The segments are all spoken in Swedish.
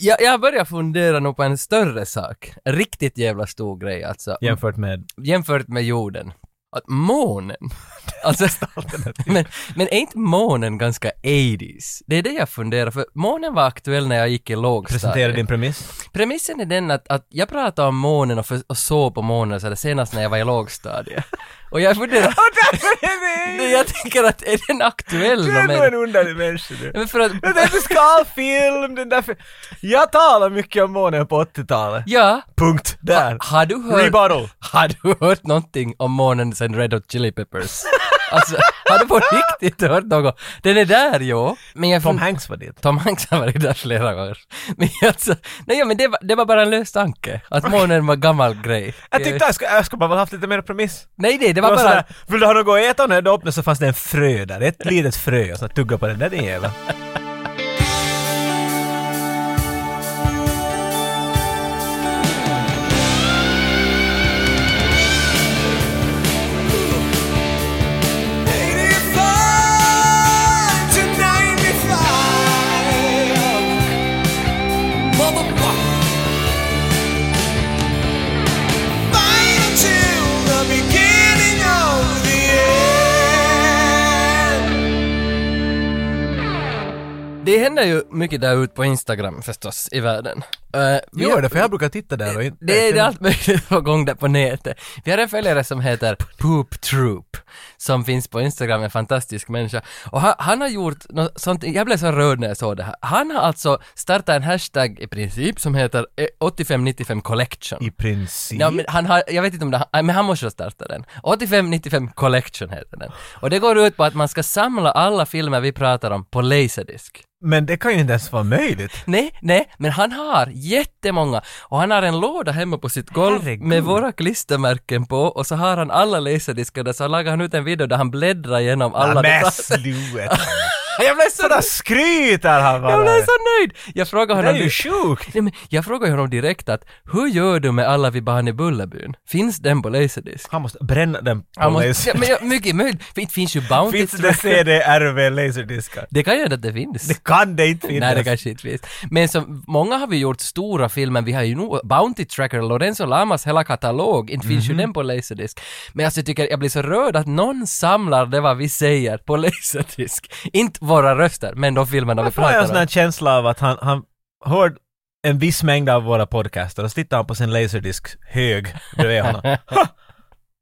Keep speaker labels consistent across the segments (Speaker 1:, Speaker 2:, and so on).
Speaker 1: jag, jag börjar fundera nog på en större sak. En riktigt jävla stor grej alltså.
Speaker 2: jämfört med...
Speaker 1: Jämfört med jorden. Att månen. alltså, men, men är inte månen ganska 80s? Det är det jag funderar för. Månen var aktuell när jag gick i lågstadiet.
Speaker 2: Presentera din premiss.
Speaker 1: Premissen är den att, att jag pratade om månen och, för, och såg på månen så där senast när jag var i lågstadiet. Och jag funderar... Nej, jag tänker att är den aktuell?
Speaker 2: Du är
Speaker 1: då, men-
Speaker 2: nog en underlig människa du.
Speaker 1: Men för att...
Speaker 2: Den där fiskalfilm, den där... fi- Jag talar mycket om månen på 80-talet.
Speaker 1: Ja,
Speaker 2: Punkt. Där.
Speaker 1: har du hört...
Speaker 2: Rebuttal.
Speaker 1: Har du hört någonting om månen sen Red Hot Chili Peppers? Alltså, har du på riktigt hört något? Den är där, jo. Men jag
Speaker 2: Tom Hanks var det.
Speaker 1: Tom Hanks har varit där flera gånger. Men alltså, nej ja, men det var, det var bara en lös tanke. Att månen var gammal grej.
Speaker 2: Jag tyckte jag skulle, jag skulle bara väl haft lite mer premiss.
Speaker 1: Nej, nej, det
Speaker 2: Det
Speaker 1: var
Speaker 2: var
Speaker 1: bara...
Speaker 2: sådär, vill du ha något att äta och när du öppnade så fanns det en frö där, ett litet frö och så tugga på den där din jävel.
Speaker 1: Det händer ju mycket där ute på Instagram förstås, i världen. Eh, vi
Speaker 2: Gör
Speaker 1: har-
Speaker 2: det, för jag brukar titta där och inte...
Speaker 1: Det är det allt möjligt på gång där på nätet. Vi har en följare som heter Poop Troop som finns på Instagram, en fantastisk människa. Och han, han har gjort något sånt, jag blev så rörd när jag såg det här. Han har alltså startat en hashtag i princip som heter eh, 8595 collection.
Speaker 2: I princip.
Speaker 1: Ja, men han har, jag vet inte om det, han- men han måste ha startat den. 8595 Collection heter den. Och det går ut på att man ska samla alla filmer vi pratar om på Laserdisc.
Speaker 2: Men det kan ju inte ens vara möjligt.
Speaker 1: Nej, nej, men han har jättemånga. Och han har en låda hemma på sitt golv
Speaker 2: Herregud.
Speaker 1: med våra klistermärken på och så har han alla laserdiscar där så lagar han ut en video där han bläddrar igenom alla
Speaker 2: Alla men
Speaker 1: dessa.
Speaker 2: sluta!
Speaker 1: Jag blev så,
Speaker 2: Sådär skryter han bara!
Speaker 1: jag blev så nöjd! Jag frågade
Speaker 2: Det är
Speaker 1: honom...
Speaker 2: ju
Speaker 1: di-
Speaker 2: sjukt!
Speaker 1: Nej, men jag frågade honom direkt att hur gör du med alla vi barn i Bullerbyn? Finns den på laserdisk?
Speaker 2: Han måste bränna den på
Speaker 1: Han måste,
Speaker 2: laser.
Speaker 1: ja, men jag, mycket möjligt, för inte finns ju Bounty
Speaker 2: Finns det CD-RV laserdiskar?
Speaker 1: Det kan ju hända att det finns.
Speaker 2: Det kan det inte
Speaker 1: Nej,
Speaker 2: finnas!
Speaker 1: det kanske inte finns. Men som, många har vi gjort stora filmer, vi har ju nog Bounty Tracker, Lorenzo Lamas hela katalog, inte finns
Speaker 2: Mhm.
Speaker 1: ju den på Laserdisc. Men alltså, jag tycker, jag blir så rörd att någon samlar det vad vi säger på Laserdisc. Inte våra röster, men de filmerna vi
Speaker 2: Varför har jag en sån
Speaker 1: pratar
Speaker 2: här
Speaker 1: om.
Speaker 2: känsla av att han, han hör en viss mängd av våra podcaster och så tittar han på sin laserdisk hög bredvid honom. Ha!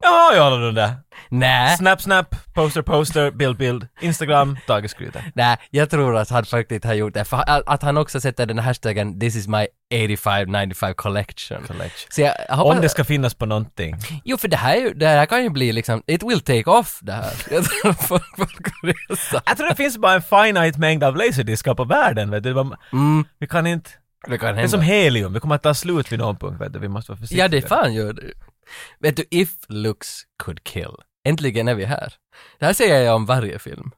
Speaker 2: Jag har ju alla de där.
Speaker 1: Nej,
Speaker 2: Snap, snap, poster, poster, bild, bild, Instagram, Tage skryter.
Speaker 1: nej, jag tror att han faktiskt har gjort det. För att att han också sätter den här hashtaggen “This is my 85-95 collection”. Så jag jag hoppas...
Speaker 2: Om det ska finnas på någonting.
Speaker 1: Jo, för det här, är ju- det här kan ju bli liksom, it will take off det här. Jag tror att folk, folk har resa.
Speaker 2: Jag tror det finns bara en finite mängd av laserdiskar på världen. Vet du. Det var-
Speaker 1: Mm,
Speaker 2: Vi kan inte...
Speaker 1: det kan hända.
Speaker 2: Det är som helium, det kommer att ta slut vid någon punkt. Vet du. Vi måste vara försiktiga.
Speaker 1: Ja, det fan gör det. Vet du, if looks could kill. Äntligen är vi här. Det här säger jag om varje film.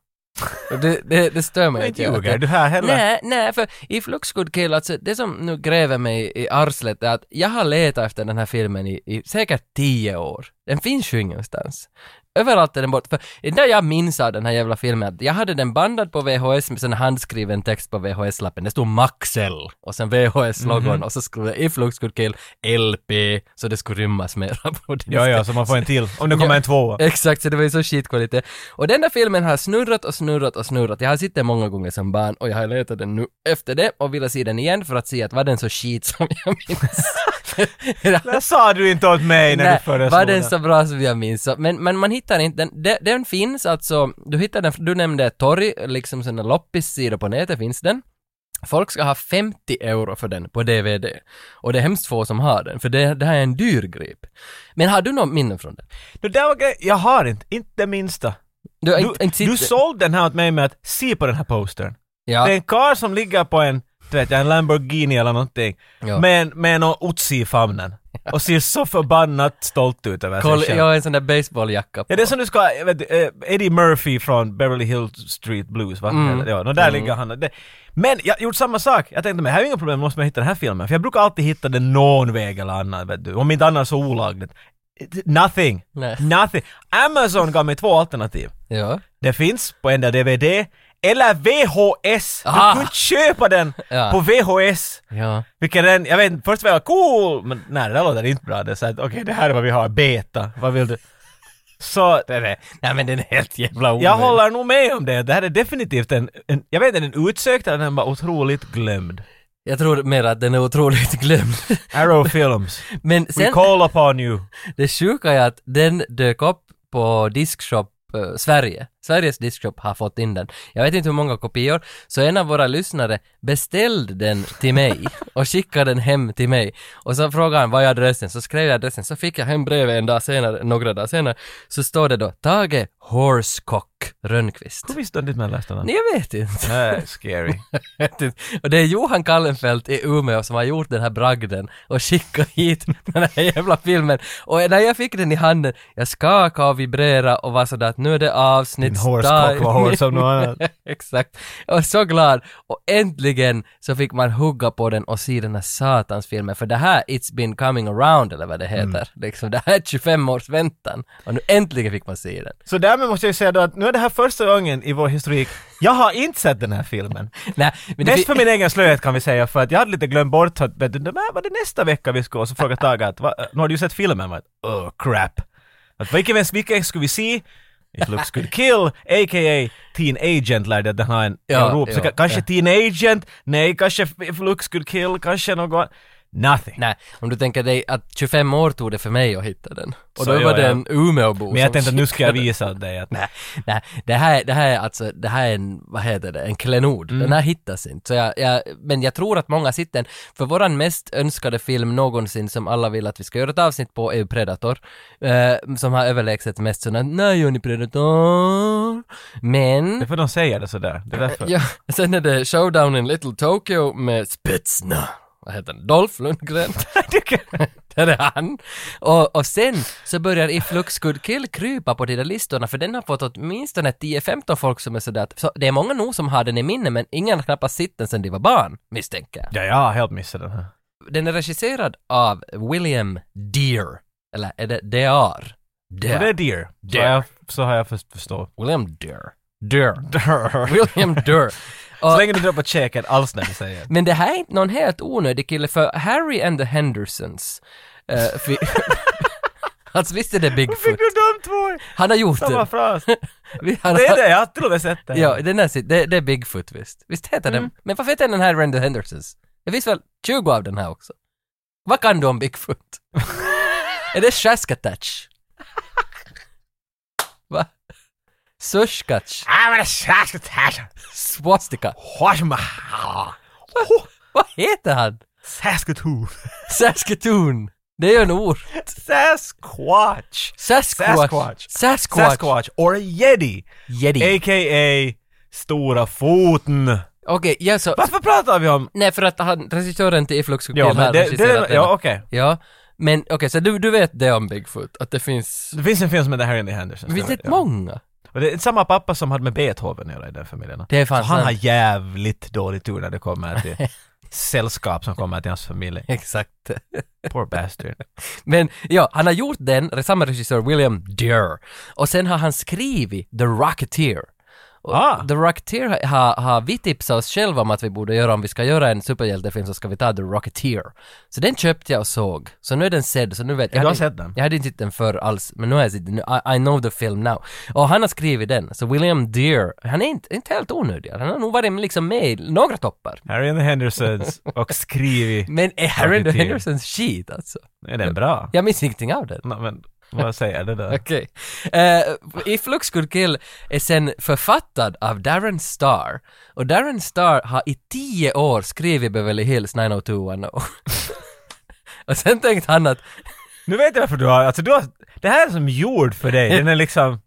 Speaker 1: Och det, det, det stör
Speaker 2: Men
Speaker 1: mig
Speaker 2: inte
Speaker 1: jag-
Speaker 2: ljuger du här heller.
Speaker 1: Nej, nej, för if looks could kill, alltså det som nu gräver mig i arslet är att jag har letat efter den här filmen i, i säkert tio år. Den finns ju ingenstans. Överallt är den borta. För det där jag minns av den här jävla filmen, att jag hade den bandad på VHS med sen handskriven text på VHS-lappen. Det stod Maxell och sen VHS-logon
Speaker 2: Mhm.
Speaker 1: och så skrev jag if looks could kill LP, så det skulle rymmas mera på disken.
Speaker 2: Ja, ja, så man får en till. Om det kommer
Speaker 1: Ja.
Speaker 2: en tvåa.
Speaker 1: Exakt, så det var ju så skitkvalitet. Och den där filmen har snurrat och snurrat och snurrat. Jag har sett den många gånger som barn och jag har letat den nu efter det och ville se den igen för att se att var den så skit som jag minns?
Speaker 2: Det sa du inte åt mig när du föreslog
Speaker 1: var den så bra som jag minns? Så- Men, men man hittar inte den. Den, den finns alltså, du hittar den, du nämnde torg, liksom sådana loppissidor på nätet finns den. Folk ska ha 50 euro för den på DVD. Och det är hemskt få som har den, för det, det här är en dyr grip. Men har du något minne från den?
Speaker 2: Det där var grej. Jag har inte, inte det minsta.
Speaker 1: Du, har
Speaker 2: Du,
Speaker 1: inte- inte sett
Speaker 2: du
Speaker 1: den?
Speaker 2: sålde den här åt mig med att se på den här postern.
Speaker 1: Ja.
Speaker 2: Det är en karl som ligger på en, du vet, en Lamborghini eller någonting.
Speaker 1: Ja.
Speaker 2: Med, en, med någon otsi i famnen. Och ser så förbannat stolt ut över
Speaker 1: Koll,
Speaker 2: sig själv.
Speaker 1: jag har en sån där baseballjacka på.
Speaker 2: Ja, det är som du ska, jag vet, eh, Eddie Murphy från Beverly Hills Street Blues, va?
Speaker 1: Mm.
Speaker 2: Ja, no, där ligger han. Det, men jag gjorde samma sak. Jag tänkte, men här är ju inga problem, måste man hitta den här filmen. För jag brukar alltid hitta den någon väg eller annan, vet du. Om inte annars så olagligt. It- Nothing.
Speaker 1: Nej.
Speaker 2: Nothing. Amazon gav mig två alternativ.
Speaker 1: Ja.
Speaker 2: Det finns på en där DVD Eller VHS!
Speaker 1: Ah.
Speaker 2: Du kunde köpa den
Speaker 1: Ja.
Speaker 2: på VHS!
Speaker 1: Ja.
Speaker 2: Vilken den, jag vet inte, först var jag cool, men nej det där låter inte bra. Det är så att okej det här är vad vi har, beta, vad vill du? Så
Speaker 1: Det är, nej men den är helt jävla omöjlig.
Speaker 2: jag håller nog med om det, det här är definitivt en, en jag vet inte, en utsökt eller den var otroligt glömd.
Speaker 1: Jag tror mer att den är otroligt glömd.
Speaker 2: Arrow Films,
Speaker 1: Men
Speaker 2: we
Speaker 1: sen,
Speaker 2: call upon you.
Speaker 1: det sjuka är att den dök upp på Diskshop eh, Sverige. Sveriges Diskshop har fått in den. Jag vet inte hur många kopior, så en av våra lyssnare beställde den till mig och skickade den hem till mig. Och så frågade han vad är adressen, så skrev jag adressen, så fick jag hem brevet en dag senare, några dagar senare, så står det då Tage Horskock Rönnqvist.
Speaker 2: Hur visste du ditt mellanlästa namn?
Speaker 1: Nej, jag vet inte.
Speaker 2: Nej, scary.
Speaker 1: Vet inte. och det är Johan Kallenfelt i Umeå som har gjort den här bragden och skickat hit den här jävla filmen. Och när jag fick den i handen, jag skakade och vibrerade och var sådär att nu är det avsnitt.
Speaker 2: Din hårskock var hård som något annat.
Speaker 1: Exakt. Jag var så glad. Och äntligen så fick man hugga på den och se den här satans filmen. För det här, It's been coming around eller vad det heter.
Speaker 2: Mm.
Speaker 1: Liksom, det här är 25 års väntan. Och nu äntligen fick man se den.
Speaker 2: Så därmed måste jag ju säga då att nu är det här första gången i vår historik, jag har inte sett den här filmen.
Speaker 1: Nej, men det
Speaker 2: Mest
Speaker 1: fi-
Speaker 2: för min egen slöhet kan vi säga, för att jag hade lite glömt bort att, vet du, det var det nästa vecka vi skulle, och så frågade Tage att, "Va, eh, nu har du ju sett filmen, va? oh crap. Att vilken, vilken skulle vi se? If looks good kill, a.k.a. Teen Agent lärde jag den ha en,
Speaker 1: Ja,
Speaker 2: en rop. Så
Speaker 1: ja,
Speaker 2: ka- kanske
Speaker 1: ja.
Speaker 2: Teen Agent, nej, kanske If looks good kill, kanske något, nothing.
Speaker 1: Nej, om du tänker dig att 25 år tog det för mig att hitta den. Och
Speaker 2: Så
Speaker 1: då var
Speaker 2: gör
Speaker 1: det
Speaker 2: jag.
Speaker 1: en Umeåbo
Speaker 2: Men jag
Speaker 1: som
Speaker 2: tänkte att nu ska jag
Speaker 1: skickade-
Speaker 2: visa åt dig att
Speaker 1: Nej, nej, det här, det här är alltså, det här är en, vad heter det, en klenod.
Speaker 2: Mm.
Speaker 1: Den här hittas inte. Så jag, jag, men jag tror att många sitter den. För våran mest önskade film någonsin som alla vill att vi ska göra ett avsnitt på är ju Predator. Eh, som har överlägset mest sådana, nej gör ni Predator? Men...
Speaker 2: det är för de säger det sådär. Det är därför.
Speaker 1: Ja, sen är det Showdown in Little Tokyo med Spetsna. Vad heter den? Dolph Lundgren. Där är han. Och, och sen så börjar If Looks Good Kill krypa på de där listorna för den har fått åtminstone 10-15 folk som är sådär att, så det är många nog som har den i minne men ingen har knappast sett den sedan de var barn, misstänker jag.
Speaker 2: Ja, jag har helt missat den här.
Speaker 1: Den är regisserad av William Dear. Eller är det Dear?
Speaker 2: Och det är
Speaker 1: Dear.
Speaker 2: deer. Så,
Speaker 1: Deer.
Speaker 2: har jag, så har jag först- förstått.
Speaker 1: William Dear. Dear.
Speaker 2: Deer.
Speaker 1: William Dear.
Speaker 2: Så
Speaker 1: Och-
Speaker 2: länge du droppar käken alls när du säger det.
Speaker 1: Men det här är inte någon helt onödig kille för Harry and the Hendersons. eh, fi- alltså visst är det Bigfoot?
Speaker 2: Fick du de två
Speaker 1: Han har gjort
Speaker 2: samma
Speaker 1: det.
Speaker 2: fras?
Speaker 1: Vi- Han
Speaker 2: Det är
Speaker 1: har,
Speaker 2: det, jag har till och med sett det.
Speaker 1: ja, den är, sitt- det, det är Bigfoot visst. Visst heter
Speaker 2: Mm.
Speaker 1: den? Men varför heter den Harry and the Hendersons? Det finns väl 20 av den här också? Vad kan du om Bigfoot? är det Shaskatach? Va? Sushkatch?
Speaker 2: Ah,
Speaker 1: Swastika? Vad heter han?
Speaker 2: Saskatoon.
Speaker 1: Saskatoon? Det är ju en ort.
Speaker 2: Sasquatch.
Speaker 1: Sasquatch.
Speaker 2: Sasquatch.
Speaker 1: Sasquatch.
Speaker 2: Sasquatch. Or a Yeti.
Speaker 1: Yeti.
Speaker 2: A.k.a. Stora foten.
Speaker 1: Okej, ja så...
Speaker 2: Varför pratar vi om...
Speaker 1: Nej, för att han, regissören till Iflux skulle
Speaker 2: Ja,
Speaker 1: här
Speaker 2: men det,
Speaker 1: regisserat
Speaker 2: det,
Speaker 1: den.
Speaker 2: ja okej.
Speaker 1: Ja, men okej, så du, du vet det om Bigfoot, att det finns...
Speaker 2: Det finns en film som heter Harry and the Hendersons.
Speaker 1: Det finns
Speaker 2: det
Speaker 1: inte
Speaker 2: vet jag.
Speaker 1: många.
Speaker 2: Och det är samma pappa som hade med Beethoven att göra i den familjen.
Speaker 1: Det är fan
Speaker 2: Så han har
Speaker 1: sant.
Speaker 2: jävligt dålig tur när det kommer till sällskap som kommer till hans familj.
Speaker 1: Exakt.
Speaker 2: Poor bastard.
Speaker 1: Men ja, han har gjort den, samma regissör, William Dear. Och sen har han skrivit The Rocketeer. Och
Speaker 2: Ah.
Speaker 1: The Rocketeer har ha, ha vi tipsat oss själva om att vi borde göra, om vi ska göra en superhjältefilm så ska vi ta The Rocketeer. Så den köpte jag och såg. Så nu är den sedd, så nu vet jag.
Speaker 2: Du har
Speaker 1: hade-
Speaker 2: sett den?
Speaker 1: Jag hade inte sett den förr alls, men nu har jag sett den. I, I know the film now. Och han har skrivit den, så William Dear, han är inte, inte helt onödig. Han har nog varit liksom med i några toppar.
Speaker 2: Harry and the Hendersons och skrivi.
Speaker 1: Men är Harry and the
Speaker 2: Rocketeer.
Speaker 1: Hendersons shit alltså?
Speaker 2: Är den bra?
Speaker 1: Jag minns ingenting av den.
Speaker 2: Nå, men vad säger det där?
Speaker 1: Okej. Eh, If Looks Could Kill är sen författad av Darren Star. Och Darren Star har i tio år skrivit Beverly Hills 90210. och sen tänkte han att
Speaker 2: Nu vet jag varför du har, alltså du har, det här är som gjord för dig. Den är liksom,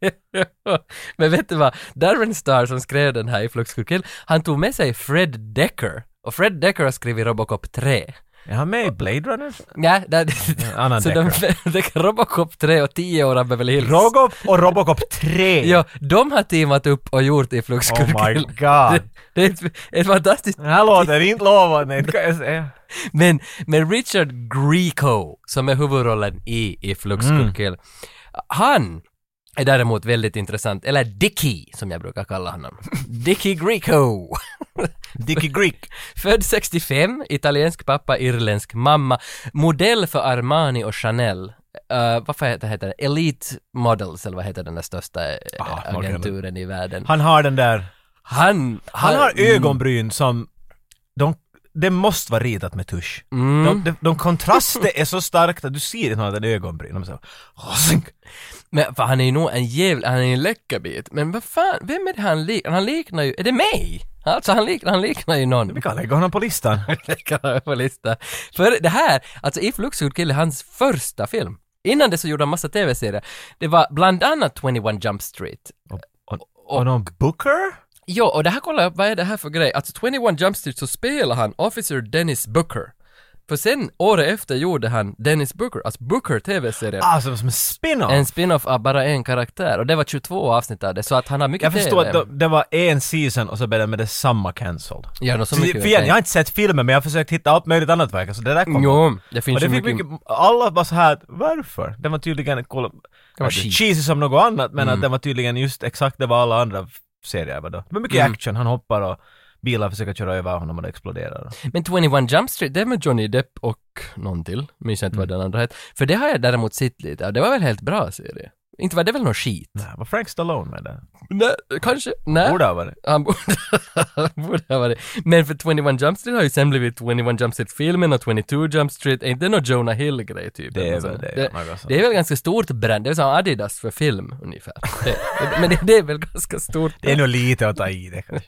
Speaker 1: Men vet du vad? Darren Star som skrev den här i Flux Could Kill, han tog med sig Fred Decker. Och Fred Decker har skrivit Robocop 3.
Speaker 2: är han med i Blade Runner?
Speaker 1: Nej, där,
Speaker 2: Annan
Speaker 1: så
Speaker 2: Decker.
Speaker 1: de, de, Robocop 3 och 10 år av Beverly Hills.
Speaker 2: Robocop och Robocop 3!
Speaker 1: Ja, de har teamat upp och gjort i Flux Could
Speaker 2: Oh my
Speaker 1: Kill.
Speaker 2: god.
Speaker 1: Det, det är ett, ett fantastiskt
Speaker 2: Den här låter inte lovande, inte kan jag säga.
Speaker 1: Men, men Richard Grieco, som är huvudrollen i If Looks Could Kill, han är däremot väldigt intressant, eller Dickie som jag brukar kalla honom. Dickie Greco!
Speaker 2: Dickie Greek.
Speaker 1: Född 65, italiensk pappa, irländsk mamma, modell för Armani och Chanel. Uh, vad fan heter, heter det? Elite Models, eller vad heter den där största eh,
Speaker 2: Ah, okej, men-
Speaker 1: agenturen i världen?
Speaker 2: Han har den där...
Speaker 1: Han,
Speaker 2: Han har
Speaker 1: Mm.
Speaker 2: ögonbryn som... De, det måste vara ritat med tusch.
Speaker 1: Mm.
Speaker 2: De, de, de kontraster är så starka att du ser inte annat än ögonbryn. De är så, här, "Rosing."
Speaker 1: Men för han är ju nog en jävla, han är ju en läckarbit. Men vad fan, vem är det han liknar? Han liknar ju, är det mig? Alltså han liknar, han liknar ju någon.
Speaker 2: vi kan lägga honom på listan.
Speaker 1: Det kan jag på lista. För det här, alltså If Looks Good Kill är hans första film. Innan det så gjorde han massa tv-serier. Det var bland annat 21 Jump Street.
Speaker 2: Och, och någon Booker?
Speaker 1: Jo, och det här kollar jag, vad är det här för grej? Alltså 21 Jump Street så spelar han Officer Dennis Booker. För sen, året efter gjorde han Dennis Booker, alltså Booker tv-serien.
Speaker 2: Ah, som, som en spin-off!
Speaker 1: En spin-off av bara en karaktär och det var 22 avsnitt av det, så att han har mycket
Speaker 2: jag förstår
Speaker 1: TV.
Speaker 2: att det, det var en season och så blev den med detsamma cancelled.
Speaker 1: Ja, no, så
Speaker 2: Så
Speaker 1: mycket
Speaker 2: för igen, jag har inte sett filmen men jag har försökt hitta allt möjligt annat verk. Alltså det där kom.
Speaker 1: Jo, det finns
Speaker 2: Och det
Speaker 1: ju
Speaker 2: fick
Speaker 1: mycket...
Speaker 2: mycket, alla var så här varför? Den var tydligen, kolla,
Speaker 1: var
Speaker 2: inte
Speaker 1: skit. Mm.
Speaker 2: cheesy som något annat men att den var tydligen just exakt det var alla andra f- serier var då. Det var mycket
Speaker 1: Mm.
Speaker 2: action, han hoppar och bilar försöker köra över honom och det exploderar.
Speaker 1: Men 21 Jump Street, det är med Johnny Depp och någon till, minns jag inte
Speaker 2: Mm.
Speaker 1: vad den andra hette. För det har jag däremot sett lite av, det var väl helt bra serie? Inte var det väl någon skit?
Speaker 2: Nej, var Frank Stallone med där?
Speaker 1: Nej, kanske? Nej.
Speaker 2: Borde ha varit.
Speaker 1: Han borde, han borde ha varit. Men för 21 Jump Street har ju sen blivit 21 Jump Street-filmen och 22 Jump Street. Är inte någon Jonah Hill-grej typ?
Speaker 2: Det är
Speaker 1: Eller
Speaker 2: väl
Speaker 1: så?
Speaker 2: det. alltså.
Speaker 1: det,
Speaker 2: något sånt.
Speaker 1: det är väl ganska stort brand, det är som Adidas för film ungefär. Det, det, men det, det är väl ganska stort.
Speaker 2: det är nog lite att ta i det kanske.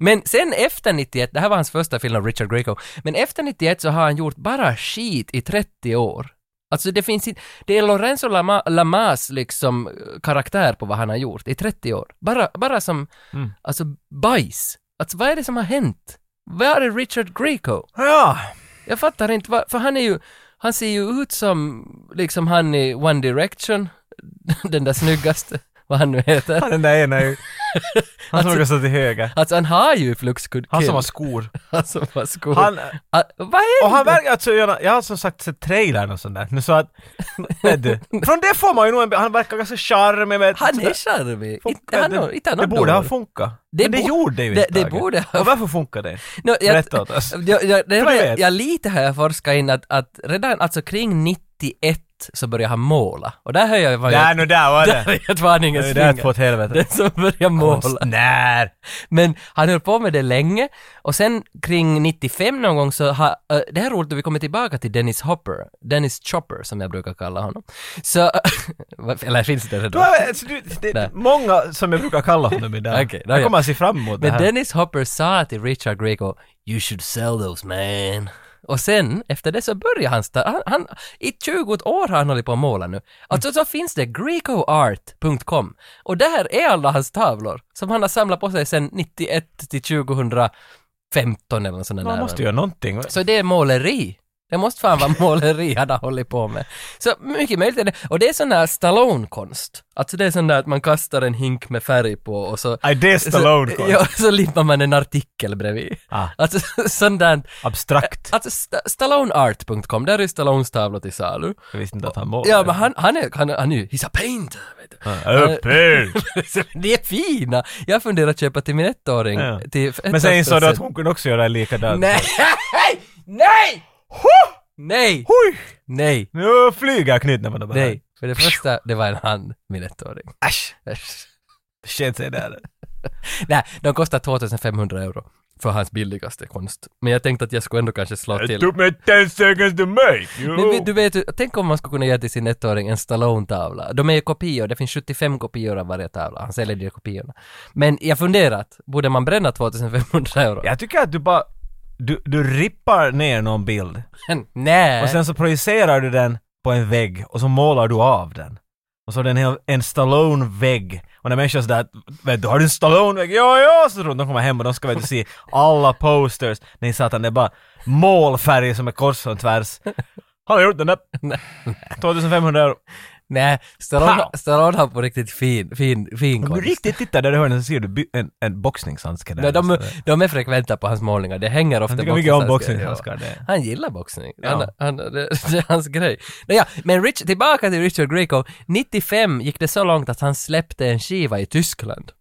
Speaker 1: Men sen efter 91, det här var hans första film av Richard Greco, men efter 91 så har han gjort bara skit i 30 år. Alltså det finns inte, det är Lorenzo Lama, Lamas liksom eh, karaktär på vad han har gjort i 30 år. Bara, bara som,
Speaker 2: Mm.
Speaker 1: alltså bajs. Alltså vad är det som har hänt? Var är Richard Greco?
Speaker 2: Ja,
Speaker 1: Jag fattar inte, vad, för han är ju, han ser ju ut som liksom han i One Direction, den där snyggaste, vad han nu heter.
Speaker 2: han den där ena är ju... Han som
Speaker 1: Alltså-
Speaker 2: brukar stå till höger.
Speaker 1: Alltså han har ju Flux Good
Speaker 2: Han
Speaker 1: Kill.
Speaker 2: som har skor.
Speaker 1: han som har skor.
Speaker 2: Han,
Speaker 1: Ah, vad är
Speaker 2: och han
Speaker 1: det?
Speaker 2: verkar, alltså, jag, jag har som sagt sett trailern och sånt där. Nu så att, vet du, från det får man ju nog en, han verkar ganska charmig med...
Speaker 1: Han är charmig. Inte han har- inte han
Speaker 2: det
Speaker 1: har
Speaker 2: borde ha
Speaker 1: dåligt.
Speaker 2: funkat.
Speaker 1: Det
Speaker 2: Men det
Speaker 1: bo-
Speaker 2: gjorde det ju
Speaker 1: det-
Speaker 2: inte.
Speaker 1: det
Speaker 2: Tage.
Speaker 1: borde ha-
Speaker 2: Och varför funkar det?
Speaker 1: No, jag,
Speaker 2: Berätta åt oss.
Speaker 1: jag, jag, det
Speaker 2: För
Speaker 1: var,
Speaker 2: du
Speaker 1: jag,
Speaker 2: vet.
Speaker 1: jag lite har jag forskat in att, att redan alltså kring 91 så började han måla. Och där hör jag vad
Speaker 2: Nej,
Speaker 1: jag...
Speaker 2: nu där var
Speaker 1: Där
Speaker 2: det.
Speaker 1: är ett varningens
Speaker 2: Det är två
Speaker 1: finger.
Speaker 2: åt helvete.
Speaker 1: Den som börjar måla.
Speaker 2: Konstnär!
Speaker 1: Men han höll på med det länge och sen kring 95 någon gång så har, eh, det här är roligt att vi kommer tillbaka till Dennis Hopper, Dennis Chopper som jag brukar kalla honom. Så, eller finns det
Speaker 2: Du
Speaker 1: redan?
Speaker 2: har, alltså, du, det
Speaker 1: Nej.
Speaker 2: är många som jag brukar kalla honom idag.
Speaker 1: Okej, då
Speaker 2: jag
Speaker 1: ja.
Speaker 2: kommer att se fram emot det
Speaker 1: Men
Speaker 2: här.
Speaker 1: Dennis Hopper sa till Richard Greco “You should sell those man”. Och sen, efter det så börjar han, sta- han, han i 20 år har han hållit på att måla nu. Alltså så finns det grecoart.com och där är alla hans tavlor som han har samlat på sig sedan 91 till 2015 eller något sånt där.
Speaker 2: Man måste göra någonting.
Speaker 1: Så det är måleri. Det måste fan vara måleri han har hållit på med. Så mycket möjligt är det. Och det är sån där Stallone-konst. Alltså det är sån där att man kastar en hink med färg på och så...
Speaker 2: I dare Stallone.
Speaker 1: Så, ja, så limmar man en artikel bredvid.
Speaker 2: Ah.
Speaker 1: Alltså sån där,
Speaker 2: Abstrakt.
Speaker 1: alltså st- stalloneart.com, där är Stallones tavlor till salu.
Speaker 2: Jag visste inte att han målade.
Speaker 1: Ja men han, han är, han, är- han är ju, he's a painter, vet du.
Speaker 2: Upp hit!
Speaker 1: Så De är fina! Jag funderar att köpa till min ettåring.
Speaker 2: Ja.
Speaker 1: Till
Speaker 2: Men sen insåg du att
Speaker 1: hon...
Speaker 2: hon kunde också göra likadant.
Speaker 1: Nej! Nej!
Speaker 2: Huh!
Speaker 1: Nej!
Speaker 2: Hui!
Speaker 1: Nej!
Speaker 2: Nu flyger knytnävarna bara.
Speaker 1: Nej! För det första, det var en hand, min ettåring.
Speaker 2: Äsch! Shit sig där.
Speaker 1: Nej, de kostar 2500 euro för hans billigaste konst. Men jag tänkte att jag skulle ändå kanske slå till.
Speaker 2: mig 10 seconds to make! Jo.
Speaker 1: Men vet- du vet, ju- tänk om man skulle kunna ge till sin ettåring en Stallone-tavla. De är ju kopior, det finns 75 kopior av varje tavla. Han säljer de kopiorna. Men jag funderat, borde man bränna 2500 euro?
Speaker 2: Jag tycker att du bara... Du, du rippar ner någon bild
Speaker 1: Men Nej!
Speaker 2: och sen så projicerar du den på en vägg och så målar du av den. Och så är det en, hel- en Stallone-vägg. Och när människor är sådär, vet du, har du en Stallone-vägg? Ja, ja! Så tror de, de kommer hem och de ska vet du se alla posters. Nej satan, det är bara målfärg som är kors och tvärs. Han har gjort den där. 2500 euro.
Speaker 1: Nej, Stallone,
Speaker 2: Pow!
Speaker 1: Stallone har på riktigt fin, fin, fin
Speaker 2: Om du
Speaker 1: konst.
Speaker 2: riktigt tittar där du hör den så ser du by- en, en boxningshandske där.
Speaker 1: Nej, de,
Speaker 2: Så där.
Speaker 1: de är frekventa på hans målningar, det hänger ofta
Speaker 2: Han tycker mycket om
Speaker 1: boxningshandskar.
Speaker 2: boxningshandskar. det.
Speaker 1: Han gillar boxning.
Speaker 2: Ja.
Speaker 1: Han, han, det, det är hans grej. Nåja, men Rich, tillbaka till Richard Grieco. 95 gick det så långt att han släppte en skiva i Tyskland.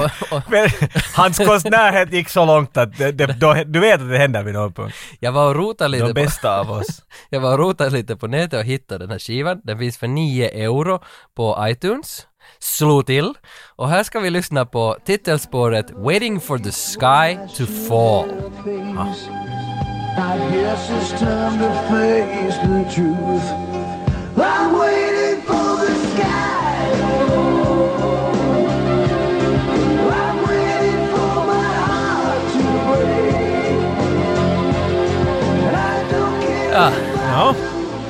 Speaker 1: Och, och,
Speaker 2: Men hans konstnärhet gick så långt att det, det, då, du vet att det händer vid någon punkt.
Speaker 1: jag var och rotade lite på,
Speaker 2: De bästa av oss.
Speaker 1: jag var och rotade lite på nätet och hittade den här skivan. Den finns för 9 euro på iTunes. Slå till. Och här ska vi lyssna på titelspåret Waiting for the sky to fall.
Speaker 3: I guess it's time to face the truth. I'm waiting for the sky. I'm waiting for my heart to break. I don't care.
Speaker 1: Ja,
Speaker 2: Ja.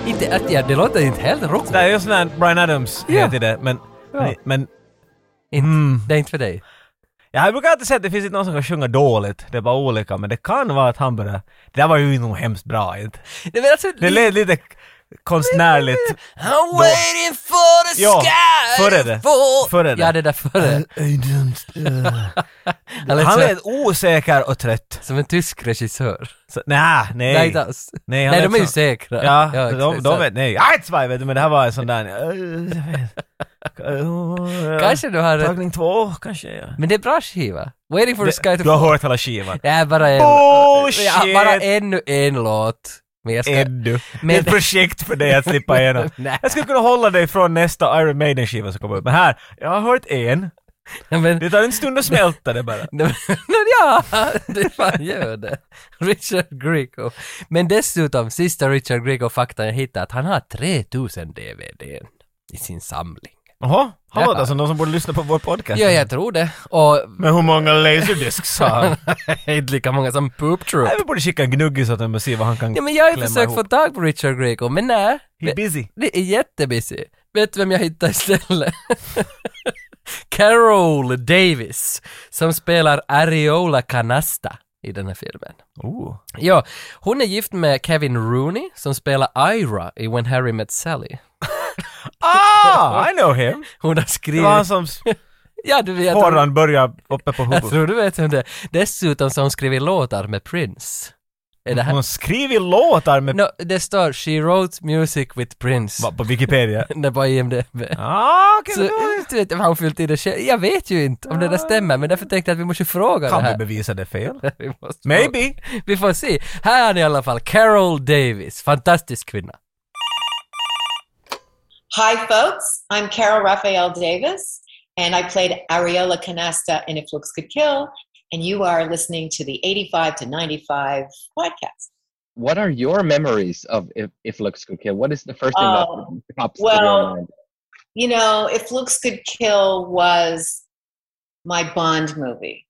Speaker 1: inte, att, ja, det låter inte helt rock.
Speaker 2: Det är ju sån här Brian Adams
Speaker 1: Ja.
Speaker 2: heter det, men, men, men
Speaker 1: Inte,
Speaker 2: Mm.
Speaker 1: Det är inte för dig.
Speaker 2: Ja, jag brukar alltid säga att det finns inte någon som kan sjunga dåligt, det är bara olika, men det kan vara att han börjar... Det där var ju inte nog hemskt bra inte.
Speaker 1: Nej, men alltså,
Speaker 2: Det lät lite konstnärligt.
Speaker 1: I'm waiting for the
Speaker 2: Ja,
Speaker 1: sky
Speaker 2: före det.
Speaker 1: to fall.
Speaker 2: Före det.
Speaker 1: Ja, det där före. Han lät
Speaker 2: Han
Speaker 1: så-
Speaker 2: lät osäker och trött.
Speaker 1: som en tysk regissör.
Speaker 2: Så, nä, nej.
Speaker 1: Nej, inte alls.
Speaker 2: Nej,
Speaker 1: Nej,
Speaker 2: han lät
Speaker 1: de är ju
Speaker 2: så-
Speaker 1: säkra.
Speaker 2: Ja,
Speaker 1: Ja,
Speaker 2: de,
Speaker 1: exakt.
Speaker 2: de vet, nej, Eitzweig vet du, men det här var en sån där... eh, jag vet.
Speaker 1: Kanske du har rätt.
Speaker 2: Tagning två, kanske ja.
Speaker 1: Men det är bra skiva. Waiting for the sky to
Speaker 2: Du har
Speaker 1: fall.
Speaker 2: hört hela skivan.
Speaker 1: Det är bara en...
Speaker 2: Bullshit!
Speaker 1: Ja, bara ännu en låt. Men jag ska...
Speaker 2: Eddu. Det
Speaker 1: Men-
Speaker 2: är ett projekt för dig att slippa igenom.
Speaker 1: Nej.
Speaker 2: Jag skulle kunna hålla dig från nästa Iron Maiden-skiva som kommer ut. Men här, jag har hört en.
Speaker 1: Men...
Speaker 2: Det tar en stund att smälta det bara.
Speaker 1: Nej, men- men ja, det fan gör det. Richard Grieco. Men dessutom, sista Richard Grieco-faktan jag hittade, att han har 3000 DVD i sin samling.
Speaker 2: Jaha, han
Speaker 1: Ja.
Speaker 2: låter som alltså någon som borde lyssna på vår podcast.
Speaker 1: Ja, jag tror det. Och
Speaker 2: Men hur många laserdiscs har han?
Speaker 1: inte lika många som Poop Troop.
Speaker 2: Nej, Vi borde skicka en gnuggis åt honom och se vad han kan
Speaker 1: Ja, men jag har ju
Speaker 2: klämma
Speaker 1: försökt få
Speaker 2: ihop.
Speaker 1: tag på Richard Grieco, men nej.
Speaker 2: He busy.
Speaker 1: Det är jättebusy. Vet du vem jag hittade istället? Carol Davis, som spelar Ariola Canasta i den här filmen.
Speaker 2: Oh.
Speaker 1: Ja, hon är gift med Kevin Rooney som spelar Ira i When Harry Met Sally.
Speaker 2: Ah, I know him!
Speaker 1: Hon har
Speaker 2: Det var han
Speaker 1: skrivit...
Speaker 2: som
Speaker 1: Ja, du vet... hon-
Speaker 2: håran började uppe på
Speaker 1: Jag
Speaker 2: huvudet.
Speaker 1: tror du vet vem det är. Dessutom så har hon skrivit låtar med Prince. Är det här...
Speaker 2: Hon skriver låtar med...
Speaker 1: No, det står “She wrote music with Prince”.
Speaker 2: Mm. Va, På Wikipedia.
Speaker 1: Det är på IMDB.
Speaker 2: Ah, okej.
Speaker 1: Så, du vet, har hon fyllt i det själv? Jag vet ju inte om det där stämmer, men därför tänkte jag att vi måste fråga
Speaker 2: kan
Speaker 1: det
Speaker 2: vi
Speaker 1: här.
Speaker 2: bevisa det fel?
Speaker 1: Vi måste fråga.
Speaker 2: Maybe.
Speaker 1: Vi får se. Här är ni i alla fall, Carol Davis. Fantastisk kvinna.
Speaker 4: Hi, folks. I'm Carol Raphael Davis, and I played Ariola Canasta in If Looks Could Kill, and you are listening to the 85 to 95 podcast.
Speaker 5: what are your memories of if, if looks could kill what is the first thing
Speaker 4: Oh,
Speaker 5: that pops to
Speaker 4: well,
Speaker 5: your mind
Speaker 4: You know, If Looks Could Kill was my Bond movie.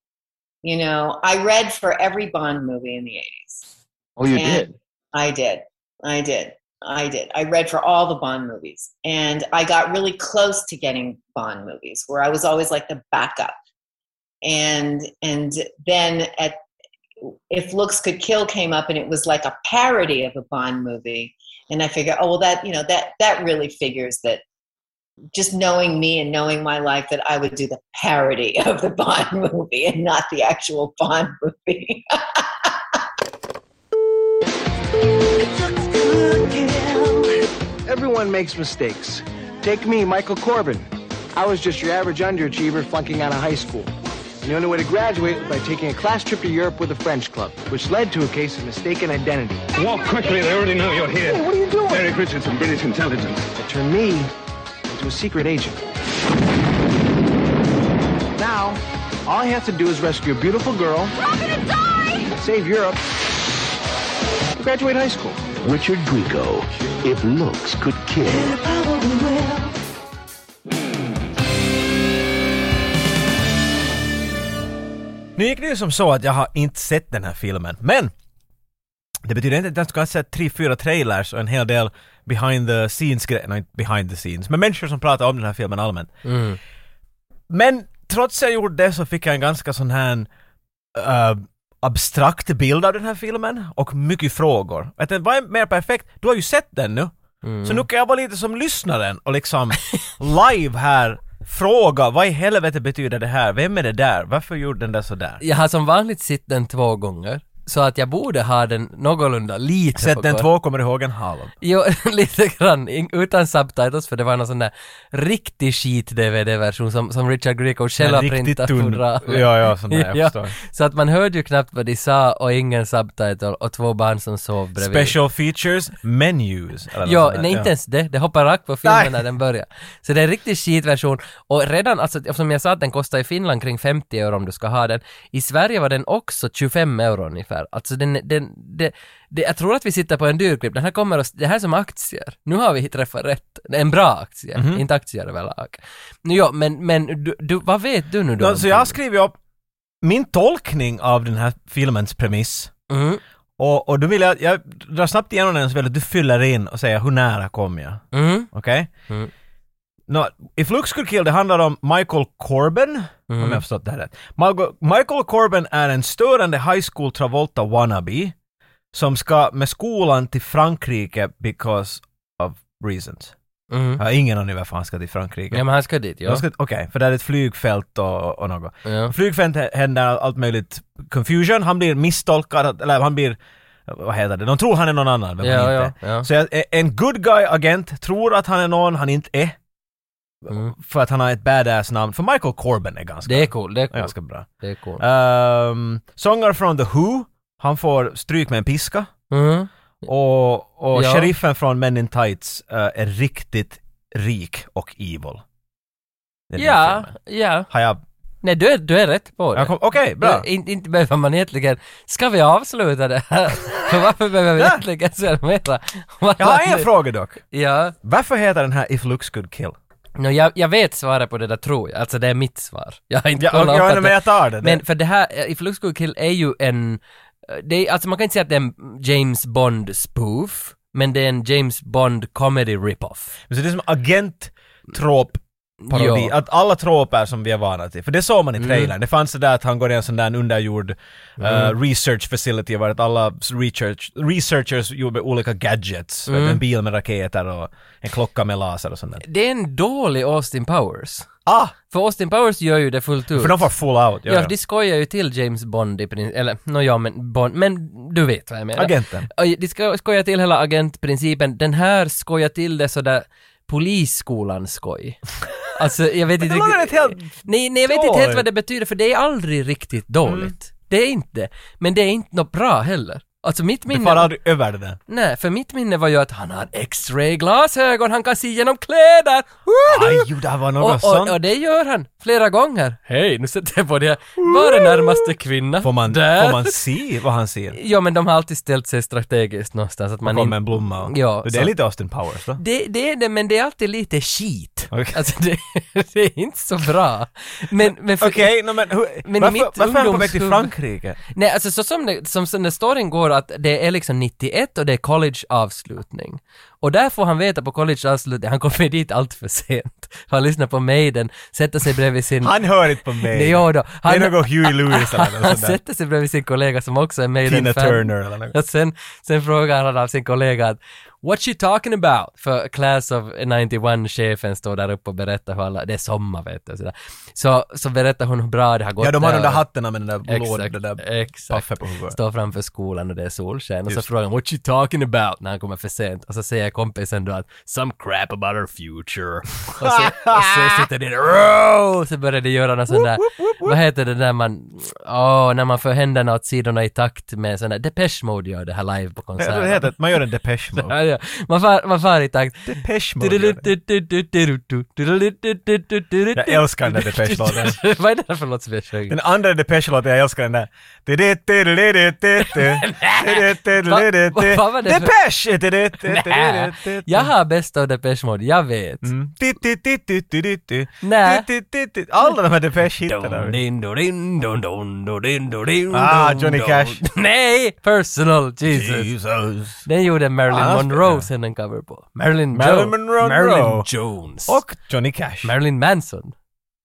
Speaker 4: You know, I read for every Bond movie in the 80s.
Speaker 5: oh you
Speaker 4: and-
Speaker 5: did
Speaker 4: I did. I did. I did. I read for all the Bond movies. And I got really close to getting Bond movies where I was always like the backup. And and then at if Looks Could Kill came up and it was like a parody of a Bond movie. And I figured, oh well that you know that that really figures that just knowing me and knowing my life that I would do the parody of the Bond movie and not the actual Bond movie.
Speaker 6: Everyone makes mistakes. Take me, Michael Corbin. I was just your average underachiever flunking out of high school. And the only way to graduate was by taking a class trip to Europe with a French club, which led to a case of mistaken identity.
Speaker 7: Walk quickly, they already know you're here.
Speaker 6: Hey, what are you doing?
Speaker 7: Eric Richardson, British intelligence.
Speaker 6: That turned me into a secret agent. Now, all I have to do is rescue a beautiful girl. I'm gonna die! Save Europe. and Graduate high school.
Speaker 8: Richard Grieco, if looks could kill.
Speaker 2: Nu gick det ju som så att jag har inte sett den här filmen, men det betyder inte att jag ska ha sett tre, fyra trailers och en hel del behind the scenes grejer, nej inte behind the scenes, men människor som pratar om den här filmen allmänt. Men trots jag gjorde det så fick jag en ganska sån här eh, abstrakt bild av den här filmen och mycket frågor. Att den var mer perfekt, du har ju sett den nu, Så nu kan jag vara lite som lyssnaren och liksom live här fråga vad i helvete betyder det här? Vem är det där? Varför gjorde den där sådär?
Speaker 1: Jag har som vanligt sett den två gånger. Så att jag borde ha den någorlunda lite på
Speaker 2: Sett den
Speaker 1: koll.
Speaker 2: två kommer ihåg en halv.
Speaker 1: Jo, lite grann. In- Utan subtitles, för det var någon sån där riktig skit-DVD-version som, som Richard Grieco själv har
Speaker 2: En riktigt
Speaker 1: printat
Speaker 2: tunn-
Speaker 1: på ramen.
Speaker 2: Ja, ja, sån där, jag förstår.
Speaker 1: Så att man hörde ju knappt vad de sa och ingen subtitle och två barn som sov bredvid.
Speaker 2: Special features, menus. eller något
Speaker 1: Ja,
Speaker 2: sånt där.
Speaker 1: nej
Speaker 2: Ja.
Speaker 1: inte ens det. Det hoppar rakt på filmen
Speaker 2: Nej.
Speaker 1: när den börjar. Så det är en riktig skitversion. Och redan, alltså eftersom jag sa att den kostar i Finland kring 50 euro om du ska ha den. I Sverige var den också 25 euro ungefär. Alltså den, den, det, det, jag tror att vi sitter på en dyrklipp. Den här kommer oss, det här är som aktier. Nu har vi träffat rätt. En bra aktie,
Speaker 2: Mhm.
Speaker 1: inte aktier överlag. Ja, men, men du, du, vad vet du nu då?
Speaker 2: Ja,
Speaker 1: om
Speaker 2: så jag har
Speaker 1: filmen?
Speaker 2: skrivit upp min tolkning av den här filmens premiss.
Speaker 1: Mm,
Speaker 2: Och, och då vill jag, jag drar snabbt igenom den så vill jag att du fyller in och säger hur nära kom jag?
Speaker 1: mm,
Speaker 2: Okej?
Speaker 1: Mm.
Speaker 2: Nå, If Luke Could Kill, det handlar om Michael Corbin,
Speaker 1: mm,
Speaker 2: om jag har förstått det här rätt. Malgo- Michael Corbin är en störande high school Travolta wannabe som ska med skolan till Frankrike because of reasons.
Speaker 1: mm.
Speaker 2: Jag har ingen aning varför han ska till Frankrike.
Speaker 1: Ja, men han ska dit,
Speaker 2: De
Speaker 1: ja.
Speaker 2: ska- Okej, för där är ett flygfält och, och något.
Speaker 1: ja.
Speaker 2: Flygfält hä- händer allt möjligt confusion, han blir misstolkad, eller han blir, vad heter det, de tror han är någon annan, men han
Speaker 1: Ja,
Speaker 2: är
Speaker 1: ja,
Speaker 2: inte.
Speaker 1: ja.
Speaker 2: Så jag, eh, en good guy-agent tror att han är någon han inte är,
Speaker 1: Mm.
Speaker 2: för att han har ett badass-namn, för Michael Corbin är ganska,
Speaker 1: Det är cool, det är
Speaker 2: är
Speaker 1: cool.
Speaker 2: ganska bra.
Speaker 1: Det är cool.
Speaker 2: Um, Sångare från The Who, han får stryk med en piska,
Speaker 1: Mm.
Speaker 2: och, och
Speaker 1: Ja.
Speaker 2: sheriffen från Men in Tights eh, är riktigt rik och evil. Det är den
Speaker 1: Ja,
Speaker 2: filmen.
Speaker 1: ja.
Speaker 2: Har jag...
Speaker 1: Nej, du är, du är rätt på det.
Speaker 2: jag kom- Okej, bra.
Speaker 1: Du- in, inte behöver man egentligen... Ska vi avsluta det här? För varför behöver vi
Speaker 2: Ja.
Speaker 1: egentligen summera?
Speaker 2: Jag har en fråga dock.
Speaker 1: Ja.
Speaker 2: Varför heter den här If Looks Could Kill?
Speaker 1: No, jag, jag vet svaret på det där tror jag. Alltså det är mitt svar. Jag har inte
Speaker 2: Ja,
Speaker 1: kollat
Speaker 2: ja,
Speaker 1: upp
Speaker 2: nej,
Speaker 1: att
Speaker 2: men
Speaker 1: det-
Speaker 2: jag tar det.
Speaker 1: Men för det här, eh, If Looks Could Kill är ju en... eh, Det är, alltså man kan inte säga att det är en James Bond spoof, men det är en James Bond comedy rip-off.
Speaker 2: Så det är som agent trop parodi,
Speaker 1: Ja. Mm.
Speaker 2: att alla troper som vi är vana till, för det såg man i trailern, det fanns det där att han går i en sån där underjord eh, research facility var att alla research, researchers gjorde olika gadgets,
Speaker 1: Mm.
Speaker 2: vet du, en bil med raketer och en klocka med laser och sånt där.
Speaker 1: Det är en dålig Austin Powers.
Speaker 2: Ah!
Speaker 1: För Austin Powers gör ju det fullt ut.
Speaker 2: För de får full out,
Speaker 1: Ja, de skojar ju till James Bond i princip, eller nåja ja, men Bond, men du vet vad jag menar.
Speaker 2: Agenten.
Speaker 1: Och De sko- skojar till hela agentprincipen, den här skojar till det sådär polisskolans skoj. Alltså jag vet inte
Speaker 2: det låter rätt helt
Speaker 1: Nej, nej jag vet inte helt
Speaker 2: dåligt. Mm.
Speaker 1: vad det betyder för det är aldrig riktigt dåligt. Det är inte. Men det är inte något bra heller. Alltså mitt
Speaker 2: Du
Speaker 1: minne...
Speaker 2: far aldrig över det där.
Speaker 1: Nej, för mitt minne var ju att han har X-ray glasögon, han kan se genom kläder! Woohoo!
Speaker 2: Aj, jo, det här var något
Speaker 1: Och,
Speaker 2: sånt.
Speaker 1: och, och det gör han flera gånger. Hej, nu sätter jag på det här. Var är närmaste kvinna?
Speaker 2: Får man,
Speaker 1: Där.
Speaker 2: får man se vad han ser?
Speaker 1: Ja, men de har alltid ställt sig strategiskt någonstans. Att man
Speaker 2: Kommer
Speaker 1: in...
Speaker 2: en blomma och...
Speaker 1: Ja,
Speaker 2: det är
Speaker 1: så-
Speaker 2: lite Austin Powers då.
Speaker 1: det, det är det, men det är alltid lite skit.
Speaker 2: Okej.
Speaker 1: Alltså det, det är inte så bra. Men, men för,
Speaker 2: Okej, no, men, hur,
Speaker 1: Men i
Speaker 2: varför,
Speaker 1: mitt
Speaker 2: varför är han på väg till
Speaker 1: ungdomshuvud-
Speaker 2: Frankrike?
Speaker 1: Nej, alltså så som, det, som, som det storyn går att det är liksom 91 och det är college-avslutning. Och där får han veta på college-avslutning, han kommer dit allt för sent. Han lyssnar på Maiden, sätter sig bredvid sin...
Speaker 2: Han hör inte på mig.
Speaker 1: Nej, jo då.
Speaker 2: Det
Speaker 1: Han-
Speaker 2: är något Huey Lewis eller
Speaker 1: Han
Speaker 2: något sånt där.
Speaker 1: sätter sig bredvid sin kollega som också är Maiden-fan.
Speaker 2: Tina Turner eller något.
Speaker 1: Och sen, sen frågar han av sin kollega att “What you talking about?” För Class of 91-chefen står där uppe och berättar hur alla, det är sommar vet du. och sådär. Så, så berättar hon hur bra det har gått
Speaker 2: Ja, de har de
Speaker 1: där.
Speaker 2: där hattarna med den där blå,
Speaker 1: Exakt,
Speaker 2: den där
Speaker 1: exakt.
Speaker 2: paffen på huvudet.
Speaker 1: Står framför skolan och det är solsken och så
Speaker 2: Just.
Speaker 1: frågar han “What you talking about?” när han kommer för sent och så säger kompisen då att “Some crap about our future” och så, och så sitter det där "Row!" så börjar det göra någon sån där, vad heter det när man, åh, när man för händerna åt sidorna i takt med sån där, Depeche Mode gör det här live på
Speaker 2: Jag tror det
Speaker 1: konserten.
Speaker 2: heter att man gör en Depeche Mode.
Speaker 1: Ja, ja. Man far, man far i takt.
Speaker 2: Depeche Mode gör det.
Speaker 1: Jag
Speaker 2: Jag älskar den där Depeche-låten.
Speaker 1: Vad är det där för låt som jag sjunger?
Speaker 2: Den andra Depeche-låten, jag älskar den där.
Speaker 1: Vad- vad var det för-
Speaker 2: Depeche!
Speaker 1: Nä. Jag har bäst av Depeche Mode, jag vet.
Speaker 2: Mm. Ti-ti-ti-ti-ti-ti-ti.
Speaker 1: Nä.
Speaker 2: Ti-ti-ti-ti. Alla de här
Speaker 1: Dun,
Speaker 2: Depeche-hittarna.
Speaker 1: din, dun, din, dun, dun, dun, din, dun, din,
Speaker 2: Ah,
Speaker 1: dun,
Speaker 2: Johnny
Speaker 1: dun.
Speaker 2: Cash.
Speaker 1: Nej! Personal Jesus.
Speaker 2: Jesus.
Speaker 1: Den gjorde Marilyn
Speaker 2: Ah, han
Speaker 1: Monroe
Speaker 2: spelar.
Speaker 1: sen en cover på. Marilyn,
Speaker 2: Marilyn
Speaker 1: Jo-
Speaker 2: Monroe.
Speaker 1: Marilyn Jones.
Speaker 2: Och Johnny Cash.
Speaker 1: Marilyn Manson.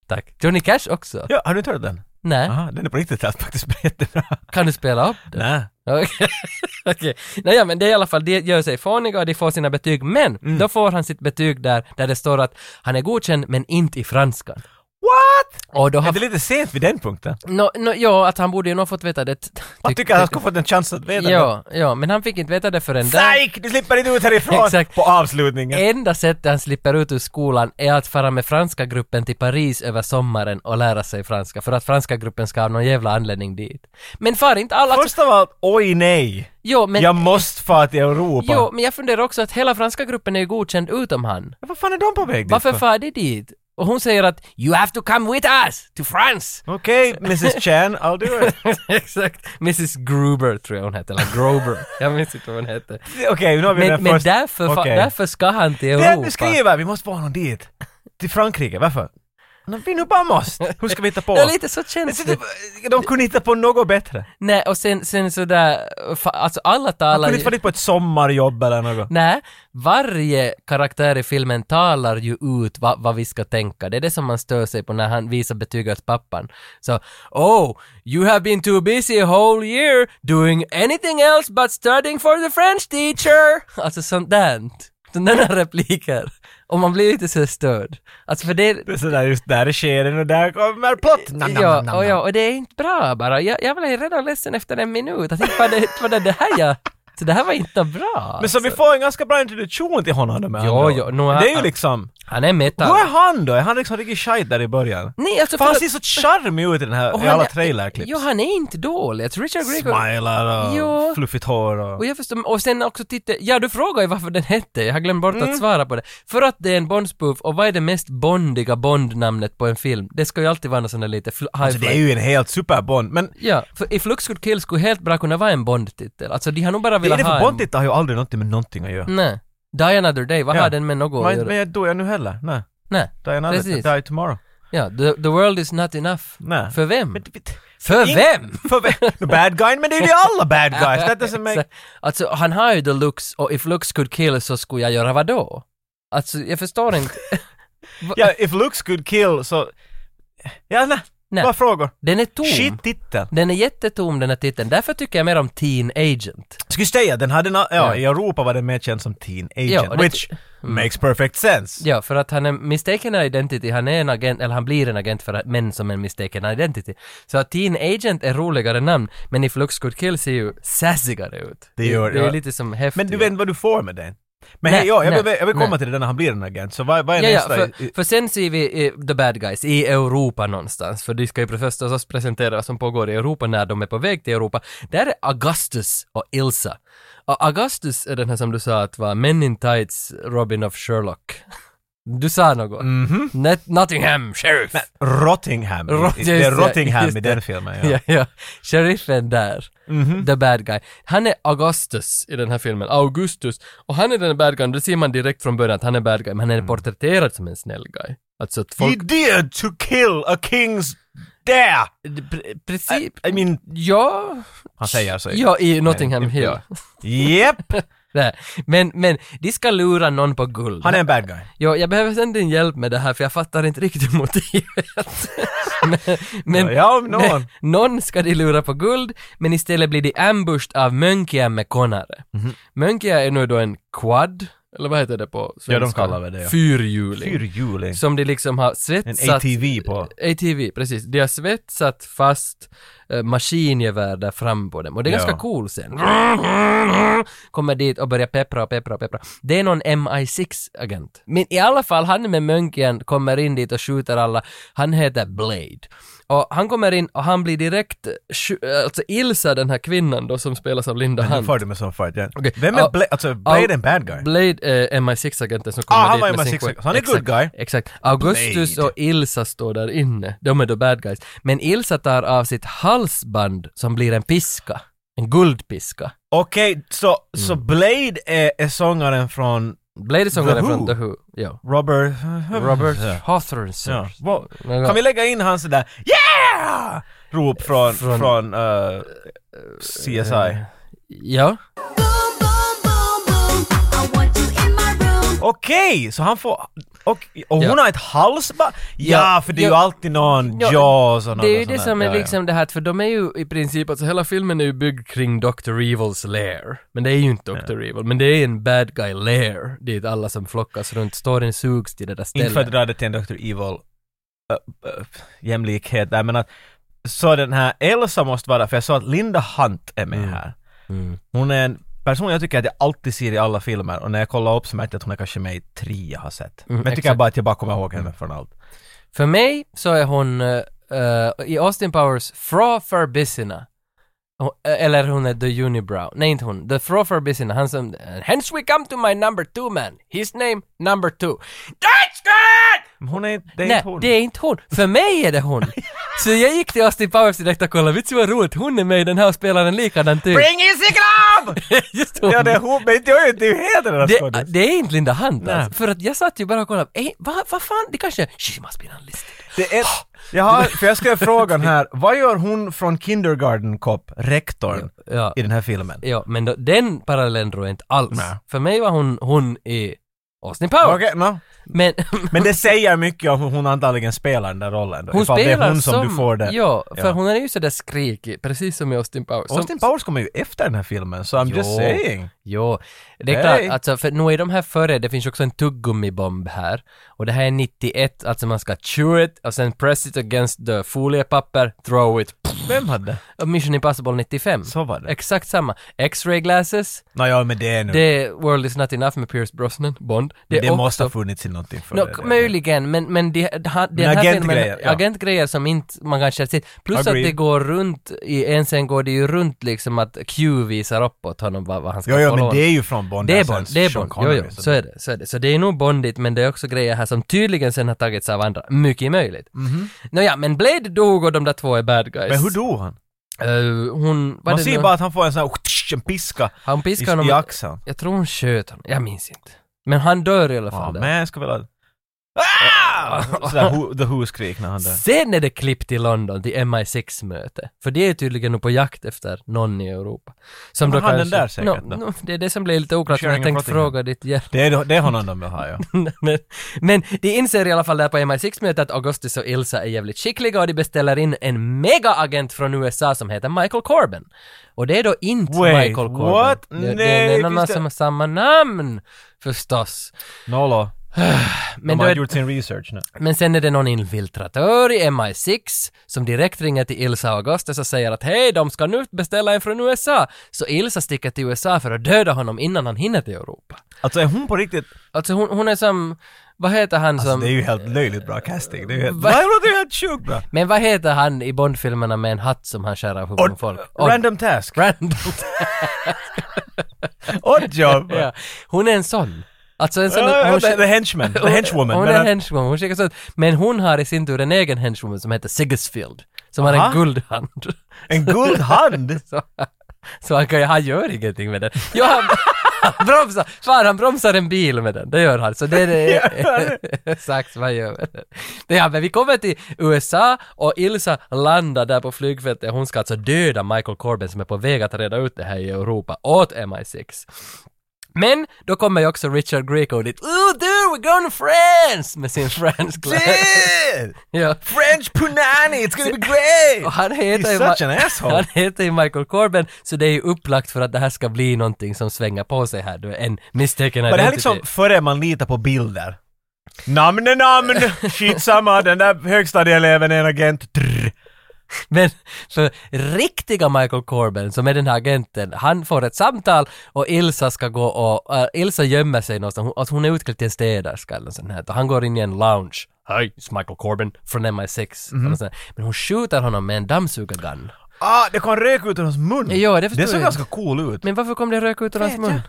Speaker 1: Tack. Johnny Cash också.
Speaker 2: Ja, Ah. har du inte hört den?
Speaker 1: Nej.
Speaker 2: Aha, den är på riktigt helt faktiskt jättebra.
Speaker 1: Kan du spela upp den?
Speaker 2: Nej.
Speaker 1: Okej. Okej. Nej, ja, men det är i alla fall, de gör sig fåniga och de får sina betyg, men
Speaker 2: Mm.
Speaker 1: då får han sitt betyg där, där det står att han är godkänd men inte i franskan.
Speaker 2: What?
Speaker 1: Och då
Speaker 2: Är
Speaker 1: har...
Speaker 2: det lite sent vid den punkten?
Speaker 1: No, no, ja, att han borde ju nog fått veta det.
Speaker 2: Jag tycker att han skulle fått en chans att veta det.
Speaker 1: Ja, ja, men han fick inte veta det förrän där.
Speaker 2: Psyk! Du slipper inte ut härifrån!
Speaker 1: Exakt. Eh,
Speaker 2: På avslutningen.
Speaker 1: Enda sättet han slipper ut ur skolan är att fara med franska gruppen till Paris över sommaren och lära sig franska, för att franska gruppen ska av någon jävla anledning dit. Men far inte alla...
Speaker 2: Först av allt, oj nej!
Speaker 1: jo, men...
Speaker 2: jag måste fara till Europa.
Speaker 1: Jo, men jag funderar också att hela franska gruppen är ju godkänd utom han.
Speaker 2: Vad fan är de på väg dit
Speaker 1: Varför
Speaker 2: för?
Speaker 1: far de dit? Och hon säger att “You have to come with us to France!”
Speaker 2: Okej, Mrs Chan, I'll do it.
Speaker 1: Exakt. Mrs Gruber tror jag hon hette, eller Grober. jag minns inte vad hon hette.
Speaker 2: Okej, nu har vi
Speaker 1: Men,
Speaker 2: den
Speaker 1: men
Speaker 2: först.
Speaker 1: därför, fa-
Speaker 2: Okej.
Speaker 1: därför ska han till
Speaker 2: Det är att ni
Speaker 1: Europa.
Speaker 2: skriver, vi måste få honom dit. Till Frankrike, varför? Men vi nu bara måste. Hur ska vi hitta på?
Speaker 1: Det är lite så känns det.
Speaker 2: De kunde hitta på något bättre.
Speaker 1: Nej, och sen, sen sådär, fa- alltså alla
Speaker 2: De kunde
Speaker 1: talar
Speaker 2: inte
Speaker 1: ju...
Speaker 2: vara dit på ett sommarjobb eller något.
Speaker 1: Nej, varje karaktär i filmen talar ju ut vad, vad vi ska tänka. Det är det som man stör sig på när han visar betyg åt pappan. Så, oh, you have been too busy a whole year doing anything else but studying for the French teacher. Alltså sånt där. Sådana där repliker. Och man blir lite så störd. Alltså för det...
Speaker 2: Det är sådär, just där sker den och där kommer plott! Nam, nam, nam,
Speaker 1: Ja,
Speaker 2: nam,
Speaker 1: och, ja,
Speaker 2: nam.
Speaker 1: och det är inte bra bara. Jag, jag blev redan ledsen efter en minut. Jag tänkte, vad det, vad det, det här jag... Så det här var inte bra. alltså.
Speaker 2: Men så vi får en ganska bra introduktion till honom de här
Speaker 1: Jo,
Speaker 2: andra.
Speaker 1: jo, nu är-
Speaker 2: Det är ju liksom...
Speaker 1: Han är metal.
Speaker 2: Hur är han då? Är han liksom riktigt shite där i början?
Speaker 1: Nej, alltså
Speaker 2: Fan, han
Speaker 1: förlåt.
Speaker 2: ser så charmig ut i den
Speaker 1: Och
Speaker 2: här, i
Speaker 1: han
Speaker 2: alla
Speaker 1: är-
Speaker 2: trailerklipp.
Speaker 1: Jo, han är inte dålig. Jag tror Richard Gregor...
Speaker 2: Smilar och
Speaker 1: Jo.
Speaker 2: fluffigt hår och...
Speaker 1: Och jag förstår, och sen också titta, ja du frågar ju varför den hette, jag har glömt bort
Speaker 2: Mm.
Speaker 1: att svara på det. För att det är en Bond-spoof, och vad är det mest bondiga Bond-namnet på en film? Det ska ju alltid vara något sånt där lite fl- high
Speaker 2: Alltså det är ju en helt superbond, men
Speaker 1: Ja, för i Flux Good Kill skulle helt bra kunna vara en Bond-titel. Alltså de har nog bara
Speaker 2: det är
Speaker 1: velat
Speaker 2: det för
Speaker 1: ha en...
Speaker 2: Bond har ju aldrig någonting med någonting att göra.
Speaker 1: Nej. Die Another Day, vad
Speaker 2: Ja.
Speaker 1: har den med något att
Speaker 2: Men, men
Speaker 1: göra?
Speaker 2: jag dör jag nu heller? Nej.
Speaker 1: Nej.
Speaker 2: Die another,
Speaker 1: Precis.
Speaker 2: die tomorrow.
Speaker 1: Ja, the, the World Is Not Enough.
Speaker 2: Nej.
Speaker 1: För vem?
Speaker 2: Men, det- det-
Speaker 1: För
Speaker 2: In-
Speaker 1: vem?
Speaker 2: för vem? No, bad guy? Men det är ju alla bad guys! That doesn't make...
Speaker 1: Så- Alltså han har ju the looks och if looks could kill så skulle jag göra vad då? Alltså jag förstår inte.
Speaker 2: Ja, if looks could kill så... Ja, nej.
Speaker 1: Nej.
Speaker 2: Bara frågor.
Speaker 1: Den är tom.
Speaker 2: Shit titel.
Speaker 1: Den är jättetom den här titeln. Därför tycker jag mer om Teen Agent.
Speaker 2: Skulle jag säga, den hade... na- Ja,
Speaker 1: Ja.
Speaker 2: i Europa var den mer känd som Teen Agent,
Speaker 1: Ja, och det- Mm.
Speaker 2: which makes perfect sense.
Speaker 1: Ja, för att han är mistaken identity, han är en agent, eller han blir en agent för att- män som är mistaken identity. Så att Teen Agent är roligare namn, men if looks could kill ser ju sassigare ut.
Speaker 2: Det gör-
Speaker 1: det är
Speaker 2: ja.
Speaker 1: lite som häftigt.
Speaker 2: Men du vet inte vad du får med den. Men
Speaker 1: Nej,
Speaker 2: hej, ja, jag,
Speaker 1: nej,
Speaker 2: vill, jag vill komma
Speaker 1: nej.
Speaker 2: till det där när han blir en agent, så vad, vad är
Speaker 1: Ja, ja,
Speaker 2: nästa?
Speaker 1: för, för sen ser vi eh, the bad guys i Europa någonstans, för de ska ju förstås oss presentera vad som pågår i Europa när de är på väg till Europa. Där är Augustus och Ilsa. Och Augustus är den här som du sa att var Men in Tights Robin of Sherlock. Du sa något.
Speaker 2: Mhm.
Speaker 1: Not- Nottingham Sheriff.
Speaker 2: Rottingham.
Speaker 1: Rot-
Speaker 2: det är
Speaker 1: just det,
Speaker 2: Rottingham
Speaker 1: just
Speaker 2: i
Speaker 1: det.
Speaker 2: den filmen, ja.
Speaker 1: Ja, ja. Sheriffen där. The bad guy. Han är Augustus i den här filmen. Augustus. Och han är den bad guyen. Det ser man direkt från början att han är bad guy, men han är porträtterad som en snäll guy. Alltså att folk...
Speaker 2: He dared to kill a king's dare!
Speaker 1: Pre- Precis.
Speaker 2: I mean,
Speaker 1: Ja.
Speaker 2: han säger så.
Speaker 1: Ja, i Nottingham Hill.
Speaker 2: Ja. Jep!
Speaker 1: Nej. Men, men, de ska lura någon på guld.
Speaker 2: Han är en bad guy.
Speaker 1: ja, jag behöver sen din hjälp med det här för jag fattar inte riktigt motivet. men, men,
Speaker 2: ja, om någon.
Speaker 1: men någon ska de lura på guld, men istället blir de ambushed av Mönkia med konare.
Speaker 2: Mhm.
Speaker 1: Mönkia är nu då en quad, eller vad heter det på svenska?
Speaker 2: de kallar väl det, ja.
Speaker 1: Fyrhjuling.
Speaker 2: Fyrhjuling.
Speaker 1: Som de liksom har
Speaker 2: En
Speaker 1: svetsat...
Speaker 2: ATV på...
Speaker 1: ATV, precis. De har svetsat fast eh, maskingevär där fram på dem. Och det är
Speaker 2: Ja.
Speaker 1: ganska cool sen. Kommer dit och börjar peppra och peppra och peppra. Det är någon MI6-agent. Men i alla fall, han med mönken kommer in dit och skjuter alla. Han heter Blade. Och han kommer in och han blir direkt, skju- alltså Ilsa, den här kvinnan då som spelas av Linda
Speaker 2: Nu
Speaker 1: Hunt.
Speaker 2: får du med sån fart, ja.
Speaker 1: Okej.
Speaker 2: Vem är
Speaker 1: Ja,
Speaker 2: Blade? Alltså, Blade är en bad guy.
Speaker 1: Blade eh, är MI6-agenten som kommer
Speaker 2: Ah, han
Speaker 1: dit
Speaker 2: var
Speaker 1: med sin
Speaker 2: MI6
Speaker 1: quest.
Speaker 2: han är good
Speaker 1: Exakt,
Speaker 2: guy.
Speaker 1: Exakt. Augustus
Speaker 2: Blade.
Speaker 1: och Ilsa står där inne. De är då bad guys. Men Ilsa tar av sitt halsband som blir en piska. En guldpiska.
Speaker 2: Okej, så, så
Speaker 1: Mm.
Speaker 2: Blade är, är sångaren från
Speaker 1: Blade är
Speaker 2: The
Speaker 1: sångaren
Speaker 2: Who.
Speaker 1: från The Who. Ja.
Speaker 2: Robert...
Speaker 1: Robert
Speaker 2: Ja.
Speaker 1: Hawthorne.
Speaker 2: Ja. Wow.
Speaker 1: Några-
Speaker 2: Kan vi lägga in hans där yeah! rop från,
Speaker 1: Från- Eh.
Speaker 2: från, eh, CSI?
Speaker 1: Ja.
Speaker 9: Boom, boom, boom, boom. I want you in my room.
Speaker 2: Okej, så han får... Och, och hon
Speaker 1: Ja.
Speaker 2: har ett halsband? Ja,
Speaker 1: Ja,
Speaker 2: för det är ju
Speaker 1: ja.
Speaker 2: alltid någon
Speaker 1: Ja,
Speaker 2: Jaws och något
Speaker 1: Det är ju det
Speaker 2: sånt
Speaker 1: som
Speaker 2: där.
Speaker 1: är
Speaker 2: Ja, ja.
Speaker 1: liksom det här, att- för de är ju i princip, alltså hela filmen är ju byggd kring Dr. Evils lair. Men det är ju inte Dr. Evil, men det är en bad guy lair, dit alla som flockas runt storyn sugs till det där
Speaker 2: Inte för att
Speaker 1: stället.
Speaker 2: dra det till en Dr. Evil äh, äh, jämlikhet där, men att så den här Elsa måste vara, för jag sa att Linda Hunt är med här.
Speaker 1: Mm.
Speaker 2: Hon är en person jag tycker att jag alltid ser i alla filmer och när jag kollar upp så märkte jag att hon är kanske med i tre jag har sett.
Speaker 1: Mm,
Speaker 2: men jag tycker
Speaker 1: exakt.
Speaker 2: bara att jag bara kommer ihåg henne från allt.
Speaker 1: För mig så är hon eh, eh, i Austin Powers Fra Farbissina. Hon- eh, Eller hon är The Unibrow. Nej, inte hon. The Fra Farbissina, han som... eh, Hence we come to my number two man. His name, number two. That's good!
Speaker 2: Men hon är inte, det är
Speaker 1: Nej,
Speaker 2: inte hon.
Speaker 1: det är inte hon. För mig är det hon. Så jag gick till Austin Powers direkt och kollade, vitsen vad roligt, hon är med i den här och spelar en likadan typ.
Speaker 2: Bring is the glove!
Speaker 1: Just hon.
Speaker 2: ja, det är hon, men det är ju det är ju helt den här
Speaker 1: det,
Speaker 2: skådisen.
Speaker 1: det är inte Linda Hunt
Speaker 2: Nej.
Speaker 1: alltså. För att jag satt ju bara och kollade, eh, vad vad fan, det kanske, she must be unlisted.
Speaker 2: Det är... Jag har, för jag skrev frågan här, vad gör hon från Kindergarten Cop, rektorn,
Speaker 1: Ja.
Speaker 2: i den här filmen?
Speaker 1: Ja, men då, den parallellen drog jag inte alls.
Speaker 2: Nej.
Speaker 1: För mig var hon, hon i Austin Powers.
Speaker 2: Okej, nå.
Speaker 1: Men,
Speaker 2: Men det säger mycket om hur hon antagligen spelar den där rollen då,
Speaker 1: hon
Speaker 2: ifall
Speaker 1: spelar
Speaker 2: det är hon som,
Speaker 1: som,
Speaker 2: du får det.
Speaker 1: Ja, för
Speaker 2: Ja.
Speaker 1: hon är ju sådär skrikig, precis som i Austin Powers. Som-
Speaker 2: Austin Powers kommer ju efter den här filmen, så I'm just
Speaker 1: Jo.
Speaker 2: saying.
Speaker 1: Jo, det är
Speaker 2: Hej.
Speaker 1: klart, alltså, för nu är de här före, det finns också en tuggummibomb här. Och det här är 91, alltså man ska chew it och sen press it against the foliepapper, throw it.
Speaker 2: Vem hade?
Speaker 1: Och Mission Impossible 95.
Speaker 2: Så var det.
Speaker 1: Exakt samma. X-ray glasses,
Speaker 2: Nåja, men det är nu.
Speaker 1: det
Speaker 2: Det,
Speaker 1: är World is not enough med Pierce Brosnan, Bond.
Speaker 2: det,
Speaker 1: är
Speaker 2: måste ha
Speaker 1: också-
Speaker 2: funnits i någonting för
Speaker 1: Nå,
Speaker 2: det.
Speaker 1: möjligen, men, men det, det, ha- den
Speaker 2: Men
Speaker 1: här
Speaker 2: agentgrejer,
Speaker 1: filmen,
Speaker 2: ja.
Speaker 1: agentgrejer som inte man kanske har sett. Plus
Speaker 2: Agree.
Speaker 1: att det går runt, i en scen går det ju runt liksom att Q visar uppåt honom vad, vad han ska
Speaker 2: Jo, jo,
Speaker 1: kolla
Speaker 2: men det är ju från Bond.
Speaker 1: det är
Speaker 2: alltså,
Speaker 1: Bond, det är
Speaker 2: Sean
Speaker 1: Bond. Jo,
Speaker 2: Connery,
Speaker 1: jo, så är det, så är det. Så det är nog Bondigt, men det är också grejer här som tydligen sen har tagits av andra. Mycket möjligt. Mm-hmm. Nåja, men Blade dog och de där två är bad guys.
Speaker 2: Mhm. Men hur dog han?
Speaker 1: Eh, hon, vad
Speaker 2: Man
Speaker 1: det
Speaker 2: ser
Speaker 1: nu?
Speaker 2: bara att han får en sån här en piska
Speaker 1: Han piskade
Speaker 2: i, i
Speaker 1: honom.
Speaker 2: axeln.
Speaker 1: Jag tror hon sköt honom, jag minns inte. Men han dör i alla
Speaker 2: Ja,
Speaker 1: fall där.
Speaker 2: men jag ska väl ha... Ah! Sådär who, The Who-skrik när han dör.
Speaker 1: Sen är det klipp till London, till MI6-möte. För det är tydligen nog på jakt efter någon i Europa. Som
Speaker 2: Aha, den där säkert
Speaker 1: Nå,
Speaker 2: då.
Speaker 1: nå, det är det som blir lite oklart, för jag
Speaker 2: Sharing and
Speaker 1: tänkte
Speaker 2: plotting.
Speaker 1: fråga ditt hjärta.
Speaker 2: Det är, det är honom de vill ha, ja.
Speaker 1: men, men de inser i alla fall där på MI6-mötet att Augustus och Ilsa är jävligt skickliga och de beställer in en megaagent från USA som heter Michael Corbin. Och det är då inte
Speaker 2: Wait,
Speaker 1: Michael Corbin.
Speaker 2: what?
Speaker 1: Det, det
Speaker 2: Nej,
Speaker 1: är en annan
Speaker 2: visst det-
Speaker 1: som har samma namn, förstås.
Speaker 2: Nolo,
Speaker 1: Men,
Speaker 2: de
Speaker 1: då
Speaker 2: har
Speaker 1: är,
Speaker 2: gjort sin research nu.
Speaker 1: men sen är det någon infiltratör i MI6 som direkt ringer till Ilsa och Augustus och säger att hej, de ska nu beställa en från USA. Så Ilsa sticker till USA för att döda honom innan han hinner till Europa.
Speaker 2: Alltså är hon på riktigt...
Speaker 1: Alltså hon, hon är som, vad heter han
Speaker 2: Alltså
Speaker 1: som...
Speaker 2: det är ju helt löjligt bra casting. Det är ju helt...
Speaker 1: Va?
Speaker 2: Nej, det är ju helt sjukt bra.
Speaker 1: Men vad heter han i Bond-filmerna med en hatt som han skär av huvudet på
Speaker 2: Odd,
Speaker 1: folk? Odd.
Speaker 2: random task.
Speaker 1: Random.
Speaker 2: Odd job.
Speaker 1: ja. Hon är en sån. Alltså en sån...
Speaker 2: Ja, ja,
Speaker 1: hon,
Speaker 2: the, the henchman, the henchwoman.
Speaker 1: Hon
Speaker 2: men
Speaker 1: är
Speaker 2: att-
Speaker 1: henchwoman, hon skickar sånt. Men hon har i sin tur en egen henchwoman som heter Sigisfield. Som har
Speaker 2: Aha.
Speaker 1: en guldhand.
Speaker 2: en guld hand!
Speaker 1: Så, så han kan ju, han gör ingenting med den. Ja, han, han bromsar, fan han bromsar en bil med den, det gör han. Så det är det, exakt vad han gör med den. Det ja, men vi kommer till USA och Ilsa landar där på flygfältet. Hon ska alltså döda Michael Corbin som är på väg att reda ut det här i Europa åt MI6. Men då kommer ju också Richard Greco dit. Oh dude, we're going to France! Med sin fransk
Speaker 2: Dude!
Speaker 1: ja.
Speaker 2: French punani, it's gonna be
Speaker 1: Och
Speaker 2: great!
Speaker 1: han heter,
Speaker 2: He's
Speaker 1: ju
Speaker 2: such
Speaker 1: Ma-
Speaker 2: an asshole.
Speaker 1: han heter ju Michael Corbin, så det är ju upplagt för att det här ska bli någonting som svänger på sig här. Du är en mistaken
Speaker 2: Men det här är
Speaker 1: identity.
Speaker 2: liksom före man litar på bilder. Namn, namn! Skitsamma, den där högstadieeleven är en agent. Trrr.
Speaker 1: Men för riktiga Michael Corbin, som är den här agenten, han får ett samtal och Ilsa ska gå och... äh, Ilsa gömmer sig någonstans. Hon, alltså hon är utklädd till en städerska eller något sånt här. Och han går in i en lounge. Hej, it's Michael Corbin från MI6. eller något sånt här.
Speaker 2: Mhm.
Speaker 1: Men hon skjuter honom med en dammsugargun.
Speaker 2: Ah, det kom rök ut ur hans mun!
Speaker 1: Ja, det förstår
Speaker 2: såg
Speaker 1: jag.
Speaker 2: ganska cool ut. Men
Speaker 1: Men varför kom det rök ut ur hans
Speaker 2: Vet
Speaker 1: mun?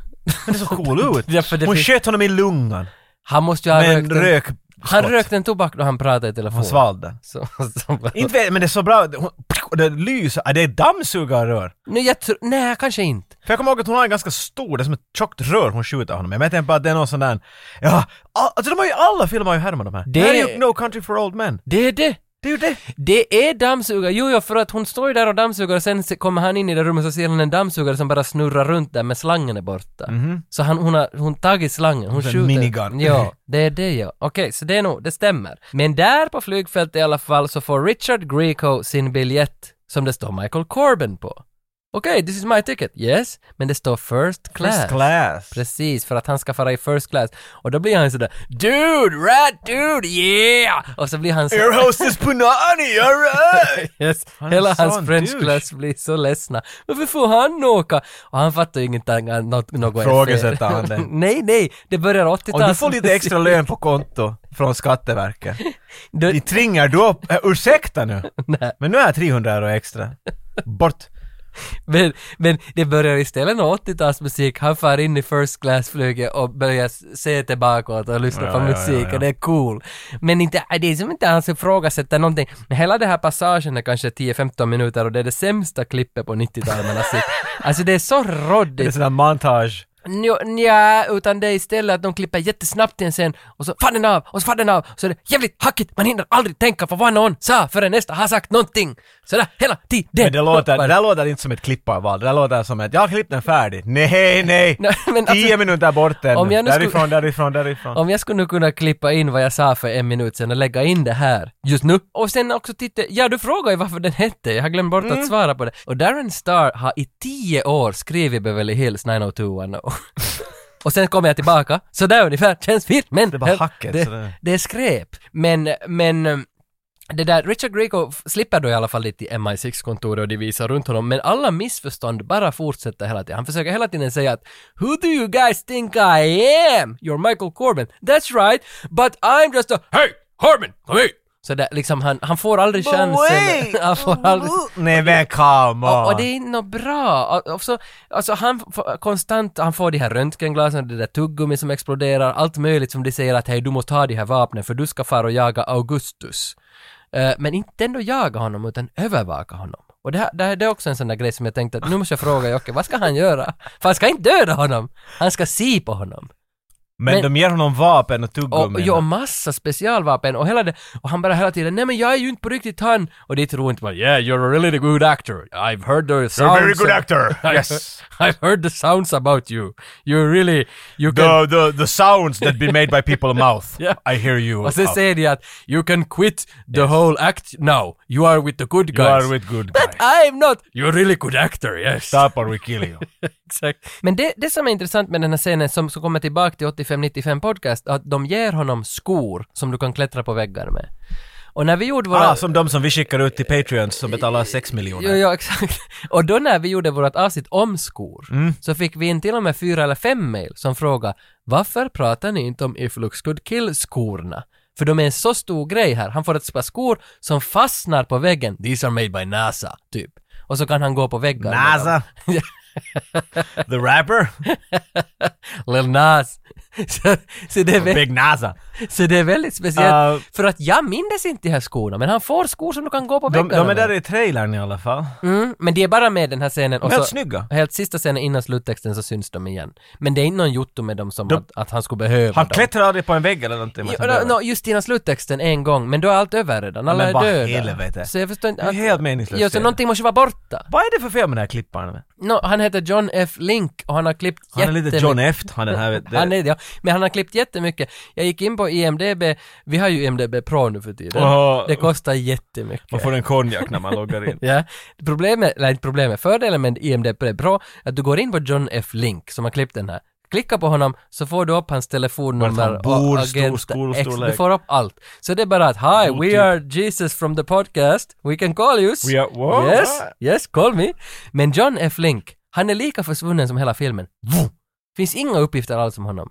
Speaker 2: det såg cool ut.
Speaker 1: Ja, för det
Speaker 2: Hon
Speaker 1: finns-
Speaker 2: sköt honom i lungan.
Speaker 1: Han måste ju ha
Speaker 2: Men
Speaker 1: rökt en-
Speaker 2: rök...
Speaker 1: Han rökte en tobak då han pratade i telefon.
Speaker 2: Hon svalde.
Speaker 1: Så, så,
Speaker 2: Inte vet, men det är så bra, hon, det lyser, ah, det är dammsugarrör.
Speaker 1: nu, jag tror, nej kanske inte.
Speaker 2: För jag kommer ihåg att hon har en ganska stor, det är som ett tjockt rör hon skjuter honom med. Men jag tänker bara att det är någon sån ah, där, ja, all- alltså de har ju alla filmer har ju härmat de här.
Speaker 1: Det-
Speaker 2: Det här är ju No Country for Old Men.
Speaker 1: Det är det!
Speaker 2: Det är ju det!
Speaker 1: Det är dammsugare, jo, jo, för att hon står ju där och dammsuger och sen se- kommer han in i det rummet och så ser hon en dammsugare som bara snurrar runt där med slangen är borta. Så han, hon har hon tagit slangen, hon
Speaker 2: Så en
Speaker 1: skjuter.
Speaker 2: minigun.
Speaker 1: Ja, det är det ja. Okej, så det är nog, det stämmer. Men där på flygfältet i alla fall så får Richard Grieco sin biljett som det står Michael Corbin på. Okej, this is my ticket. Yes, men det står first class.
Speaker 2: First class.
Speaker 1: Precis, för att han ska fara i first class. Och då blir han sådär ”Dude, right dude, yeah!” Och så blir han så...
Speaker 2: Air hostess Punani, alright!
Speaker 1: Yes.
Speaker 2: Han är
Speaker 1: Hela
Speaker 2: en
Speaker 1: hans
Speaker 2: sån
Speaker 1: French
Speaker 2: douche.
Speaker 1: class blir så ledsna. Varför får han åka? Och han fattar ju ingenting. han- Något, något är fel.
Speaker 2: Frågesätter han det?
Speaker 1: nej, nej. Det börjar 80-talet.
Speaker 2: Och du får lite extra lön på konto från Skatteverket.
Speaker 1: Du-
Speaker 2: De tringar du upp, Äh, ursäkta nu! Men nu är jag 300 euro extra. Bort!
Speaker 1: Men, men det börjar istället med 80-talsmusik. Han far in i first class-flyget och börjar s- se tillbaka och lyssna
Speaker 2: Ja,
Speaker 1: på
Speaker 2: ja, ja,
Speaker 1: musik
Speaker 2: ja.
Speaker 1: och det är cool. Men inte, äh, det är som inte han ifrågasätter någonting. Men hela den här passagen är kanske 10-15 minuter och det är det sämsta klippet på 90-talet man har sett. Alltså det är så
Speaker 2: Det är
Speaker 1: råddigt.
Speaker 2: sån där montage.
Speaker 1: Nja, nja, utan det är istället att de klipper jättesnabbt i en scen och så fan den av och så fan den av. Så är det jävligt hackigt, man hinner aldrig tänka på vad någon sa förrän nästa har sagt någonting. Sådär hela tiden.
Speaker 2: Men det låter, det där låter inte som ett klipparval, det där låter som ett jag har klippt den färdig. Nej, nej!
Speaker 1: Nej, men alltså-
Speaker 2: Tio minuter bort ännu.
Speaker 1: Om jag nu skulle-
Speaker 2: därifrån, därifrån, därifrån.
Speaker 1: Om jag skulle nu kunna klippa in vad jag sa för en minut sedan och lägga in det här just nu. Och sen också titta, ja du frågar ju varför den hette, jag har glömt bort
Speaker 2: Mm.
Speaker 1: att svara på det. Och Darren Star har i tio år skrivit Beverly Hills 90210. Och sen kommer jag tillbaka, så där ungefär känns filmen.
Speaker 2: Det är bara hacket, så
Speaker 1: Det,
Speaker 2: det-
Speaker 1: det är skräp. Men, men det där, Richard Grieco f- slipper då i alla fall lite i MI6-kontoret och de visar runt honom, men alla missförstånd bara fortsätter hela tiden. Han försöker hela tiden säga att “Who do you guys think I am? You're Michael Corbin. That's right, but I'm just a Hey, Corbin, kom hit!” Så där, liksom han, han får aldrig chansen.
Speaker 2: wait!
Speaker 1: han får aldrig...
Speaker 2: Nej men come
Speaker 1: Alltså, Och, och det
Speaker 2: on!
Speaker 1: är inte något bra. Och, och så, alltså han får konstant, han får de här röntgenglasen, det där tuggummi som exploderar, allt möjligt som de säger att hej du måste ha de här vapnen för du ska fara och jaga Augustus. Eh, men inte ändå jaga honom utan övervaka honom. Och det, här, det, här, det är också en sån där grej som jag tänkte att nu måste jag fråga Jocke, vad ska han göra? För han ska inte döda honom! Han ska si på honom.
Speaker 2: Men de ger honom vapen och
Speaker 1: Och,
Speaker 2: tuggummin.
Speaker 1: ja, och massa specialvapen och hela det. Och han bara hela tiden, nej men jag är ju inte på riktigt han. Och det tror inte man, yeah you're a really good actor. I've heard the sounds.
Speaker 2: You're a very good
Speaker 1: of-
Speaker 2: actor! Yes!
Speaker 1: I've heard the sounds about you. You really, you can...
Speaker 2: The, the, the sounds that be made by people mouth.
Speaker 1: Yeah.
Speaker 2: I hear you.
Speaker 1: Och sen
Speaker 2: out.
Speaker 1: säger de att you can quit the whole act now. You are with the good
Speaker 2: you
Speaker 1: guys.
Speaker 2: are with good
Speaker 1: But
Speaker 2: guys.
Speaker 1: I'm not. You're a really good actor, yes.
Speaker 2: Stop or we kill you.
Speaker 1: Exakt. Men det, det som är intressant med den här scenen som, som kommer tillbaka till 85-95 podcast, att de ger honom skor som du kan klättra på väggar med. Och när vi gjorde våra...
Speaker 2: Ah, som de som vi skickar ut till Patreons som betalar 6 miljoner.
Speaker 1: Jo, ja, exakt. Och då när vi gjorde vårt avsnitt om skor,
Speaker 2: Mm.
Speaker 1: så fick vi in till och med fyra eller fem mejl som frågade varför pratar ni inte om If Looks Good Kill-skorna? För de är en så stor grej här. Han får ett par skor som fastnar på väggen. These are made by NASA, typ. Och så kan han gå på väggar. med dem.
Speaker 2: NASA! The rapper?
Speaker 1: Lil Nas. så, så, det är väl,
Speaker 2: Big NASA.
Speaker 1: så det är väldigt speciellt.
Speaker 2: Uh,
Speaker 1: för att jag mindes inte de här skorna, men han får skor som du kan gå på
Speaker 2: De,
Speaker 1: väggarna
Speaker 2: de är där
Speaker 1: med.
Speaker 2: i trailern i alla fall.
Speaker 1: Mm, men det är bara med den här scenen. och
Speaker 2: Helt
Speaker 1: så-
Speaker 2: snygga.
Speaker 1: Helt sista scenen innan sluttexten så syns de igen. Men det är inte någon jotto med dem som
Speaker 2: De-
Speaker 1: att, att han skulle behöva
Speaker 2: Han
Speaker 1: dem.
Speaker 2: klättrar aldrig på en vägg eller någonting. men
Speaker 1: Jo,
Speaker 2: han
Speaker 1: no,
Speaker 2: dör.
Speaker 1: no, just innan sluttexten en gång, men då är allt över redan. Alla
Speaker 2: Men
Speaker 1: är
Speaker 2: vad
Speaker 1: döda.
Speaker 2: helvete.
Speaker 1: Så jag förstår inte.
Speaker 2: Det är helt meningslöst
Speaker 1: Jo, så
Speaker 2: scen.
Speaker 1: någonting måste vara borta.
Speaker 2: Vad är det för fel med den här klipparen?
Speaker 1: No, han heter John F. Link och han har klippt
Speaker 2: Han är lite
Speaker 1: jättemycket-
Speaker 2: John F. Han den här. vet du.
Speaker 1: Han är, ja. Men han har klippt jättemycket. Jag gick in på IMDB, vi har ju IMDB Pro nu för tiden.
Speaker 2: Åh.
Speaker 1: Det kostar jättemycket.
Speaker 2: Man får en konjak när man loggar in.
Speaker 1: Ja, problemet, eller inte problemet, fördelen med IMDB är bra, att du går in på John F. Link som har klippt den här. Klicka på honom så får du upp hans
Speaker 2: Vart han
Speaker 1: telefonnummer
Speaker 2: bor,
Speaker 1: och agent,
Speaker 2: stor
Speaker 1: ex,
Speaker 2: skolstorlek.
Speaker 1: du får upp allt. Så det är bara att hi, we
Speaker 2: Otyp.
Speaker 1: are Jesus from the podcast, we can call you.
Speaker 2: We are- Oh, wow.
Speaker 1: yes, yes, call me. Men John F. Link, han är lika försvunnen som hela filmen. Vuh. Finns inga uppgifter alls om honom.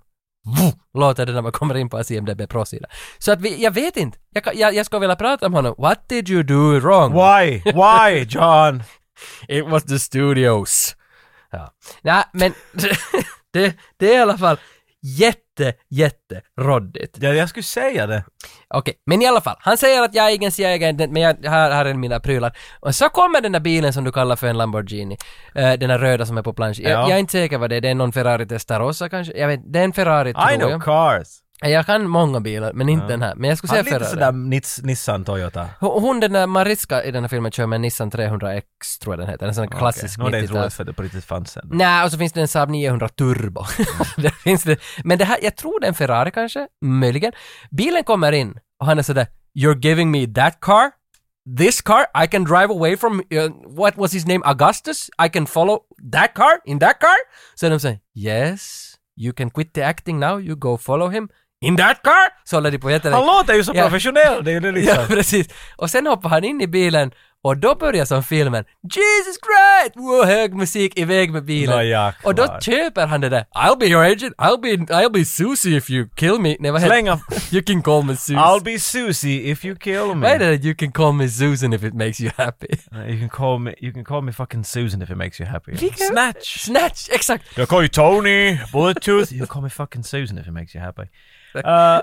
Speaker 1: Vuh, Låter det när man kommer in på hans IMDB Pro-sida. Så att vi, jag vet inte, jag, kan- jag, jag ska vilja prata om honom. What did you do wrong?
Speaker 2: Why? Why, John?
Speaker 1: It was the studios. Ja. Nej, men det, det är i alla fall jätte, jätte råddigt.
Speaker 2: Ja, jag skulle säga det.
Speaker 1: Okej, men i alla fall. Han säger att jag är ingen jägare, men jag, här, här är mina prylar. Och så kommer den där bilen som du kallar för en Lamborghini. Eh, den där röda som är på plansch. Jag,
Speaker 2: Ja.
Speaker 1: jag är inte säker vad det är. Det är någon Ferrari Testarossa kanske? Jag vet, det är en Ferrari
Speaker 2: I
Speaker 1: tror
Speaker 2: know
Speaker 1: jag.
Speaker 2: cars.
Speaker 1: Jag kan många bilar, men inte den här. Men jag skulle
Speaker 2: Han är
Speaker 1: säga
Speaker 2: lite
Speaker 1: Ferrari.
Speaker 2: sådär Nits, Nissan Toyota.
Speaker 1: Hon, hon den där Mariska i den här filmen kör med en Nissan 300X, tror jag den heter. En sån här klassisk Mm,
Speaker 2: Okej. Nå, det är inte
Speaker 1: 90-tals.
Speaker 2: roligt för det på riktigt fanns en.
Speaker 1: Nej, och så finns det en Saab 900 Turbo. det finns det. Men det här, jag tror det är en Ferrari kanske, möjligen. Bilen kommer in och han är sådär “You're giving me that car? This car? I can drive away from, uh, what was his name, Augustus? I can follow that car? In that car?” Så de säger “Yes, you can quit the acting now, you go follow him. In that car?” Så håller de på jättelänge.
Speaker 2: Han låter ju så
Speaker 1: Ja.
Speaker 2: professionell, det är ju det liksom.
Speaker 1: Ja, precis. Och sen hoppar han in i bilen och då börjar som filmen Jesus Christ! Wow, hög musik iväg med bilen.
Speaker 2: Nå, ja, klar.
Speaker 1: och då köper han det där I'll be your agent, I'll be, I'll be Susie if you kill me. Nej vad heter
Speaker 2: Släng av
Speaker 1: You can call me Susie.
Speaker 2: I'll be Susie if you kill me.
Speaker 1: Vad är det där? You can call me Susan if it makes you happy.
Speaker 2: Uh, You can call me, you can call me fucking Susan if it makes you happy.
Speaker 1: Vilken-
Speaker 2: Snatch!
Speaker 1: Snatch, exakt!
Speaker 2: Jag call you Tony, Bluetooth. you call me fucking Susan if it makes you happy. Uh,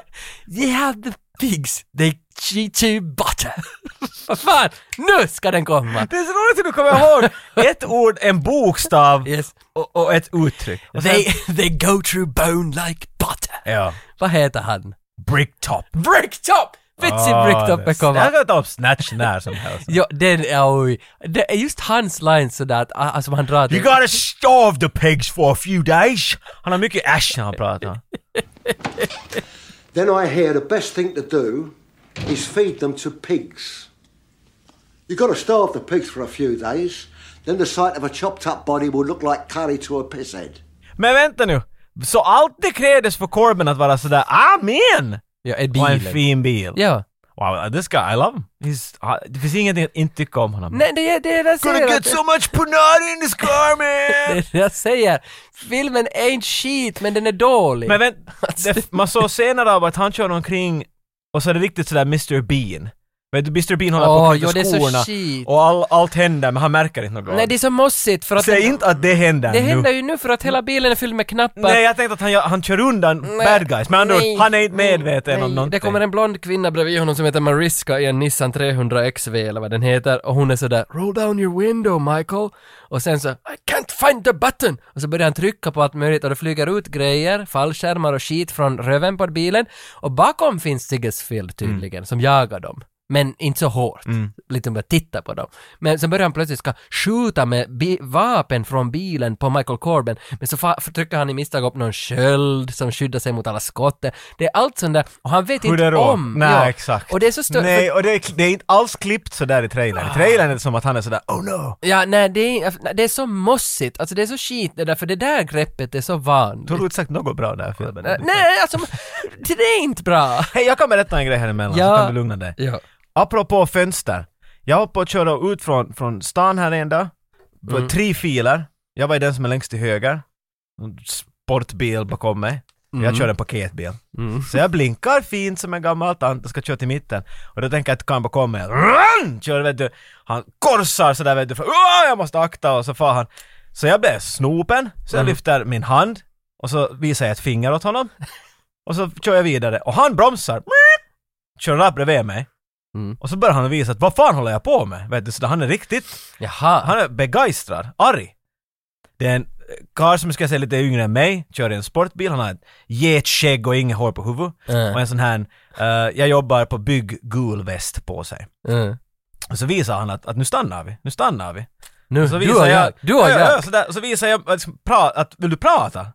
Speaker 1: They have the pigs, they cheat you butter. vad fan, nu ska den komma!
Speaker 2: det är så roligt hur du kommer ihåg ett ord, en bokstav
Speaker 1: Yes.
Speaker 2: och, och ett uttryck. Och sen-
Speaker 1: They, they go through bone like butter.
Speaker 2: Ja.
Speaker 1: Vad heter han?
Speaker 2: Bricktop.
Speaker 1: Bricktop! Vitsig
Speaker 2: Ah,
Speaker 1: Bricktoppen
Speaker 2: det-
Speaker 1: kommer.
Speaker 2: Jag kan ta upp Snatch när som helst.
Speaker 1: Ja, den, ja, oj. Det är just hans line sådär att, ah, som han drar
Speaker 2: You gotta starve the pigs for a few days. Han har mycket ash när han pratar.
Speaker 9: Then I hear the best thing to do is feed them to pigs. You've got to starve the pigs for a few days. Then the sight of a chopped up body will look like curry to a piss head.
Speaker 2: Men vänta nu. Så allt det krävdes för Corbyn att vara sådär amen!
Speaker 1: Ja, en
Speaker 2: Och en
Speaker 1: bil.
Speaker 2: fin bil.
Speaker 1: Ja.
Speaker 2: Wow, uh, this guy, I love him. He's, uh, det finns ingenting att inte tycka om honom.
Speaker 1: Nej, det är det är det jag
Speaker 2: Gonna
Speaker 1: säger.
Speaker 2: get
Speaker 1: att-
Speaker 2: so much panada in this car
Speaker 1: Det
Speaker 2: man!
Speaker 1: är det jag säger. Filmen är inte shit, men den är Alltså. dålig.
Speaker 2: Men vänt, det, man såg senare av att han kör omkring och så är det riktigt sådär Mr Bean. Vet du, Mr Bean håller på
Speaker 1: Åh,
Speaker 2: att
Speaker 1: ja, det
Speaker 2: knyta
Speaker 1: är så
Speaker 2: skorna
Speaker 1: shit.
Speaker 2: och all, allt händer men han märker inte något.
Speaker 1: Nej, det är så mossigt för att...
Speaker 2: Säg
Speaker 1: den-
Speaker 2: inte att det händer
Speaker 1: det
Speaker 2: nu.
Speaker 1: händer ju nu för att hela bilen är fylld med knappar.
Speaker 2: Nej, jag tänkte att han, gör- han kör undan bad guys. Men andra
Speaker 1: Nej.
Speaker 2: ord, han är inte medveten
Speaker 1: Nej,
Speaker 2: om någonting.
Speaker 1: Det kommer en blond kvinna bredvid honom som heter Mariska i en Nissan 300 XV eller vad den heter och hon är sådär “Roll down your window Michael” och sen så “I can't find the button” och så börjar han trycka på allt möjligt och det flyger ut grejer, fallskärmar och skit från röven på bilen och bakom finns Siggesfield tydligen som jagar dem. Men inte så hårt. Lite bara titta på dem. Men sen börjar han plötsligt ska skjuta med bi- vapen från bilen på Michael Corbin. Men så fa- trycker han i misstag upp någon sköld som skyddar sig mot alla skotten. Det är allt sånt där. Och han vet
Speaker 2: Hur
Speaker 1: inte
Speaker 2: det då?
Speaker 1: om.
Speaker 2: Nej,
Speaker 1: Ja.
Speaker 2: exakt.
Speaker 1: Och det är så stört.
Speaker 2: Nej, och det är, det är inte alls klippt sådär i trailern. I trailern är det som att han är sådär oh no.
Speaker 1: Ja, nej, det är, det är så mossigt. Alltså det är så skit det där, för det där greppet är så vanligt.
Speaker 2: Du har inte sagt något bra där filmen.
Speaker 1: Äh, Nej, alltså, det är inte bra.
Speaker 2: Hej, jag kan berätta en grej här emellan
Speaker 1: Ja.
Speaker 2: så kan du lugna dig.
Speaker 1: Ja.
Speaker 2: Apropå fönster. Jag var på att köra ut från, från stan här en dag. Det var
Speaker 1: Mm.
Speaker 2: Tre filer. Jag var i den som är längst till höger. En Sportbil bakom mig.
Speaker 1: Mm,
Speaker 2: Jag kör en paketbil. Så jag blinkar fint som en gammal tant och ska köra till mitten. Och då tänker jag att Kamba kommer. Run! Kör vet du. Han korsar sådär vet du. För, "Åh, jag måste akta och så far han. Så jag blev snopen. Så jag lyfter min hand. Och så visar jag ett finger åt honom. Och så kör jag vidare. Och han bromsar. Meep! Kör rakt bredvid mig. Och så börjar han visa att vad fan håller jag på med? Vet du, så där, han är riktigt
Speaker 1: Jaha.
Speaker 2: han är begeistrad, arg. Det är en eh, karl som ska säga lite yngre än mig, kör i en sportbil, han har ett getskägg och inget hår på huvudet.
Speaker 1: Mm.
Speaker 2: Och en sån här, eh, jag jobbar på bygg gul väst på sig.
Speaker 1: Mm.
Speaker 2: Och så visar han att, att nu stannar vi, nu stannar vi.
Speaker 1: Nu,
Speaker 2: Och så
Speaker 1: Mm. du och jag. Du och
Speaker 2: ja, ja,
Speaker 1: jag.
Speaker 2: ja, så, där, så visar jag att, pra, att vill du prata?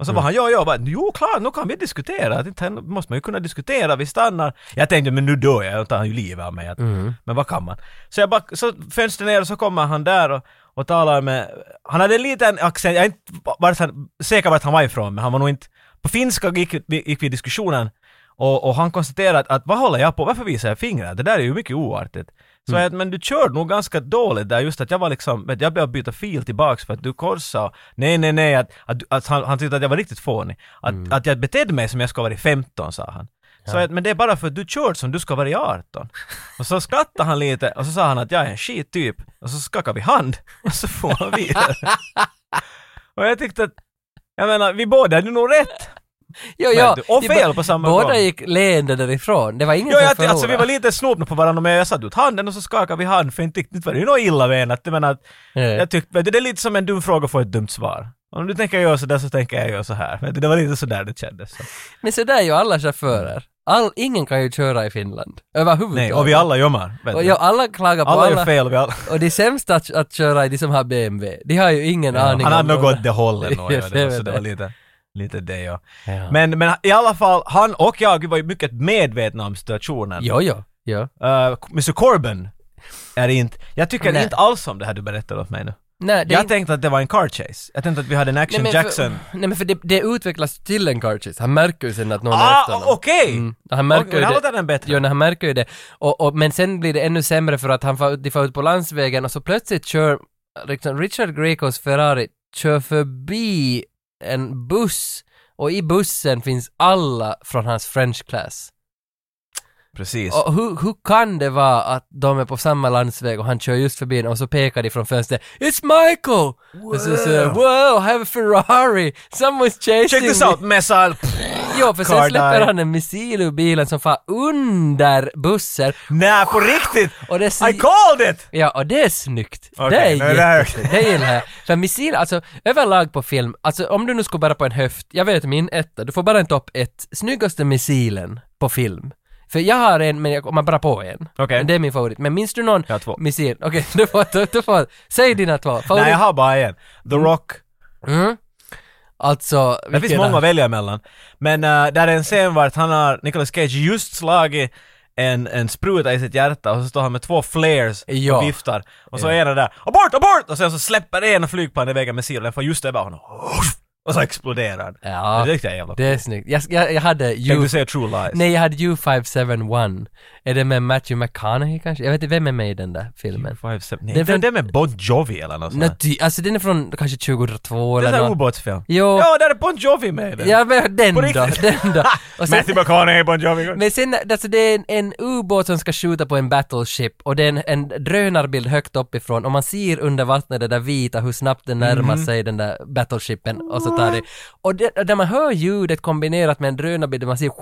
Speaker 2: Och
Speaker 1: Mm.
Speaker 2: så var han, ja, ja, bara, jo, klart, nu kan vi diskutera. Att inte- Nu måste man ju kunna diskutera, vi stannar. Jag tänkte, men nu dör jag, då tar han ju livet av mig. Att,
Speaker 1: Mm.
Speaker 2: Men vad kan man? Så jag bara, så fönstret ner och så kommer han där och, och talar med, han hade en liten accent, jag är inte vart han, säker vart han var ifrån, men han var nog inte, på finska gick, vi- gick vi i diskussionen och, och han konstaterade att vad håller jag på, varför visar jag fingrar? Det där är ju mycket oartigt. Så
Speaker 1: Mm.
Speaker 2: jag att, men du kör nog ganska dåligt där just att jag var liksom, vet, jag behövde byta fil tillbaks för att du korsade. Nej, nej, nej, att, att, att han, han tyckte att jag var riktigt fånig. Att,
Speaker 1: Mm.
Speaker 2: att jag betedde mig som jag ska vara i 15, sa han. Så att, men det är bara för att du kör som du ska vara i 18. Och så skrattade han lite och så sa han att jag är en skit typ. Och så skakade vi hand och så får han vidare. och jag tyckte att, jag menar, vi båda hade nog rätt.
Speaker 1: Jo, jo.
Speaker 2: du, och
Speaker 1: Vi
Speaker 2: fel
Speaker 1: ba-
Speaker 2: på samma
Speaker 1: Båda
Speaker 2: gång.
Speaker 1: gick leende därifrån. Det var ingen
Speaker 2: Jo,
Speaker 1: som
Speaker 2: jag,
Speaker 1: förlorade.
Speaker 2: alltså vi var lite snopna på varandra men jag satte ut handen och så skakade vi hand för inte riktigt var det ju något illa menat. Jag menar, att-
Speaker 1: Nej.
Speaker 2: jag tyckte, vet du, det är lite som en dum fråga får ett dumt svar. Om du tänker göra sådär så tänker jag göra så här. Men det var lite sådär det kändes. Så.
Speaker 1: Men så där är ju alla chaufförer. All, ingen kan ju köra i Finland. Överhuvudtaget.
Speaker 2: Nej, och vi alla gömmer. vet
Speaker 1: Och
Speaker 2: du.
Speaker 1: ja, alla klagar på alla.
Speaker 2: alla gör fel. och Vi alla...
Speaker 1: Och de sämsta att, att köra är de som har BMW. De har ju ingen aning
Speaker 2: Han hade
Speaker 1: om
Speaker 2: nog gått det hållet. nog,
Speaker 1: Ja,
Speaker 2: ja, det
Speaker 1: det
Speaker 2: var- Så
Speaker 1: vet
Speaker 2: det var
Speaker 1: jag.
Speaker 2: lite, lite det ja.
Speaker 1: Ja.
Speaker 2: Men, men i alla fall, han och jag var ju mycket medvetna om situationen.
Speaker 1: Jo, jo, jo.
Speaker 2: Eh, Mr Corbyn är inte... Jag tycker
Speaker 1: Nej.
Speaker 2: inte alls om det här du berättade åt mig nu.
Speaker 1: Nej, det är
Speaker 2: Jag
Speaker 1: inte-
Speaker 2: tänkte att det var en car chase. Jag tänkte att vi hade en action
Speaker 1: Nej, men
Speaker 2: Jackson.
Speaker 1: För, nej men för det, det utvecklas till en cartridge. Han märker ju sen att någon är
Speaker 2: Ah,
Speaker 1: efter honom.
Speaker 2: okej!
Speaker 1: Mm. Han märker
Speaker 2: Okej,
Speaker 1: ju
Speaker 2: men här
Speaker 1: det.
Speaker 2: låter den bättre.
Speaker 1: Jo, nej, han märker ju det. Och, och, men sen blir det ännu sämre för att han får, de får ut på landsvägen och så plötsligt kör liksom Richard Grecos Ferrari kör förbi en buss och i bussen finns alla från hans French class.
Speaker 2: Precis.
Speaker 1: Och hur, hur kan det vara att de är på samma landsväg och han kör just förbi den och så pekar de från fönstret ”It's Michael!” Och så säger han, ”Wow, I have a Ferrari! Someone's chasing
Speaker 2: Check this
Speaker 1: me!”
Speaker 2: out, missile!
Speaker 1: Jo, för
Speaker 2: Car
Speaker 1: sen släpper
Speaker 2: die.
Speaker 1: han en missil ur bilen som far under bussen
Speaker 2: Nej, på riktigt!
Speaker 1: och det är
Speaker 2: I called it!
Speaker 1: Ja, och det är snyggt.
Speaker 2: Okej,
Speaker 1: det är
Speaker 2: nej, det här-
Speaker 1: jättesnyggt. Det gillar jag. För missil, alltså överlag på film, alltså om du nu skulle bara på en höft, jag vet min etta, du får bara en topp ett, snyggaste missilen på film. För jag har en, men jag kommer bara på en.
Speaker 2: Okej.
Speaker 1: Det är min favorit. Men minns du någon
Speaker 2: Jag har två.
Speaker 1: missil? Okej, du får, du får, säg dina två. Favorit.
Speaker 2: Nej, jag har bara en. The Rock.
Speaker 1: mm. Alltså,
Speaker 2: Det finns
Speaker 1: vilken-
Speaker 2: många att välja mellan. Men eh, där är en scen vart han har, Nicolas Cage, just slagit en, en spruta i sitt hjärta och så står han med två flares
Speaker 1: Ja.
Speaker 2: och viftar. Och så är den där ”Abort, abort!” och sen så släpper en och flyger på den vägen med silen, den får just det bara honom. Och så exploderar den.
Speaker 1: Ja,
Speaker 2: Det tyckte jag är jävla
Speaker 1: det är snyggt. Jag, jag, jag hade
Speaker 2: Tänkte
Speaker 1: ju...
Speaker 2: du säga True Lies?
Speaker 1: Nej, jag hade U571. Är det med Matthew McConaughey kanske? Jag vet inte, vem är med i den där filmen?
Speaker 2: Five, seven, nej,
Speaker 1: Det är
Speaker 2: det,
Speaker 1: från-
Speaker 2: det är med Bon Jovi eller något sånt.
Speaker 1: Nej,
Speaker 2: där.
Speaker 1: ty, alltså den är från kanske 2002
Speaker 2: Det
Speaker 1: eller
Speaker 2: är en sån här
Speaker 1: nåt.
Speaker 2: ubåtsfilm.
Speaker 1: Jo.
Speaker 2: Ja, där är Bon Jovi med i den.
Speaker 1: Ja men den
Speaker 2: På
Speaker 1: då,
Speaker 2: riktigt.
Speaker 1: den då. Och sen,
Speaker 2: Matthew McConaughey, Bon Jovi.
Speaker 1: men sen, alltså det är en, en ubåt som ska skjuta på en battleship och det är en, en drönarbild högt uppifrån och man ser under vattnet det där vita hur snabbt den närmar
Speaker 2: Mhm.
Speaker 1: sig den där battleshipen och så tar det. Och det, och där man hör ljudet kombinerat med en drönarbild där man ser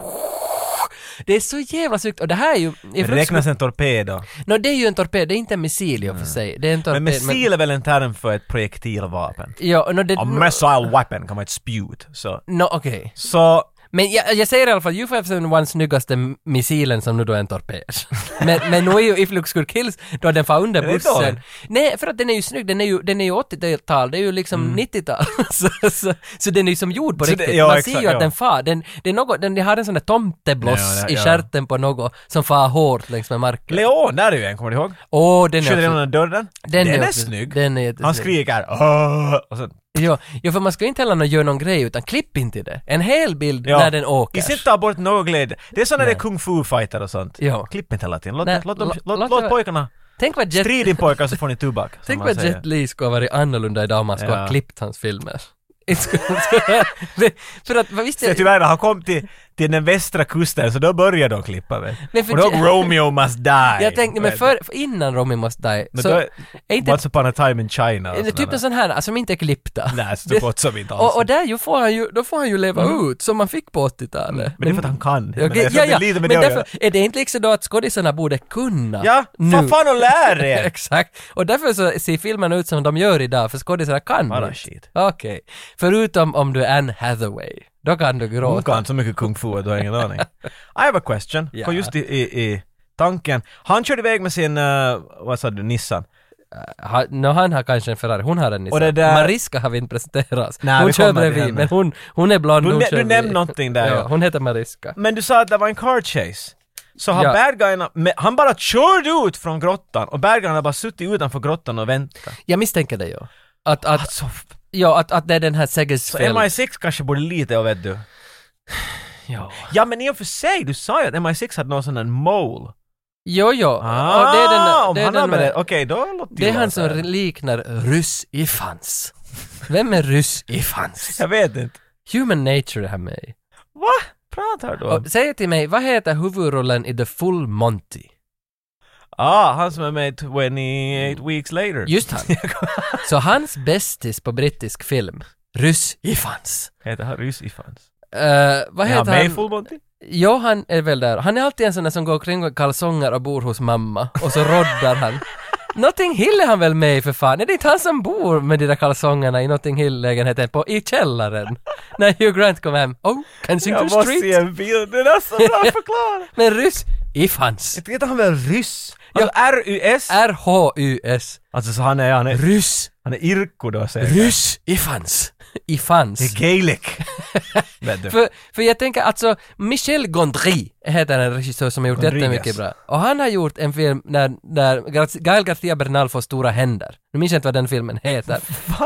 Speaker 1: det är så jävla snyggt och det här är ju... i
Speaker 2: Räknas en torpedo?
Speaker 1: Nå, det är ju en torped, det är inte en missil i och för sig. Det är en torped,
Speaker 2: Men missil är väl en term för ett projektilvapen?
Speaker 1: Ja, nå, det...
Speaker 2: A missile weapon kan vara ett spjut. Så,
Speaker 1: Nå, okej.
Speaker 2: så
Speaker 1: Men jag, jag säger i alla fall U571 snyggaste m- missilen som nu då är en torped. men, men nu är ju If Looks Good Kills då den far under
Speaker 2: Den är
Speaker 1: bussen.
Speaker 2: dålig.
Speaker 1: Nej, för att den är ju snygg, den är ju, den är ju 80-tal, det är ju liksom 90-tal. så, så, så den är ju som gjord på
Speaker 2: Mm. Så det-
Speaker 1: riktigt.
Speaker 2: ja,
Speaker 1: Man ser
Speaker 2: exakt,
Speaker 1: ju att
Speaker 2: ja.
Speaker 1: den far, den, det är något, den, den har en sån där tomtebloss
Speaker 2: Ja, ja,
Speaker 1: i
Speaker 2: ja.
Speaker 1: stjärten på något som far hårt längs med marken.
Speaker 2: Leon, där är ju en, kommer du ihåg?
Speaker 1: Åh, den
Speaker 2: Skjuter
Speaker 1: är
Speaker 2: den
Speaker 1: också,
Speaker 2: under dörren.
Speaker 1: den
Speaker 2: är,
Speaker 1: också-
Speaker 2: snygg.
Speaker 1: Den är
Speaker 2: Han
Speaker 1: jättesnygg.
Speaker 2: skriker "Åh!" och sen,
Speaker 1: Ja, ja, för man ska ju inte heller nå- göra någon grej utan klipp inte det. En hel bild
Speaker 2: ja.
Speaker 1: när den åker.
Speaker 2: Inte ta bort någon glädje. Det är så när det är kung fu fighter och sånt.
Speaker 1: Ja.
Speaker 2: Klipp inte hela tiden. Låt,
Speaker 1: Nej,
Speaker 2: låt, dem-
Speaker 1: låt-
Speaker 2: låt,
Speaker 1: låt
Speaker 2: låt,
Speaker 1: det-
Speaker 2: pojkarna.
Speaker 1: Tänk vad Jet
Speaker 2: Strid din pojkar så får ni tobak. som
Speaker 1: Tänk
Speaker 2: man
Speaker 1: vad
Speaker 2: säger.
Speaker 1: Jet Li skulle ha varit annorlunda idag om han skulle ha
Speaker 2: Ja.
Speaker 1: klippt hans filmer. Inte skulle- Det- för att, vad visste
Speaker 2: Så tyvärr, när han kom till, till den västra kusten så då började de klippa. Vet.
Speaker 1: Men för
Speaker 2: Kommer du
Speaker 1: Jet-
Speaker 2: ihåg Romeo must die?
Speaker 1: jag tänkte, men
Speaker 2: Vet.
Speaker 1: för, för innan Romy Must Die,
Speaker 2: Men
Speaker 1: så
Speaker 2: då
Speaker 1: är
Speaker 2: är-
Speaker 1: inte...
Speaker 2: Once upon a time in China. och
Speaker 1: är det
Speaker 2: sådana
Speaker 1: typ
Speaker 2: där.
Speaker 1: någon sån här, alltså, som inte är klippta.
Speaker 2: Nej, så
Speaker 1: Det-
Speaker 2: gott som inte alls.
Speaker 1: och, och där ju får han ju, då får han ju leva ut, som man fick på 80-talet.
Speaker 2: Mm. Men det är för att han kan.
Speaker 1: Okej,
Speaker 2: Men jag tror
Speaker 1: ja,
Speaker 2: att det
Speaker 1: ja,
Speaker 2: är lite
Speaker 1: men
Speaker 2: med det att
Speaker 1: därför, är det inte liksom då att skådisarna borde kunna
Speaker 2: Ja,
Speaker 1: nu?
Speaker 2: vad fan och lär er!
Speaker 1: Exakt. Och därför så ser filmen ut som de gör idag, för skådisarna kan
Speaker 2: Bara
Speaker 1: inte.
Speaker 2: shit.
Speaker 1: Okej. Förutom om du är Anne Hathaway. Då kan du gråta.
Speaker 2: Hon kan så mycket kung fu att du har ingen aning. I have a question.
Speaker 1: Ja.
Speaker 2: Kom just i, i, i tanken. Han körde iväg med sin, eh, vad sa du, Nissan?
Speaker 1: Ha, no, han har kanske en Ferrari, hon har en Nissan.
Speaker 2: Och det där-
Speaker 1: Mariska har vi inte presenterat.
Speaker 2: Nej,
Speaker 1: hon
Speaker 2: vi
Speaker 1: kör
Speaker 2: kommer till
Speaker 1: bredvid,
Speaker 2: henne.
Speaker 1: men hon, hon är blond,
Speaker 2: Du,
Speaker 1: hon
Speaker 2: nä-
Speaker 1: kör
Speaker 2: du
Speaker 1: bredvid.
Speaker 2: nämnde någonting där.
Speaker 1: Ja,
Speaker 2: Ja.
Speaker 1: hon heter Mariska.
Speaker 2: Men du sa att det var en car chase. Så har
Speaker 1: Ja.
Speaker 2: bad guyen, men han bara körde ut från grottan och bad guyen har bara suttit utanför grottan och väntat.
Speaker 1: Jag misstänker det ju. Att, att,
Speaker 2: Alltså, f-
Speaker 1: ja, att, att det är den här
Speaker 2: så
Speaker 1: Segersfeld.
Speaker 2: MI6 kanske borde lite, och vet du.
Speaker 1: Ja.
Speaker 2: Ja men i och för sig, du sa ju att MI6 hade någon sån där mole.
Speaker 1: Jo, jo.
Speaker 2: Ah,
Speaker 1: och det är den,
Speaker 2: om
Speaker 1: det är
Speaker 2: han
Speaker 1: den,
Speaker 2: använder- Okej, då låter
Speaker 1: det är han
Speaker 2: tillåter
Speaker 1: som
Speaker 2: det.
Speaker 1: liknar ryss i fans. Vem är ryss i fans?
Speaker 2: Jag vet inte.
Speaker 1: Human Nature är han med i.
Speaker 2: Va? Pratar du om?
Speaker 1: Och Säg till mig, vad heter huvudrollen i The Full Monty?
Speaker 2: Ah, han som är med i 28 weeks later.
Speaker 1: Just han. Så hans bästis på brittisk film, ryss i fans.
Speaker 2: Heter han ryss i fans?
Speaker 1: Eh, vad
Speaker 2: Är han
Speaker 1: heter
Speaker 2: med i
Speaker 1: han?
Speaker 2: Full Monty?
Speaker 1: Jo, han är väl där. Han är alltid en sån där som går kring med kalsonger och bor hos mamma. Och så roddar han. Notting Hill är han väl med i för fan? Är det inte han som bor med de där kalsongerna i Notting Hill-lägenheten på, i källaren? När Hugh Grant kom hem. Oh, Kensington
Speaker 2: Jag måste
Speaker 1: Street.
Speaker 2: se en bild, det där är så bra förklarat!
Speaker 1: Men ryss, if hans.
Speaker 2: Inte vet han väl ryss? Alltså R-U-S?
Speaker 1: R-H-U-S.
Speaker 2: Alltså så han är, han är,
Speaker 1: Ryss.
Speaker 2: han är irko då säger jag.
Speaker 1: Ryss. If hans. If hans.
Speaker 2: Det är gaelic. Vet du.
Speaker 1: För, för jag tänker alltså, Michel Gondry heter en regissör som har gjort
Speaker 2: Gondry,
Speaker 1: jättemycket
Speaker 2: yes.
Speaker 1: bra. Och han har gjort en film där, där Gra- Gael Garcia Bernal får stora händer. Nu minns jag inte vad den filmen heter.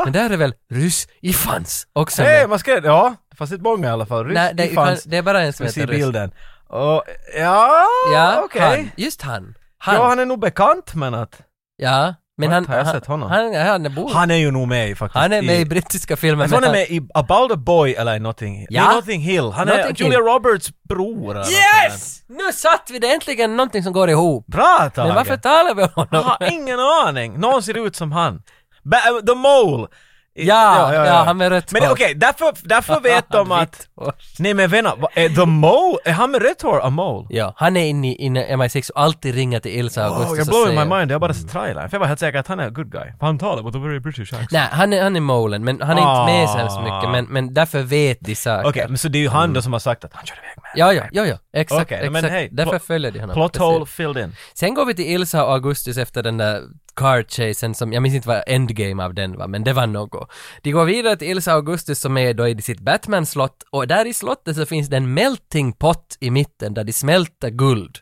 Speaker 1: Men där är väl Ryss i fans också
Speaker 2: Nej,
Speaker 1: med.
Speaker 2: man ska, ja, det fanns inte många i alla fall. Ryss,
Speaker 1: Nej, det,
Speaker 2: det fanns.
Speaker 1: det är bara en
Speaker 2: Ska
Speaker 1: som
Speaker 2: vi se
Speaker 1: heter Ryss.
Speaker 2: bilden? Och, ja,
Speaker 1: Ja,
Speaker 2: okej.
Speaker 1: han. Just han. Han.
Speaker 2: Ja,
Speaker 1: Ja,
Speaker 2: han är nog bekant men att...
Speaker 1: men
Speaker 2: Vart
Speaker 1: han...
Speaker 2: har jag
Speaker 1: han-
Speaker 2: sett honom?
Speaker 1: Han, han, han, bor, han,
Speaker 2: Han är ju nog med i faktiskt.
Speaker 1: Oh. är med i
Speaker 2: i
Speaker 1: brittiska filmer.
Speaker 2: Jag tror han
Speaker 1: men
Speaker 2: är med i About a Boy eller i Notting Hill.
Speaker 1: Ja.
Speaker 2: Nej, Notting Hill. Han
Speaker 1: Notting
Speaker 2: är
Speaker 1: Hill.
Speaker 2: Julia Roberts bror. eller något sånt
Speaker 1: Yes! Nu satt vi det äntligen någonting som går ihop.
Speaker 2: där. Bra Tage!
Speaker 1: Men varför talar vi om honom?
Speaker 2: Jag har ingen aning. Någon ser ut som han. Ba äh, the Mole! I-
Speaker 1: Ja, ja, han med rött
Speaker 2: Men
Speaker 1: hår.
Speaker 2: okej, därför, därför vet de att...
Speaker 1: Vitt hår.
Speaker 2: Nej men vänner, vad- är The Mole? Är han med rött hår, a Mole?
Speaker 1: Ja, han är inne i inne i MI6 och alltid ringer till Ilsa Augustus
Speaker 2: Oh,
Speaker 1: och
Speaker 2: jag blowing
Speaker 1: säger-
Speaker 2: my mind, jag har bara sett trailern. För jag var helt säker att han är a good guy. För han talar with a very British accent.
Speaker 1: Nej, han är, han är molen, men han är inte med så hemskt mycket, men, men därför vet de saker.
Speaker 2: Ah. Okej, men så det är ju han då som har sagt att han kör iväg med.
Speaker 1: Ja, ja, ja, ja, exakt,
Speaker 2: Okej,
Speaker 1: exakt.
Speaker 2: men hej,
Speaker 1: därför
Speaker 2: pl-
Speaker 1: följer de honom.
Speaker 2: Plot
Speaker 1: precis.
Speaker 2: hole filled in.
Speaker 1: Sen går vi till Ilsa och Augustus efter den där car chasen som, jag minns inte vad endgame av den var, men det var något. De går vidare till Ilsa och Augustus som är då i sitt Batman-slott och där i slottet så finns det en melting pot i mitten där de smälter guld.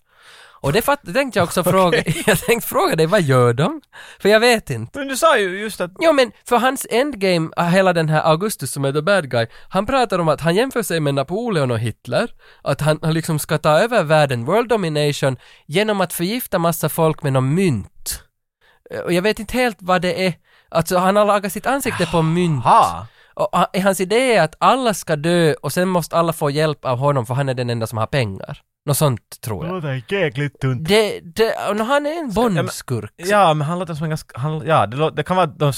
Speaker 1: Och det, fatt, det tänkte jag också fråga, jag tänkte fråga dig, vad gör de? För jag vet inte.
Speaker 2: Men du sa ju just att...
Speaker 1: Ja men för hans endgame, äh, hela den här Augustus som är the bad guy, han pratar om att han jämför sig med Napoleon och Hitler, att han, han liksom ska ta över världen, world domination, genom att förgifta massa folk med någon mynt. Eh, Och jag vet inte helt vad det är, alltså han har lagat sitt ansikte på mynt.
Speaker 2: Ha!
Speaker 1: Och ha- hans idé är att alla ska dö och sen måste alla få hjälp av honom för han är den enda som har pengar. Något sånt tror jag.
Speaker 2: låter jäkligt tunt.
Speaker 1: Det, det, och nå, han är en bondskurk.
Speaker 2: Ja, men han låter som en ganska... Han, ja, det, lå- det kan vara... att De,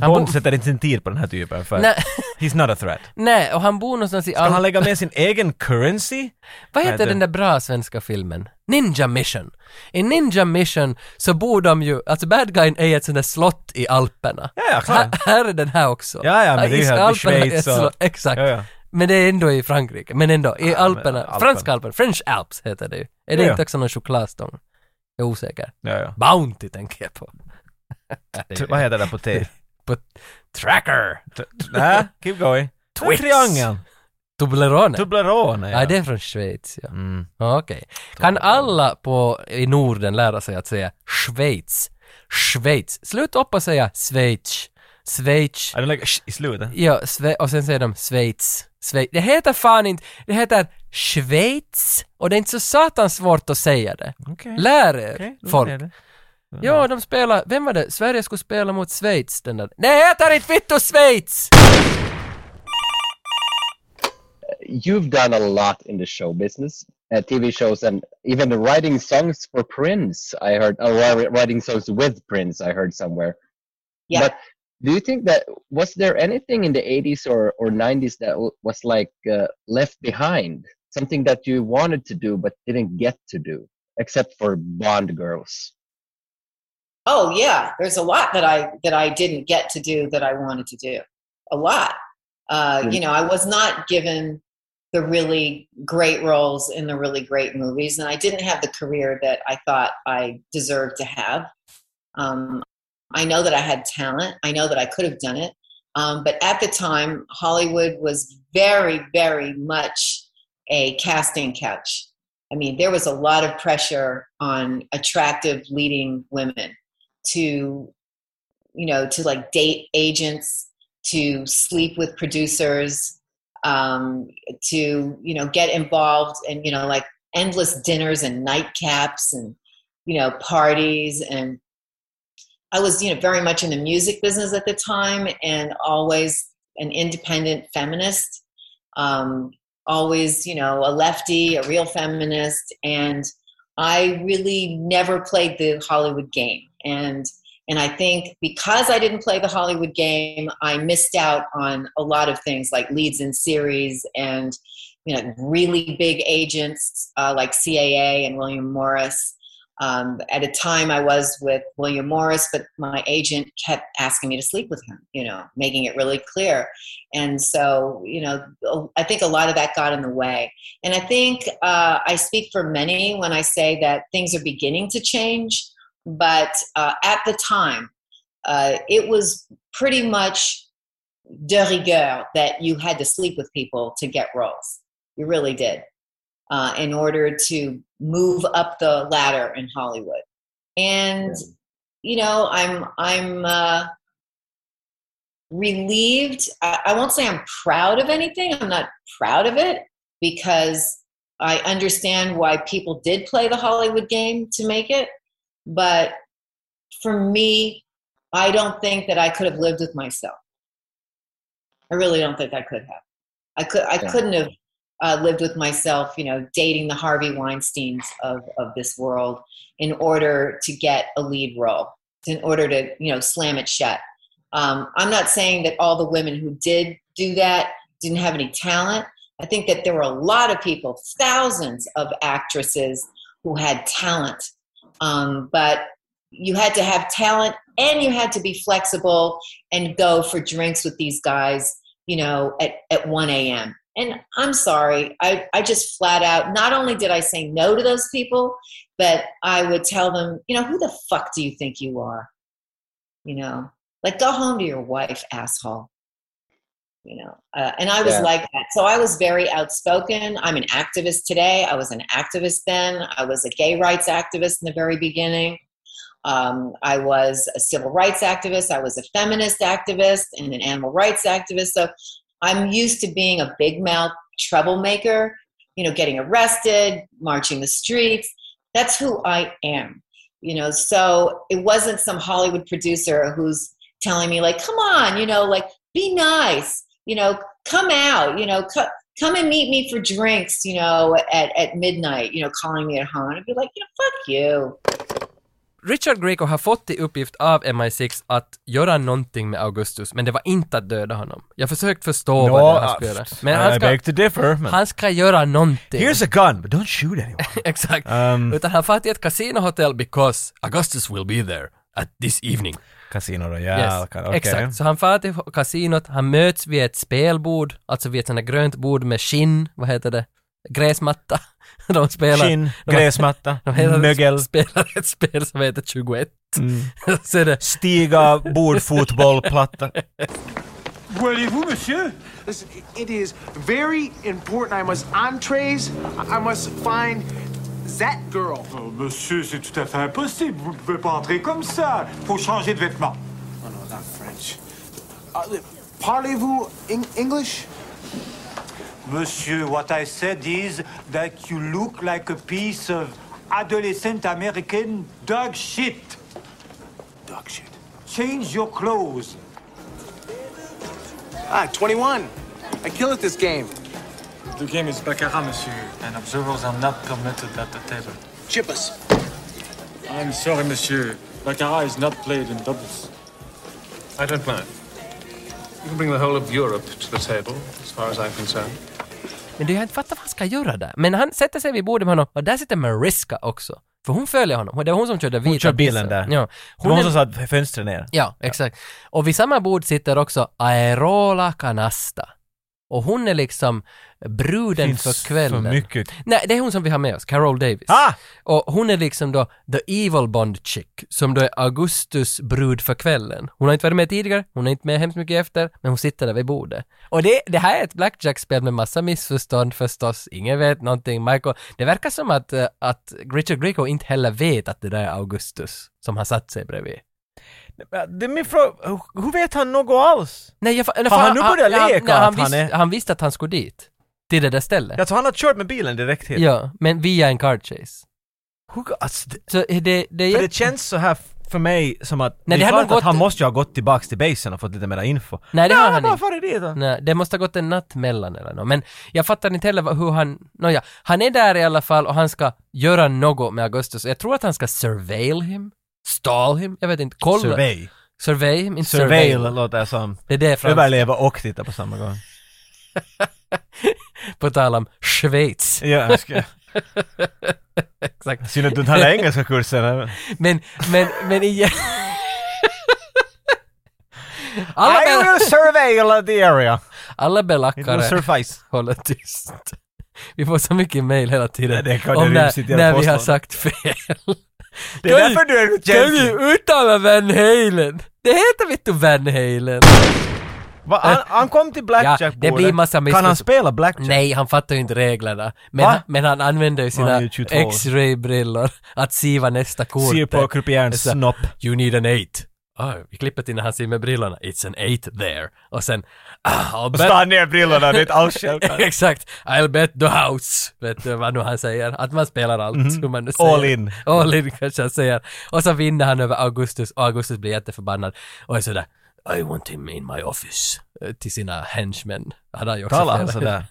Speaker 1: Han
Speaker 2: Bond
Speaker 1: bor-
Speaker 2: sätter inte sin tid på den här typen för
Speaker 1: Nej,
Speaker 2: he's not a threat.
Speaker 1: nej, och han bor någonstans i...
Speaker 2: Kan
Speaker 1: Al-
Speaker 2: han lägga med sin egen currency?
Speaker 1: Vad heter
Speaker 2: Nej, det-
Speaker 1: den där bra svenska filmen? Ninja Mission. I Ninja Mission så bor de ju, alltså bad guyn är ett sånt där slott i Alperna.
Speaker 2: Ja, ja,
Speaker 1: här,
Speaker 2: klar.
Speaker 1: här är den här också.
Speaker 2: Ja, ja, men det är ju
Speaker 1: i
Speaker 2: här i
Speaker 1: Alperna är
Speaker 2: Schweiz
Speaker 1: ett
Speaker 2: och-
Speaker 1: slott, Exakt.
Speaker 2: Ja, ja.
Speaker 1: Men det är ändå i Frankrike. Men ändå, i Alperna,
Speaker 2: Alperna.
Speaker 1: franska Alperna, French Alps heter det ju. Är det
Speaker 2: Ja, ja.
Speaker 1: inte också någon chokladstång? Jag är osäker.
Speaker 2: Ja, ja.
Speaker 1: Bounty tänker jag på.
Speaker 2: T- Vad heter det på T?
Speaker 1: Tracker!
Speaker 2: T- t- Nä, keep going.
Speaker 1: Twix.
Speaker 2: Triangeln.
Speaker 1: Toblerone?
Speaker 2: Toblerone,
Speaker 1: Nej,
Speaker 2: ja.
Speaker 1: det är från Schweiz, ja.
Speaker 2: Mm.
Speaker 1: Ja, Okej. Kan alla på, i Norden lära sig att säga Schweiz? Schweiz. Sluta upp och säga Schweiz. Schweiz.
Speaker 2: Är det like sh i slutet?
Speaker 1: Ja, sve- och sen säger de Schweiz. Schweiz. Det heter fan inte, det heter Schweiz och det är inte så satans svårt att säga det.
Speaker 2: Okej.
Speaker 1: Lär er,
Speaker 2: Okej, då
Speaker 1: folk.
Speaker 2: är det.
Speaker 1: Ja, de spelar, vem var det? Sverige skulle spela mot Schweiz den där. Det heter inte vittu Schweiz!
Speaker 5: You've done a lot in the show business, uh, TV shows, and even writing songs for Prince. I heard, oh, well, writing songs with Prince. I heard somewhere.
Speaker 4: Yeah.
Speaker 5: But do you think that was there anything in the 80s or, or 90s that w- was like uh, left behind? Something that you wanted to do but didn't get to do, except for Bond girls.
Speaker 4: Oh yeah, there's a lot that I that I didn't get to do that I wanted to do. A lot. Uh, You know, I was not given the really great roles in the really great movies, and I didn't have the career that I thought I deserved to have. Um, I know that I had talent. I know that I could have done it, um, but at the time, Hollywood was very, very much a casting couch. I mean, there was a lot of pressure on attractive leading women to you know to like date agents to sleep with producers um, to you know get involved and you know like endless dinners and nightcaps and you know parties and i was you know very much in the music business at the time and always an independent feminist um, always you know a lefty a real feminist and I really never played the Hollywood game. And and I think because I didn't play the Hollywood game, I missed out on a lot of things like leads in series and you know really big agents uh, like CAA and William Morris. Um, at a time, I was with William Morris, but my agent kept asking me to sleep with him, you know, making it really clear. And so, you know, I think a lot of that got in the way. And I think uh, I speak for many when I say that things are beginning to change, but uh, at the time, uh, it was pretty much de rigueur that you had to sleep with people to get roles. You really did uh, in order to move up the ladder in Hollywood. And you know, I'm I'm uh, relieved. I, I won't say I'm proud of anything. I'm not proud of it because I understand why people did play the Hollywood game to make it. But for me, I don't think that I could have lived with myself. I really don't think I could have. I could I
Speaker 5: Yeah.
Speaker 4: couldn't have uh, lived with myself, you know, dating the Harvey Weinsteins of of this world in order to get a lead role, in order to you know slam it shut. Um, I'm not saying that all the women who did do that didn't have any talent. I think that there were a lot of people, thousands of actresses who had talent, um, but you had to have talent and you had to be flexible and go for drinks with these guys, you know, at, at 1 a.m. And I'm sorry, I, I just flat out, not only did I say no to those people, but I would tell them, you know, who the fuck do you think you are? You know, like go home to your wife, asshole. You know, uh, and I was
Speaker 5: Yeah.
Speaker 4: like that. So I was very outspoken. I'm an activist today. I was an activist then. I was a gay rights activist in the very beginning. Um, I was a civil rights activist. I was a feminist activist and an animal rights activist. So I'm used to being a big mouth troublemaker, you know, getting arrested, marching the streets. That's who I am, you know. So it wasn't some Hollywood producer who's telling me, like, come on, you know, like, be nice, you know, come out, you know, co- come and meet me for drinks, you know, at, at midnight, you know, calling me at home. I'd be like, you know, fuck you.
Speaker 1: Richard Grieco har fått i uppgift av MI6 att göra någonting med Augustus, men det var inte att döda honom. Jag har försökt förstå
Speaker 2: No,
Speaker 1: vad det är han
Speaker 2: uh,
Speaker 1: ska göra. Men han
Speaker 2: I
Speaker 1: ska,
Speaker 2: beg to differ. men-
Speaker 1: han ska göra någonting.
Speaker 2: Here's a gun, but don't shoot anyone.
Speaker 1: Exakt.
Speaker 2: Um,
Speaker 1: Utan han far till ett kasinohotell because Augustus will be there at this evening.
Speaker 2: Casino Royale. kan- Ah, okej.
Speaker 1: Exakt. Så han far till kasinot, han möts vid ett spelbord, alltså vid ett sånt där grönt bord med skinn, vad heter det? Gräsmatta. De spelar...
Speaker 2: Skinn,
Speaker 1: de-
Speaker 2: gräsmatta,
Speaker 1: De heter,
Speaker 2: mögel, Mm.
Speaker 1: spelar ett spel som heter 21. Så är det
Speaker 2: stiga, bord, fotboll, platta.
Speaker 6: Listen, it is very important. I must entrees. I must find that girl.
Speaker 3: Oh, monsieur, c'est tout à fait impossible. Vous ne pouvez pas entrer comme ça. Faut changer de vêtements.
Speaker 6: Oh, no, not French. Uh, Parlez-vous in English?
Speaker 3: Monsieur, what I said is that you look like a piece of adolescent American dog shit.
Speaker 6: Dog shit.
Speaker 3: Change your clothes.
Speaker 6: Ah, 21. I kill at this game.
Speaker 10: The game is baccarat, monsieur, and observers are not permitted at the table.
Speaker 6: Chip us.
Speaker 10: I'm sorry, monsieur. Baccarat is not played in doubles.
Speaker 7: I don't mind. You can bring the whole of Europe to the table, as far as I'm concerned.
Speaker 1: Men det är jag inte fattar vad han ska göra där. Men han sätter sig vid bordet med honom och där sitter Mariska också. För hon följer honom. Och det var hon som körde vita
Speaker 2: kör bilen
Speaker 1: bussen.
Speaker 2: där.
Speaker 1: Ja.
Speaker 2: Det var
Speaker 1: är-
Speaker 2: hon som satt fönstret ner.
Speaker 1: Ja, exakt. Och vid samma bord sitter också Aerola Canasta. Och hon är liksom bruden
Speaker 2: Finns
Speaker 1: för kvällen.
Speaker 2: för mycket.
Speaker 1: Nej, det är hon som vi har med oss, Carol Davis.
Speaker 2: Ah!
Speaker 1: Och hon är liksom då the evil Bond chick, som då är Augustus brud för kvällen. Hon har inte varit med tidigare, hon är inte med hemskt mycket efter, men hon sitter där vid bordet. Och det, det här är ett blackjack-spel med massa missförstånd förstås, ingen vet någonting. Michael, det verkar som att, eh, att Richard Grieco inte heller vet att det där är Augustus som har satt sig bredvid.
Speaker 2: Ja, Det är min fråga, Hur- hur vet han något alls?
Speaker 1: Nej, jag, fa- eller
Speaker 2: Har
Speaker 1: fan,
Speaker 2: han nu börjat
Speaker 1: ja,
Speaker 2: leka
Speaker 1: nej, han,
Speaker 2: att han
Speaker 1: visste-
Speaker 2: är-
Speaker 1: han visste att han skulle dit. Till det där stället.
Speaker 2: Jag tror han har kört med bilen direkt hit.
Speaker 1: Ja, men via en car chase.
Speaker 2: Hur, alltså, det,
Speaker 1: Så det, det, är
Speaker 2: för
Speaker 1: jätte-
Speaker 2: det känns så här f- för mig som att
Speaker 1: Nej,
Speaker 2: det
Speaker 1: det
Speaker 2: är
Speaker 1: hade
Speaker 2: klart
Speaker 1: nog
Speaker 2: att han
Speaker 1: gått-
Speaker 2: måste ju ha gått tillbaks till basen och fått lite mer info.
Speaker 1: Nej, det har han
Speaker 2: bara
Speaker 1: inte.
Speaker 2: farit dit. då.
Speaker 1: Nej, det måste ha gått en natt mellan eller något. Men jag fattar inte heller vad- hur han... Nåja, han är där i alla fall och han ska göra något med Augustus. Jag tror att han ska surveil him. Stall him? Jag vet inte. Kolla.
Speaker 2: Survey.
Speaker 1: Survey him, inte surveil.
Speaker 2: Surveil låter som
Speaker 1: Det är det Frans,
Speaker 2: överleva och titta på samma gång.
Speaker 1: på tal om Schweiz.
Speaker 2: Ja, jag ska-
Speaker 1: exakt.
Speaker 2: Synd att du inte hade engelska kursen.
Speaker 1: Men, men, men igen... alla,
Speaker 2: I
Speaker 1: bel-
Speaker 2: will surveil the area.
Speaker 1: alla
Speaker 2: It will
Speaker 1: belackare
Speaker 2: suffice.
Speaker 1: håller tyst. Vi får så mycket mail hela
Speaker 2: Ja,
Speaker 1: tiden
Speaker 2: det kan
Speaker 1: om
Speaker 2: det ryms i
Speaker 1: när,
Speaker 2: din
Speaker 1: när vi har
Speaker 2: postlåda.
Speaker 1: sagt fel.
Speaker 2: Det är därför du är
Speaker 1: Kan vi
Speaker 2: gentle.
Speaker 1: uttala Van Halen? Det heter vittu Van Halen.
Speaker 2: Va, han, han kom till blackjackbordet.
Speaker 1: Ja, det blir massa
Speaker 2: Kan han
Speaker 1: missförstånd.
Speaker 2: spela blackjack?
Speaker 1: Nej, han fattar ju inte reglerna. Men,
Speaker 2: Va?
Speaker 1: han, men han använder ju
Speaker 2: Han
Speaker 1: sina
Speaker 2: är ju 22 år.
Speaker 1: X-ray-brillor att siva nästa kort.
Speaker 2: Ser på krupierns
Speaker 1: Det är så-
Speaker 2: snopp.
Speaker 1: You need an eight. Ah, vi klipper till när han ser med brillorna. It's an eight there. Och sen... Ah, I'll
Speaker 2: Och
Speaker 1: bet-
Speaker 2: så tar han ner brillorna, det är inte alls självklart.
Speaker 1: Exakt. I'll bet the house. Vet du vad nu han säger? Att man spelar allt. hur man nu säger.
Speaker 2: Mhm. All in.
Speaker 1: All in kanske han säger. Och så vinner han över Augustus och Augustus blir jätteförbannad. Och är sådär I want him in my office. eh, Till sina henchmen. Han har ju också
Speaker 2: Talar han
Speaker 1: fel.
Speaker 2: sådär?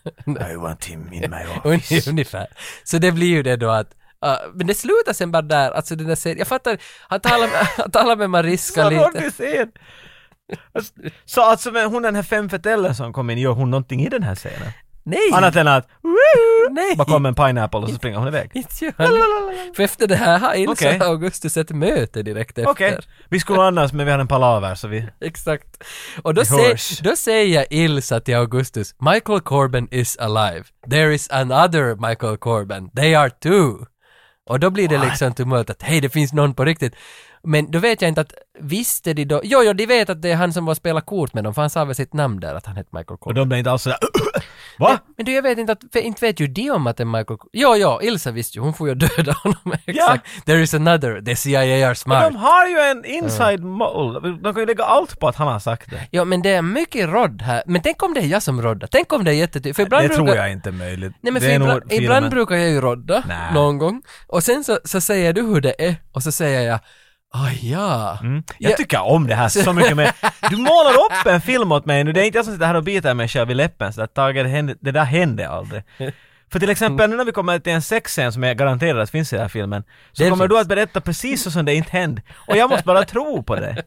Speaker 2: I want him in my office.
Speaker 1: Un- Ungefär. Så det blir ju det då att ah, men det slutar sen bara där, alltså den där serien. Jag fattar, han talar med, han talar med Mariska
Speaker 2: Så
Speaker 1: lite.
Speaker 2: rolig scen! Alltså, Så alltså men hon den här femfetellen som kom in, gör hon någonting i den här scenen?
Speaker 1: Nej!
Speaker 2: Annat än att
Speaker 1: Nej!
Speaker 2: bara kom en pineapple och så springer hon iväg.
Speaker 1: Inte gör han. För efter det här har Ilse
Speaker 2: Okej.
Speaker 1: och Augustus ett möte direkt efter.
Speaker 2: Okej, vi skulle annars men vi hade en palaver så vi...
Speaker 1: Exakt. Och då,
Speaker 2: Det
Speaker 1: sä-
Speaker 2: hörs.
Speaker 1: då säger Ilsa till Augustus, Michael Corbin is alive. There is another Michael Corbin. They are two. Och då blir det liksom tumult att hej, det finns någon på riktigt. Men då vet jag inte att, visste de då? Jo, jo, de vet att det är han som var och spelade kort med dem, för han sa väl sitt namn där, att han hette Michael
Speaker 2: Och
Speaker 1: Corbin.
Speaker 2: de blev inte alls sådär... Va?
Speaker 1: Men du, jag vet inte att, för inte vet ju de om att det är Michael Cor- Jo, jo, Ilsa visste ju, hon får ju döda honom. Exakt. There is another, the CIA are
Speaker 2: Men
Speaker 1: smart.
Speaker 2: de har ju en inside mole. De kan ju lägga allt på att han har sagt det.
Speaker 1: Ja men det är mycket rodd här. Men tänk om det är jag som roddar. Tänk om det är jättetydligt. För ibland
Speaker 2: Det tror
Speaker 1: brukar...
Speaker 2: jag inte är möjligt.
Speaker 1: Nej men
Speaker 2: Det
Speaker 1: för
Speaker 2: är nog
Speaker 1: ibland,
Speaker 2: filmen.
Speaker 1: ibland brukar jag ju rodda
Speaker 2: Nä.
Speaker 1: någon gång. Och sen så, så säger du hur det är och så säger jag Ah ja.
Speaker 2: Mm. Jag
Speaker 1: Ja.
Speaker 2: tycker om det här så mycket mer. Du målar upp en film åt mig nu. Det är inte jag som sitter här och biter mig själv i läppen så att Tage, det, hände, det där hände aldrig. För till exempel nu när vi kommer till en sexscen som jag garanterar att finns i den här filmen, så
Speaker 1: Det
Speaker 2: kommer
Speaker 1: finns.
Speaker 2: du att berätta precis så som det inte hände. Och jag måste bara tro på det.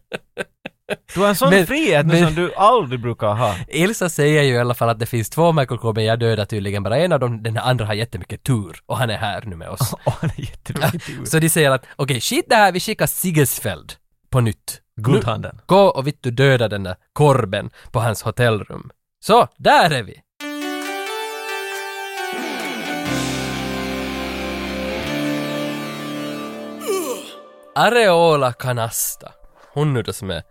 Speaker 2: Du har en sån
Speaker 1: Men-
Speaker 2: frihet nu
Speaker 1: men-
Speaker 2: som du aldrig brukar ha.
Speaker 1: Ilsa säger ju i alla fall att det finns två Michael Corbyn, jag dödar tydligen bara en av dem, den andra har jättemycket tur och han är här nu med oss.
Speaker 2: Åh, han är jättemycket tur.
Speaker 1: Så de säger att okej, shit det här, vi skickar Sigesfeld på nytt.
Speaker 2: Guldhanden.
Speaker 1: Gå och vittu döda den där korben på hans hotellrum. Så, där är vi! Areola Canasta. Hon nu då som är...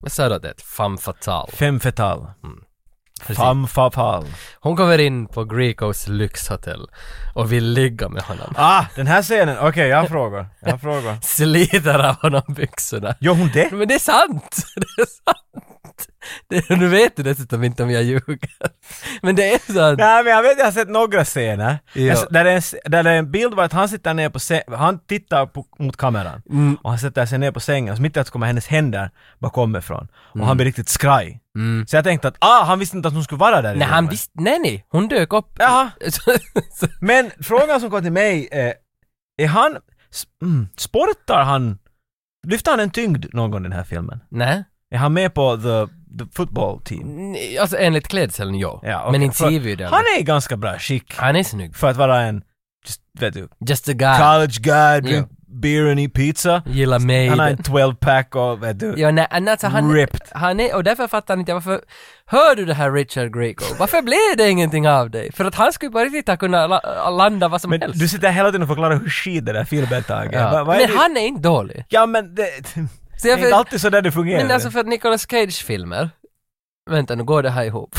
Speaker 1: Vad sa du att det är? Ett Femme fatale.
Speaker 2: Fem fetal. Fam fatal.
Speaker 1: Hon kommer in på Grecos lyxhotell och vill ligga med honom.
Speaker 2: Ah, den här scenen. Okej, jag har frågor. Jag har frågor.
Speaker 1: Sliter av honom byxorna.
Speaker 2: Gör hon det?
Speaker 1: Men det är sant! Det är sant! Det, nu vet du dessutom inte om jag ljuger. Men det är sant.
Speaker 2: Nej men jag vet, jag har sett några scener.
Speaker 1: Ja.
Speaker 2: Jag s- Där, det är en, s- där det är en bild var att han sitter ner på sängen, han tittar på, mot kameran.
Speaker 1: Mm.
Speaker 2: Och han sätter sig ner på sängen, så mitt i att kommer hennes händer bara kommer ifrån. Och
Speaker 1: Mm.
Speaker 2: han blir riktigt skraj. Så jag tänkte att ah, han visste inte att hon skulle vara där i
Speaker 1: Nej, han
Speaker 2: rummet.
Speaker 1: visste... Nej, nej. Hon dök upp.
Speaker 2: Jaha.
Speaker 1: Så- så-
Speaker 2: Men frågan som kom till mig är, är han, s- mm, sportar han, lyfter han en tyngd någon gång i den här filmen?
Speaker 1: nej.
Speaker 2: Är han med på the, the football team?
Speaker 1: Nej, Alltså enligt klädseln, ja.
Speaker 2: Ja, okej.
Speaker 1: Men inte
Speaker 2: För-
Speaker 1: ser vi ju det.
Speaker 2: Han är i ganska bra skick
Speaker 1: han är snygg.
Speaker 2: för att vara en, just, vet du,
Speaker 1: Just a guy.
Speaker 2: college guy, drink beer and eat pizza.
Speaker 1: Gillar mig.
Speaker 2: Han har en 12-pack och vet du.
Speaker 1: Ja, nej, alltså han,
Speaker 2: Ripped.
Speaker 1: han är, och därför fattar han inte varför, hör du det här Richard Greco? Varför blev det ingenting av dig? För att han skulle på riktigt ha kunnat la, landa vad som
Speaker 2: Men
Speaker 1: helst.
Speaker 2: du sitter hela tiden och förklarar hur skit den där filmen är tagen.
Speaker 1: ja.
Speaker 2: Va- vad är
Speaker 1: men
Speaker 2: det?
Speaker 1: han är inte dålig.
Speaker 2: Ja men det...
Speaker 1: Så
Speaker 2: Det
Speaker 1: jag
Speaker 2: är
Speaker 1: vet-
Speaker 2: inte alltid så där det fungerar.
Speaker 1: Men alltså för att Nicolas Cage-filmer, vänta nu går det här ihop?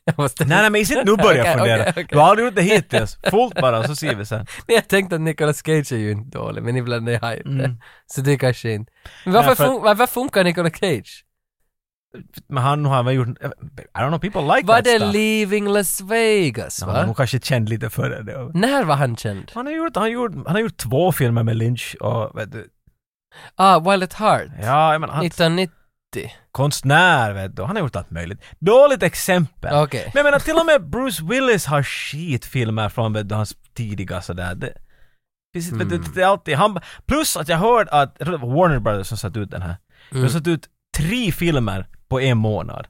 Speaker 1: jag måste...
Speaker 2: Nej nej men inte nu börjar jag
Speaker 1: Okej,
Speaker 2: fundera.
Speaker 1: okej, okej.
Speaker 2: Du har aldrig gjort det hittills. Fullt bara så ser vi sen.
Speaker 1: Men jag tänkte att Nicolas Cage är ju inte dålig, men ibland är han ju det. Så det kanske inte... Men varför,
Speaker 2: Mm. Nej, för-
Speaker 1: fun- varför funkar Nicolas Cage?
Speaker 2: Men han har väl gjort... I don't know, people like
Speaker 1: Var
Speaker 2: that
Speaker 1: det
Speaker 2: stuff.
Speaker 1: Leaving Las Vegas,
Speaker 2: Han
Speaker 1: va?
Speaker 2: nog kanske känd lite för det. då.
Speaker 1: När var han känd?
Speaker 2: Han har, gjort, han, har gjort, han har gjort två filmer med Lynch och vet du,
Speaker 1: Ah, Wild at Heart.
Speaker 2: ja, jag menar, han
Speaker 1: 1990.
Speaker 2: konstnär vet du, han har gjort allt möjligt. Dåligt exempel.
Speaker 1: Okej.
Speaker 2: Men jag menar till och med Bruce Willis har skitfilmer från vet du, hans tidiga sådär. Det, precis, vet
Speaker 1: Mm.
Speaker 2: du, det är alltid han, plus att jag hörde att jag tror det var Warner Brothers som satt ut den här.
Speaker 1: Mm.
Speaker 2: De satt ut tre filmer på en månad.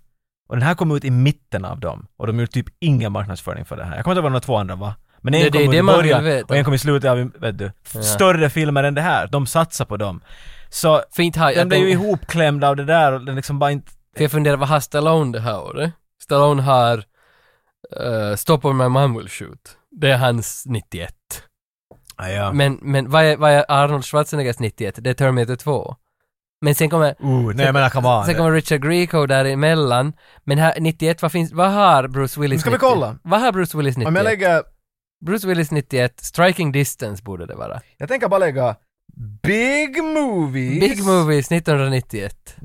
Speaker 2: Och den här kom ut i mitten av dem. Och de gjorde typ ingen marknadsföring för det här. Jag kommer inte ihåg vad de två andra var. Men en
Speaker 1: Det- det är
Speaker 2: kom
Speaker 1: det
Speaker 2: i
Speaker 1: man vill
Speaker 2: början
Speaker 1: veta.
Speaker 2: och en kom i slutet av, vet du,
Speaker 1: Ja.
Speaker 2: större filmer än det här. De satsar på dem. Så
Speaker 1: För inte har,
Speaker 2: den
Speaker 1: jag,
Speaker 2: blev ju
Speaker 1: tänk,
Speaker 2: ihopklämd av det där och den liksom bara inte...
Speaker 1: för jag funderar, vad har Stallone det här året? Stallone har uh, Stop or My Mom Will Shoot. Det är hans 91.
Speaker 2: Ah, ja.
Speaker 1: Men, men vad, är, vad är Arnold Schwarzeneggers 91? Det är Terminator 2. Men sen kommer,
Speaker 2: Uh, nej men come on.
Speaker 1: sen kommer Richard Grieco däremellan. Men här, 91, vad finns, vad har Bruce Willis
Speaker 11: Nu ska vi
Speaker 1: 90?
Speaker 11: kolla.
Speaker 1: Vad har Bruce Willis
Speaker 11: Om jag
Speaker 1: 91?
Speaker 11: lägger,
Speaker 1: Bruce Willis 91, Striking Distance borde det vara.
Speaker 11: jag tänker bara lägga Big Movies.
Speaker 1: Big Movies 1991.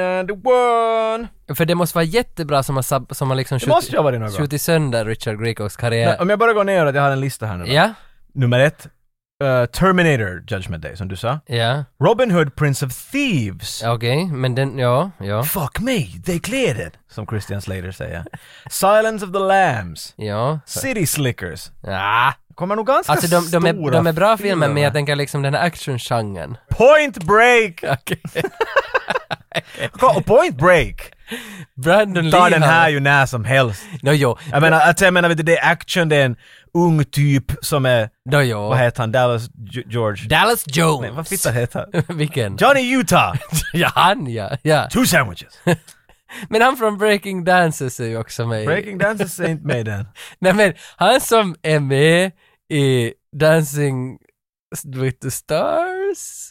Speaker 11: 1991.
Speaker 1: För det måste vara jättebra som har, sab- som har liksom
Speaker 2: Det måste ju ha varit något.
Speaker 1: skjutit sönder Richard Griecos
Speaker 2: Nej,
Speaker 1: karriär.
Speaker 2: om jag bara går ner, att jag har en lista här nu då.
Speaker 1: Ja,
Speaker 2: Nummer ett, eh, Terminator Judgment Day som du sa.
Speaker 1: ja,
Speaker 2: Robin Hood Prince of Thieves.
Speaker 1: ja, okej, men den, ja, ja,
Speaker 2: Fuck me, they cleared it! Som Christian Slater säger. Silence of the Lambs.
Speaker 1: ja.
Speaker 2: City Slickers.
Speaker 1: Ah.
Speaker 2: Kommer nog ganska
Speaker 1: Alltså de, de, är,
Speaker 2: stora
Speaker 1: de är bra filmer, men jag
Speaker 2: va?
Speaker 1: tänker liksom den här actiongenren.
Speaker 2: Point Break!
Speaker 1: Okej.
Speaker 2: Ko- Point Break!
Speaker 1: Brandon
Speaker 2: Ta
Speaker 1: Lee
Speaker 2: den
Speaker 1: har-
Speaker 2: här ju när som helst.
Speaker 1: Nå jo,
Speaker 2: Jag menar, alltså, jag menar vet du, det är action, det är en ung typ som är,
Speaker 1: nå jo.
Speaker 2: vad heter han, Dallas G- George?
Speaker 1: Dallas
Speaker 2: Nej, vad
Speaker 1: Jones.
Speaker 2: fitta heter han?
Speaker 1: Vilken?
Speaker 2: Johnny Utah!
Speaker 1: ja, han ja, ja.
Speaker 2: Two sandwiches!
Speaker 1: Men han från Breaking Dances är ju också med i-
Speaker 2: Breaking Dances är inte med i den.
Speaker 1: Nej men, han som är med i Dancing with the Stars?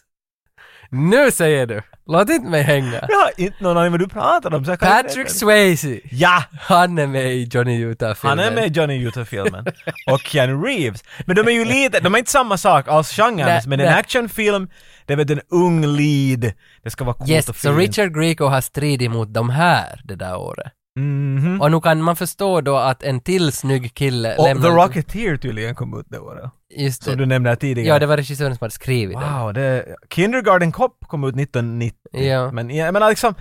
Speaker 1: Nu säger du! Låt inte mig hänga.
Speaker 2: Jag har inte någon aning vad du pratar om. Så jag kan inte
Speaker 1: Patrick
Speaker 2: veta.
Speaker 1: Swayze!
Speaker 2: Ja!
Speaker 1: Han är med i Johnny Utah-filmen.
Speaker 2: Han är med i Johnny Utah-filmen. och Keanu Reeves. Men de är ju lite, de är inte samma sak alls
Speaker 1: Nej,
Speaker 2: genren. Men en
Speaker 1: nej.
Speaker 2: actionfilm, det är väl en ung lead. Det ska vara coolt
Speaker 1: Yes, så
Speaker 2: och fint.
Speaker 1: Richard Grieco har stridit mot de här det där året.
Speaker 2: Mhm.
Speaker 1: Och nu kan man förstå då att en till snygg kille
Speaker 2: Och The
Speaker 1: lämnar...
Speaker 2: Rocketeer tydligen kom ut det året.
Speaker 1: Just
Speaker 2: Som
Speaker 1: det.
Speaker 2: du nämnde tidigare.
Speaker 1: Ja, det var regissören som hade skrivit den.
Speaker 2: Wow, det... Kindergarten Cop kom ut 1990.
Speaker 1: Ja.
Speaker 2: Men jag menar liksom,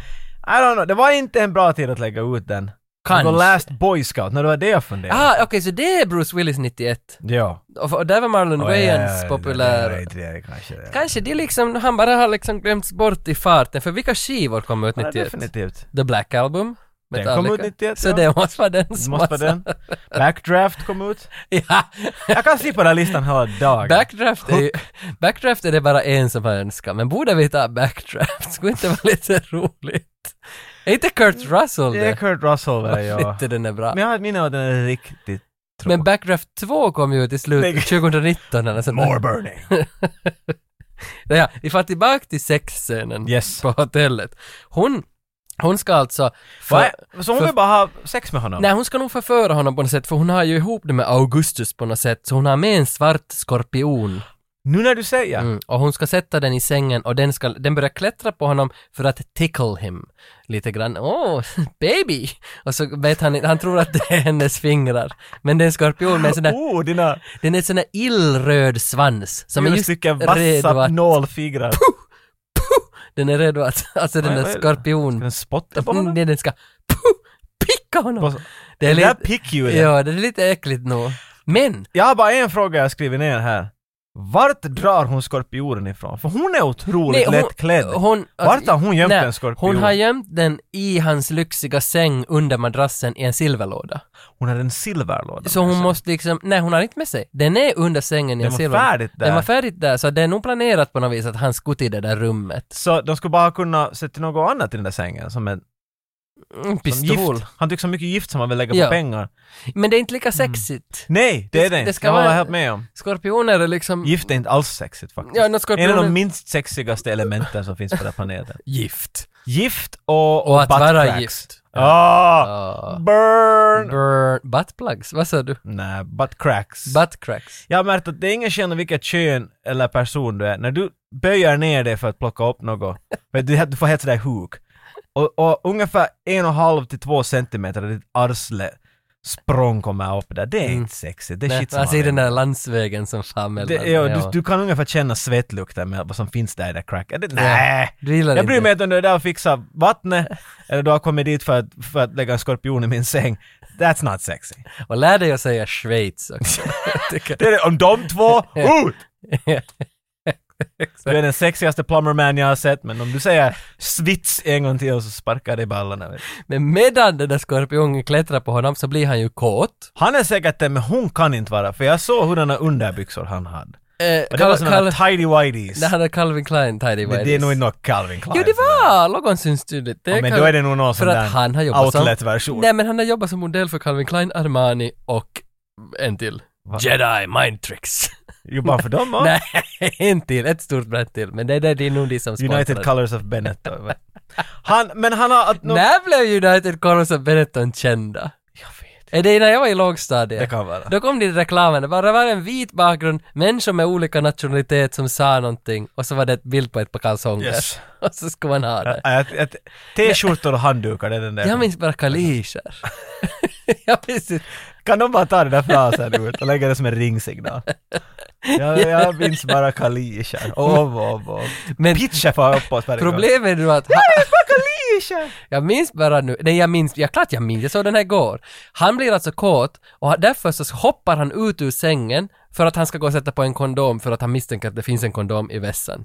Speaker 2: I don't know, det var inte en bra tid att lägga ut den.
Speaker 1: Kanske.
Speaker 2: The Last Boy Scout, när det var det jag funderade.
Speaker 1: Ah, okej, så det är Bruce Willis 91.
Speaker 2: Ja.
Speaker 1: Och, och där var Marlon
Speaker 2: Oh, ja, ja, ja,
Speaker 1: Wayans
Speaker 2: det-
Speaker 1: populär.
Speaker 2: det var inte det, kanske det.
Speaker 1: Kanske det är liksom, han bara har liksom glömts bort i farten, för vilka skivor kom ut
Speaker 2: Ja,
Speaker 1: 91?
Speaker 2: definitivt.
Speaker 1: The Black Album?
Speaker 2: Den
Speaker 1: Metallica.
Speaker 2: kom ut 91,
Speaker 1: Så
Speaker 2: ja.
Speaker 1: det måste vara den som
Speaker 2: Måste
Speaker 1: har-
Speaker 2: vara den. Backdraft kom ut.
Speaker 1: ja.
Speaker 2: Jag kan se på den här listan hela dagen.
Speaker 1: Backdraft är ju, Backdraft är det bara en som har önskat, men borde vi ta Backdraft? Skulle inte vara lite roligt? Är inte Kurt Russell
Speaker 2: det är
Speaker 1: det?
Speaker 2: Kurt Russell där,
Speaker 1: Varför
Speaker 2: ja.
Speaker 1: inte den är bra?
Speaker 2: Men jag har ett minne av att den är riktigt tråkig.
Speaker 1: Men Backdraft 2 kom ju ut i
Speaker 2: Nej.
Speaker 1: slutet 2019 eller sånt där.
Speaker 2: More burning.
Speaker 1: Ja, vi får tillbaka till sexscenen
Speaker 2: Yes.
Speaker 1: på hotellet. Hon, hon ska alltså... för-
Speaker 2: Va? Så hon
Speaker 1: för-
Speaker 2: vill bara ha sex med honom?
Speaker 1: Nej, hon ska nog förföra honom på något sätt, för hon har ju ihop det med Augustus på något sätt, så hon har med en svart skorpion.
Speaker 2: Nu när du säger.
Speaker 1: Mm. Och hon ska sätta den i sängen och den, ska, den börjar klättra på honom för att tickle him lite grann. Åh, oh, baby! Och så vet han han tror att det är hennes fingrar. Men det är en skorpion med en sån där,
Speaker 2: Oh, dina,
Speaker 1: den är en sån där illröd svans som är
Speaker 2: dina
Speaker 1: just
Speaker 2: stycken
Speaker 1: redo
Speaker 2: vassa
Speaker 1: att,
Speaker 2: nålfingrar.
Speaker 1: den är redo att, alltså den
Speaker 2: Vad-
Speaker 1: där
Speaker 2: vad är det?
Speaker 1: skorpion,
Speaker 2: Ska den spotta på honom?
Speaker 1: den, den ska puh, picka honom.
Speaker 2: På-
Speaker 1: Det är
Speaker 2: Den där
Speaker 1: Mm, lite,
Speaker 2: pick you
Speaker 1: ja, det är lite äckligt nog. Men
Speaker 2: Jag har bara en fråga jag skrivit ner här. Vart drar hon skorpionen ifrån? För hon är otroligt
Speaker 1: Nej, hon-
Speaker 2: lättklädd.
Speaker 1: Hon,
Speaker 2: Vart har hon gömt
Speaker 1: nej,
Speaker 2: en skorpion?
Speaker 1: Hon har gömt den i hans lyxiga säng under madrassen i en silverlåda.
Speaker 2: Hon hade en silverlåda.
Speaker 1: Så hon måste liksom, nej hon har inte med sig. Den är under sängen i
Speaker 2: Den
Speaker 1: en
Speaker 2: var
Speaker 1: silverlåda.
Speaker 2: färdigt där.
Speaker 1: Den var färdigt där, så det är nog planerat på något vis att han skulle till det där rummet.
Speaker 2: Så de skulle bara kunna sätta något annat i den där sängen som en
Speaker 1: Mm,
Speaker 2: som
Speaker 1: pistol.
Speaker 2: gift. Han tycker så mycket gift som han vill lägga
Speaker 1: Ja.
Speaker 2: på pengar.
Speaker 1: Men det är inte lika sexigt.
Speaker 2: Nej, det,
Speaker 1: Det
Speaker 2: är
Speaker 1: ska-
Speaker 2: det
Speaker 1: det
Speaker 2: inte.
Speaker 1: ska
Speaker 2: Det håller
Speaker 1: vara-
Speaker 2: jag helt med om.
Speaker 1: Skorpioner är liksom
Speaker 2: Gift är inte alls sexigt faktiskt.
Speaker 1: Ja, nå,
Speaker 2: en
Speaker 1: skorpioner...
Speaker 2: av de minst sexigaste elementen som finns på den här planeten.
Speaker 1: Gift.
Speaker 2: Gift och,
Speaker 1: Och att
Speaker 2: butt
Speaker 1: vara
Speaker 2: cracks.
Speaker 1: gift.
Speaker 2: Ah,
Speaker 1: Ah.
Speaker 2: burn!
Speaker 1: Burn. Buttplugs, vad sa du?
Speaker 2: Nej, butt cracks.
Speaker 1: Buttcracks.
Speaker 2: Jag har märkt att det är ingen skillnad vilket kön eller person du är. När du böjer ner dig för att plocka upp något, vet du, du får helt sådär huk. Och, och ungefär en och en halv till två centimeter av ditt arsle språng kommer upp där. Det är
Speaker 1: Mm.
Speaker 2: inte sexigt. Det är
Speaker 1: Nej,
Speaker 2: shit som
Speaker 1: Man ser
Speaker 2: har
Speaker 1: den
Speaker 2: hänt.
Speaker 1: där landsvägen som far mellan.
Speaker 2: det, ja, du, du kan ungefär känna svettlukten med vad som finns där i det cracket. Det- Nej!
Speaker 1: Du gillar
Speaker 2: Jag bryr
Speaker 1: inte.
Speaker 2: mig inte om du är där och fixar vattnet, eller du har kommit dit för att, för att lägga en skorpion i min säng. That's not sexy.
Speaker 1: Och lär dig att säga Schweiz också.
Speaker 2: Det är det, om de två, ut! Du är den sexigaste plumberman jag har sett, men om du säger svits en gång till och så sparkar jag dig i ballarna. vet du.
Speaker 1: Men medan den där skorpionen klättrar på honom så blir han ju kåt.
Speaker 2: Han är säkert det, men hon kan inte vara, för jag såg hurdana underbyxor han hade.
Speaker 1: Eh,
Speaker 2: Och det var sådana tidy whities.
Speaker 1: Det hade Calvin Klein tidy
Speaker 2: Men
Speaker 1: whities.
Speaker 2: det är nog inte något Calvin Klein.
Speaker 1: Jo det var! Någon syns tydligt.
Speaker 2: Ja, men
Speaker 1: kan-
Speaker 2: då är det nog någon
Speaker 1: För
Speaker 2: sån
Speaker 1: att
Speaker 2: där
Speaker 1: han har jobbat som-
Speaker 2: outlet-version.
Speaker 1: Nej men han har jobbat som modell för Calvin Klein, Armani och en till.
Speaker 2: Va?
Speaker 1: Jedi Mind Tricks.
Speaker 2: Jobbar han för dem, va?
Speaker 1: Nej, en till. Ett stort brett till. Men det, det, det är nog de som sponsrar.
Speaker 2: United Colors of Bennett. då, va? Han, men han har... Att, nå-
Speaker 1: När blev United Colors of Benetton kända? Jag vet Är det när jag var i lågstadiet?
Speaker 2: Det kan vara.
Speaker 1: Då kom det i reklamen, det bara var en vit bakgrund, människor med olika nationalitet som sa någonting och så var det ett bild på ett par kalsonger.
Speaker 2: Yes.
Speaker 1: Och så skulle man ha det.
Speaker 2: Ja, ett- ett- T-skjortor och handdukar, det är den där.
Speaker 1: Jag minns bara kalischer. ja, precis.
Speaker 2: Kan de bara ta den där frasen ut och lägga det som en ringsignal? Jag, jag minns bara kalischer. Ov, ov, ov.
Speaker 1: Men-
Speaker 2: Pitcher far uppåt varje gång.
Speaker 1: Problemet är nu att...
Speaker 2: Jag minns bara kalischer!
Speaker 1: Jag minns bara nu, nej jag minns, ja klart jag minns, jag såg den här igår. Han blir alltså kåt och ha- därför så hoppar han ut ur sängen för att han ska gå och sätta på en kondom för att han misstänker att det finns en kondom i vässan.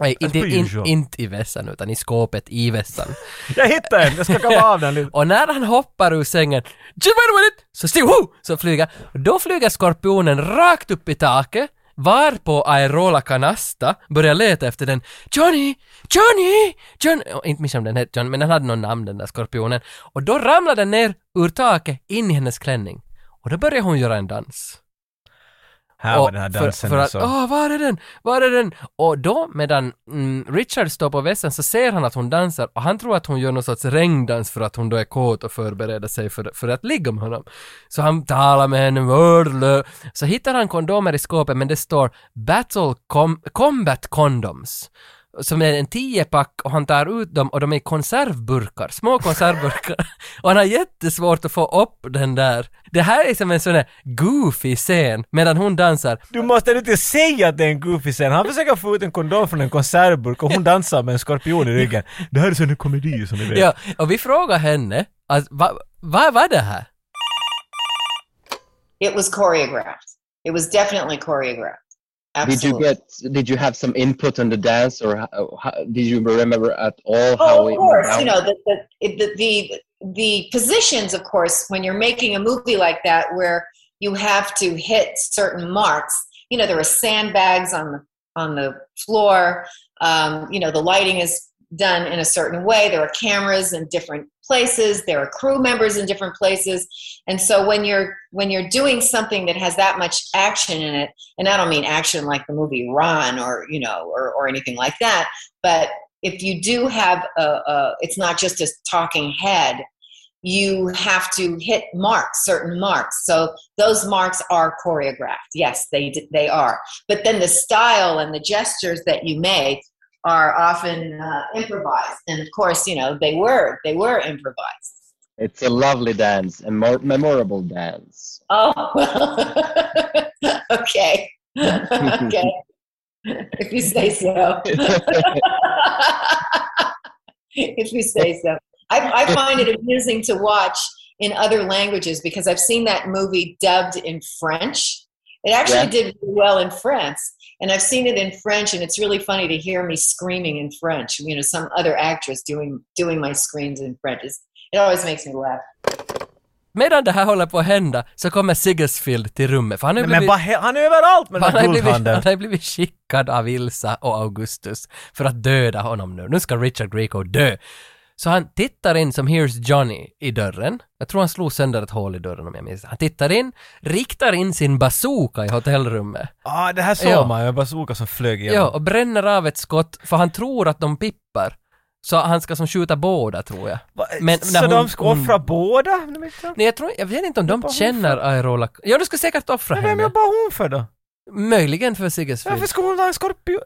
Speaker 1: Nej, inte,
Speaker 2: pretty
Speaker 1: in,
Speaker 2: usual.
Speaker 1: inte i vässan utan i skåpet i vässan.
Speaker 2: Jag hittade en, jag ska komma av den lite.
Speaker 1: och när han hoppar ur sängen, "Get away with it!" så stiger woo! så flyger, då flyger skorpionen rakt upp i taket varpå Aerola Canasta börjar leta efter den Johnny, Johnny, Johnny, och inte minns jag om den hette Johnny, men den hade någon namn den där skorpionen. Och då ramlar den ner ur taket in i hennes klänning. Och då börjar hon göra en dans.
Speaker 2: Här
Speaker 1: Och
Speaker 2: var den här dansen
Speaker 1: För, för att,
Speaker 2: så.
Speaker 1: åh, var är den? Var är den? Och då, medan mm, Richard står på vässan så ser han att hon dansar och han tror att hon gör någon sorts regndans för att hon då är kåt och förbereder sig för, för att ligga med honom. Så han talar med henne, "Vörlö." Så hittar han kondomer i skåpet men det står Battle com- Combat Condoms som är en tiopack och han tar ut dem och de är i konservburkar, små konservburkar. och han har jättesvårt att få upp den där. Det här är som en sån där goofy scen medan hon dansar.
Speaker 2: Du måste inte säga att det är en goofy scen. Han försöker få ut en kondom från en konservburk och hon dansar med en skorpion i ryggen. Det här är så en komedi som ni vet.
Speaker 1: Ja, och vi frågar henne, alltså, vad va, var det här?
Speaker 4: It was choreographed. It was definitely choreographed.
Speaker 5: Did you
Speaker 4: Absolutely.
Speaker 5: get? Did you have some input on the dance, or how, how, did you remember at all how
Speaker 4: Oh,
Speaker 5: it
Speaker 4: of
Speaker 5: went
Speaker 4: course. You
Speaker 5: down?
Speaker 4: know the the, it- the the the positions, of course, when you're making a movie like that, where you have to hit certain marks. You know, there are sandbags on the on the floor. Um, you know, the lighting is done in a certain way. There are cameras in different places. There are crew members in different places. And so when you're when you're doing something that has that much action in it, and I don't mean action like the movie Ron or you know or or anything like that, but if you do have a, a it's not just a talking head you have to hit marks certain marks so those marks are choreographed yes they d- they are but then the style and the gestures that you make are often uh, improvised and of course you know they were they were improvised
Speaker 5: It's a lovely dance, a more memorable dance.
Speaker 4: oh okay okay if you say so if you say so. I, I find it amusing to watch in other languages because I've seen that movie dubbed in French. It actually
Speaker 5: Yeah.
Speaker 4: did really well in France, and I've seen it in French, and it's really funny to hear me screaming in French. You know, some other actress doing doing my screams in French. It's, it always makes me laugh.
Speaker 1: Medan det här håller på att hända så kommer Siggesfield till rummet, för han har ju
Speaker 2: Men vad he- han är överallt med den
Speaker 1: han
Speaker 2: här
Speaker 1: har, blivit, han
Speaker 2: guldhanden.
Speaker 1: har blivit skickad av Ilsa och Augustus för att döda honom nu. Nu ska Richard Greco dö. Så han tittar in som Here's Johnny i dörren. Jag tror han slog sönder ett hål i dörren om jag minns Han tittar in, riktar in sin bazooka i hotellrummet.
Speaker 2: Ah, det här såg
Speaker 1: Ja.
Speaker 2: man ju, en bazooka som flög
Speaker 1: Ja,
Speaker 2: igenom.
Speaker 1: och bränner av ett skott för han tror att de pippar. Så han ska som skjuta båda tror jag.
Speaker 2: Va-
Speaker 1: Men
Speaker 2: så
Speaker 1: när hon-
Speaker 2: de ska offra båda? Men
Speaker 1: Nej, jag, tror, jag vet inte om de
Speaker 2: Vad
Speaker 1: känner Aerola... Ja, de skulle säkert offra
Speaker 2: vem
Speaker 1: henne.
Speaker 2: jobbar hon för då?
Speaker 1: Möjligen för Siggesfrid.
Speaker 2: Varför ska hon ha en skorpion?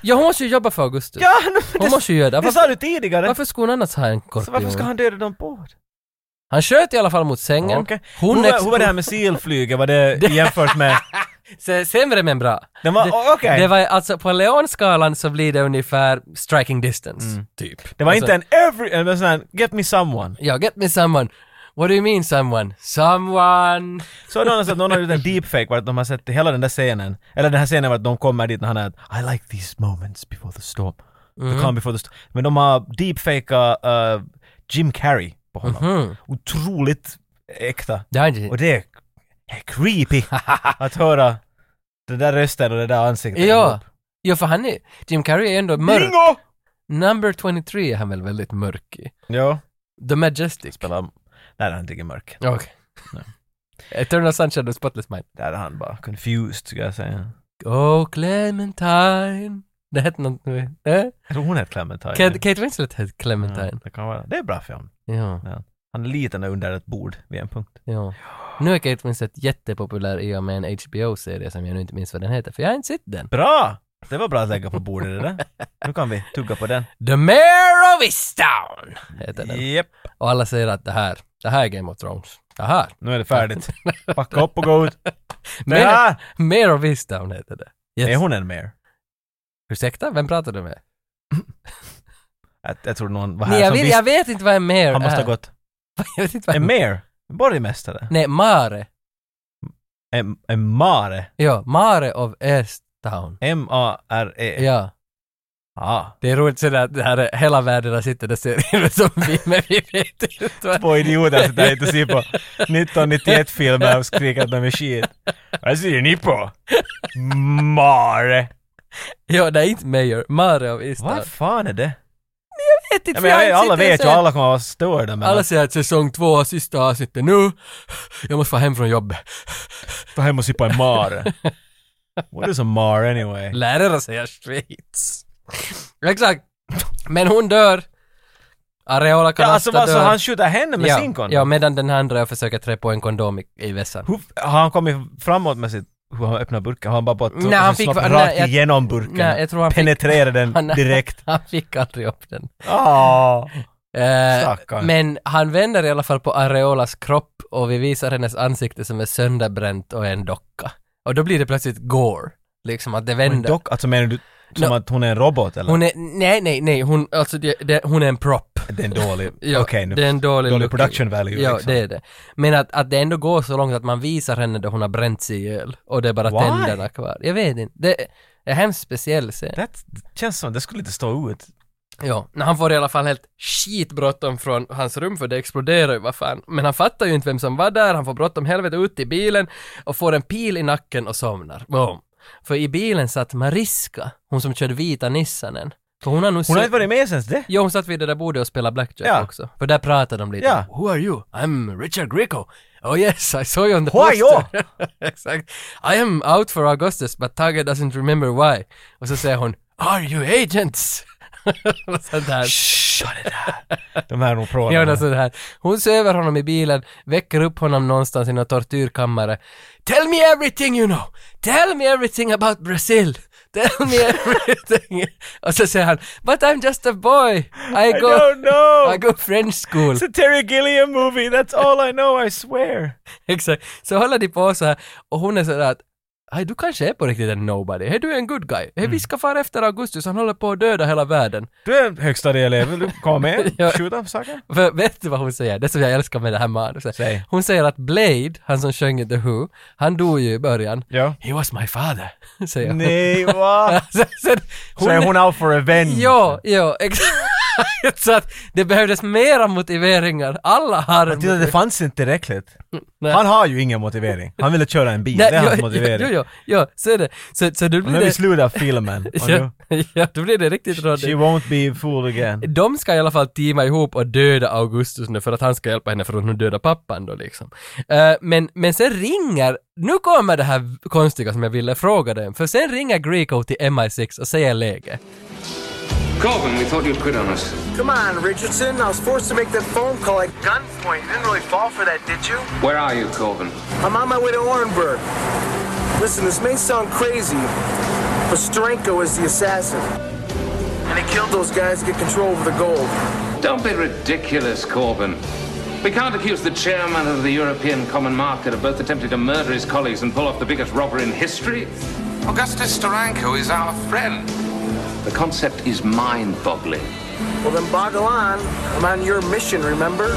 Speaker 1: Ja, hon måste ju jobba för Augustus.
Speaker 2: Ja, nu, men
Speaker 1: Hon
Speaker 2: det,
Speaker 1: måste ju göra det.
Speaker 2: det
Speaker 1: Varför,
Speaker 2: sa du tidigare.
Speaker 1: varför skulle hon annars ha en
Speaker 2: så
Speaker 1: korpion?
Speaker 2: varför ska han döda dem båda?
Speaker 1: Han sköt i alla fall mot sängen.
Speaker 2: Okej.
Speaker 1: Hon
Speaker 2: Hur var-
Speaker 1: ex-
Speaker 2: hur var det här med silflyget? Var det jämfört med...
Speaker 1: S- Sämre men bra.
Speaker 2: Den var, oh, okej.
Speaker 1: Det var alltså på Leonskalan så blir det ungefär striking distance, typ.
Speaker 2: Mm. Det var
Speaker 1: Alltså,
Speaker 2: inte en every... Det var sån här, get me someone.
Speaker 1: Ja, get me someone. What do you mean someone? Someone!
Speaker 2: Så har någon, sagt- någon har gjort en deepfake vart de har sett hela den där scenen, eller den här scenen vart de kommer dit när han är att, I like these moments before the storm.
Speaker 1: Mhm.
Speaker 2: The calm before the storm. Men de har deepfakat eh, Jim Carrey på honom.
Speaker 1: Mhm.
Speaker 2: Otroligt äkta.
Speaker 1: Det har inte...
Speaker 2: Mm-hmm. Och det är, är creepy att höra den där rösten och det där ansiktet.
Speaker 1: Ja! Ja, för han är... Jim Carrey är ändå mörk.
Speaker 2: Bingo!
Speaker 1: Number 23 är han väl väldigt mörk i?
Speaker 2: Ja.
Speaker 1: The Majestic.
Speaker 2: Spelar... Nej, där är han inte mörk.
Speaker 1: Okej. Eternal Sunshine of the Spotless Mind.
Speaker 2: Där är han bara confused, skulle jag säga.
Speaker 1: Oh Clementine. Det hette något... Eh?
Speaker 2: Jag tror hon heter Clementine.
Speaker 1: Kate, Kate Winslet hette Clementine.
Speaker 2: Ja, det kan vara. Det är bra film.
Speaker 1: Ja.
Speaker 2: Han är liten och under ett bord vid en punkt.
Speaker 1: Ja. Nu är Kate Winslet jättepopulär i och med en HBO-serie som jag nu inte minns vad den heter, för jag har inte sett den.
Speaker 2: Bra! Det var bra att lägga på bordet det där. Nu kan vi tugga på den.
Speaker 1: The Mayor of Easttown heter den.
Speaker 2: Japp.
Speaker 1: Och alla säger att det här, det här är Game of Thrones. Det här.
Speaker 2: Nu är det färdigt. Packa upp och gå ut. Det
Speaker 1: Mayor,
Speaker 2: här!
Speaker 1: Mayor of Easttown heter det. Yes.
Speaker 2: Är hon en mer?
Speaker 1: Ursäkta, vem pratar du med?
Speaker 2: Jag, jag tror någon var här
Speaker 1: Nej, jag,
Speaker 2: som
Speaker 1: vill,
Speaker 2: visste.
Speaker 1: jag vet inte vad en mayor
Speaker 2: Han måste
Speaker 1: är.
Speaker 2: ha gått.
Speaker 1: jag vet inte vad
Speaker 2: En
Speaker 1: en...
Speaker 2: mer? En borgmästare?
Speaker 1: Nej, Mare.
Speaker 2: En, en mare?
Speaker 1: Ja, Mare of Easttown.
Speaker 2: M-A-R-E?
Speaker 1: Ja.
Speaker 2: Ah.
Speaker 1: Det är roligt sådär att det här är hela världen har sett den där serien som vi, men vi vet inte vad...
Speaker 2: Två idioter sitter här inte och ser på 1991-filmer och skriker att de är skit. Vad ser ni på? Mare!
Speaker 1: Ja, det är inte Mayor, Mare av Easttown.
Speaker 2: Vad fan är det?
Speaker 1: Jag vet inte,
Speaker 2: Ja,
Speaker 1: för
Speaker 2: men, jag-
Speaker 1: har inte
Speaker 2: alla
Speaker 1: sett den
Speaker 2: vet ju,
Speaker 1: serien.
Speaker 2: alla kommer att vara störda men...
Speaker 1: Alla säger att säsong två, sista avsnittet nu. Jag måste vara hem från jobbet.
Speaker 2: Ta hem och se på en mare. What is a mare anyway?
Speaker 1: Lärare säger Schweiz. Exakt. Men hon dör. Areola
Speaker 2: Ja,
Speaker 1: Canasta
Speaker 2: alltså vad, så
Speaker 1: dör.
Speaker 2: han skjuter henne med
Speaker 1: ja,
Speaker 2: sin kondom?
Speaker 1: Ja, medan den andra försöker trä på en kondom i, i vässan.
Speaker 2: Hur, har han kommit framåt med sitt... Hur han öppnar burken? Har han bara på att...
Speaker 1: Nej, han fick-
Speaker 2: snabbt
Speaker 1: nej,
Speaker 2: rakt
Speaker 1: jag-
Speaker 2: igenom burken?
Speaker 1: Nej, jag tror han fick...
Speaker 2: Penetrera den
Speaker 1: Han-
Speaker 2: Mm, direkt?
Speaker 1: Han fick aldrig upp den.
Speaker 2: Ah.
Speaker 1: Eh,
Speaker 2: Stackarn.
Speaker 1: men han vänder i alla fall på Areolas kropp och vi visar hennes ansikte som är sönderbränt och är en docka. Och då blir det plötsligt gore. Liksom att det
Speaker 2: Men
Speaker 1: vänder.
Speaker 2: dock, alltså menar du som
Speaker 1: No.
Speaker 2: att hon är en robot eller?
Speaker 1: Hon är, nej, nej, nej, hon, alltså det, det, hon är en prop.
Speaker 2: Det är en dålig...
Speaker 1: Ja,
Speaker 2: Okej, nu
Speaker 1: det är en dålig,
Speaker 2: dålig
Speaker 1: look.
Speaker 2: production value,
Speaker 1: Ja,
Speaker 2: liksom.
Speaker 1: det är det. Men att, att det ändå går så långt att man visar henne då hon har bränt sig ihjäl och det är bara
Speaker 2: Why?
Speaker 1: tänderna kvar. Jag vet inte. Det är en hemskt speciell scen.
Speaker 2: That, det känns som det skulle inte stå ut.
Speaker 1: Ja, men han får i alla fall helt skitbråttom från hans rum för det exploderar ju, vad fan. Men han fattar ju inte vem som var där, han får bråttom helvete ut i bilen och får en pil i nacken och somnar. Boom. För i bilen satt Mariska, hon som körde vita Nissanen. För hon har nog
Speaker 2: Hon har
Speaker 1: sett-
Speaker 2: inte varit med sen det.
Speaker 1: Jo, hon satt vid det där bordet och spelade blackjack
Speaker 2: Ja.
Speaker 1: också. För där pratade de lite.
Speaker 2: Ja.
Speaker 1: Who are you? I'm Richard Grieco. Oh yes, I saw you on the
Speaker 2: Who are you?
Speaker 1: poster. Exakt. I am out for Augustus, but Tage doesn't remember why. Och så säger hon, Are you agents? och sånt där.
Speaker 2: Shh, det där. De här nog provat.
Speaker 1: Ja, något sånt här. Hon söver honom i bilen, väcker upp honom någonstans i någon tortyrkammare. Tell me everything you know! Tell me everything about Brazil! Tell me everything! Och så säger han, But I'm just a boy! I
Speaker 2: I
Speaker 1: go...
Speaker 2: don't
Speaker 1: I
Speaker 2: know!
Speaker 1: go French school.
Speaker 2: It's a Terry Gilliam movie, that's all I know, I swear!
Speaker 1: Exakt. Så håller de på så här och hon är sådär att Hej, du kanske är på riktigt en nobody. Hej, du är en good guy. Hej,
Speaker 2: Mm.
Speaker 1: vi ska fara efter Augustus. Han håller på att döda hela världen.
Speaker 2: Du eh, är en högstadieelev, vill du komma med?
Speaker 1: Ja.
Speaker 2: Skjuta saker?
Speaker 1: För vet du vad hon säger? Det som jag älskar med det här manuset.
Speaker 2: Säg.
Speaker 1: Hon säger att Blade, han som sjöng i The Who, han dog ju i början.
Speaker 2: Ja.
Speaker 1: He was my father, säger hon.
Speaker 2: Nej, va?
Speaker 1: Sen, sen,
Speaker 2: Så är hon out for revenge?
Speaker 1: Ja, ja, exakt. Så att det behövdes mera motiveringar. Alla har en
Speaker 2: Men titta, det fanns inte tillräckligt. Han har ju ingen motivering. Han ville köra en bil,
Speaker 1: Mm, Nej,
Speaker 2: det är hans
Speaker 1: jo, Jo,
Speaker 2: motivering.
Speaker 1: jo, jo, så är det. Så, så då
Speaker 2: Och
Speaker 1: blir
Speaker 2: nu är
Speaker 1: det...
Speaker 2: vi slut av filmen. Och
Speaker 1: ja,
Speaker 2: nu,
Speaker 1: ja, då blir det riktigt
Speaker 2: she
Speaker 1: rådigt.
Speaker 2: won't be fooled again.
Speaker 1: De ska i alla fall teama ihop och döda Augustus nu för att han ska hjälpa henne för att hon dödar pappan då liksom. Eh, men, men sen ringer, nu kommer det här konstiga som jag ville fråga dig om, för sen ringer Greco till MI6 och säger läge.
Speaker 12: Corbin, we thought you'd quit on us.
Speaker 6: Come on, Richardson. I was forced to make that phone call at gunpoint. You didn't really fall for that, did you?
Speaker 12: Where are you, Corbin?
Speaker 6: I'm on my way to Orenburg. Listen, this may sound crazy, but Stranko is the assassin. And he killed those guys to get control over the gold.
Speaker 12: Don't be ridiculous, Corbin. We can't accuse the chairman of the European Common Market of both attempting to murder his colleagues and pull off the biggest robbery in history. Augustus Steranko is our friend. The concept is mind boggling.
Speaker 6: Well, then boggle on. I'm on your mission, remember?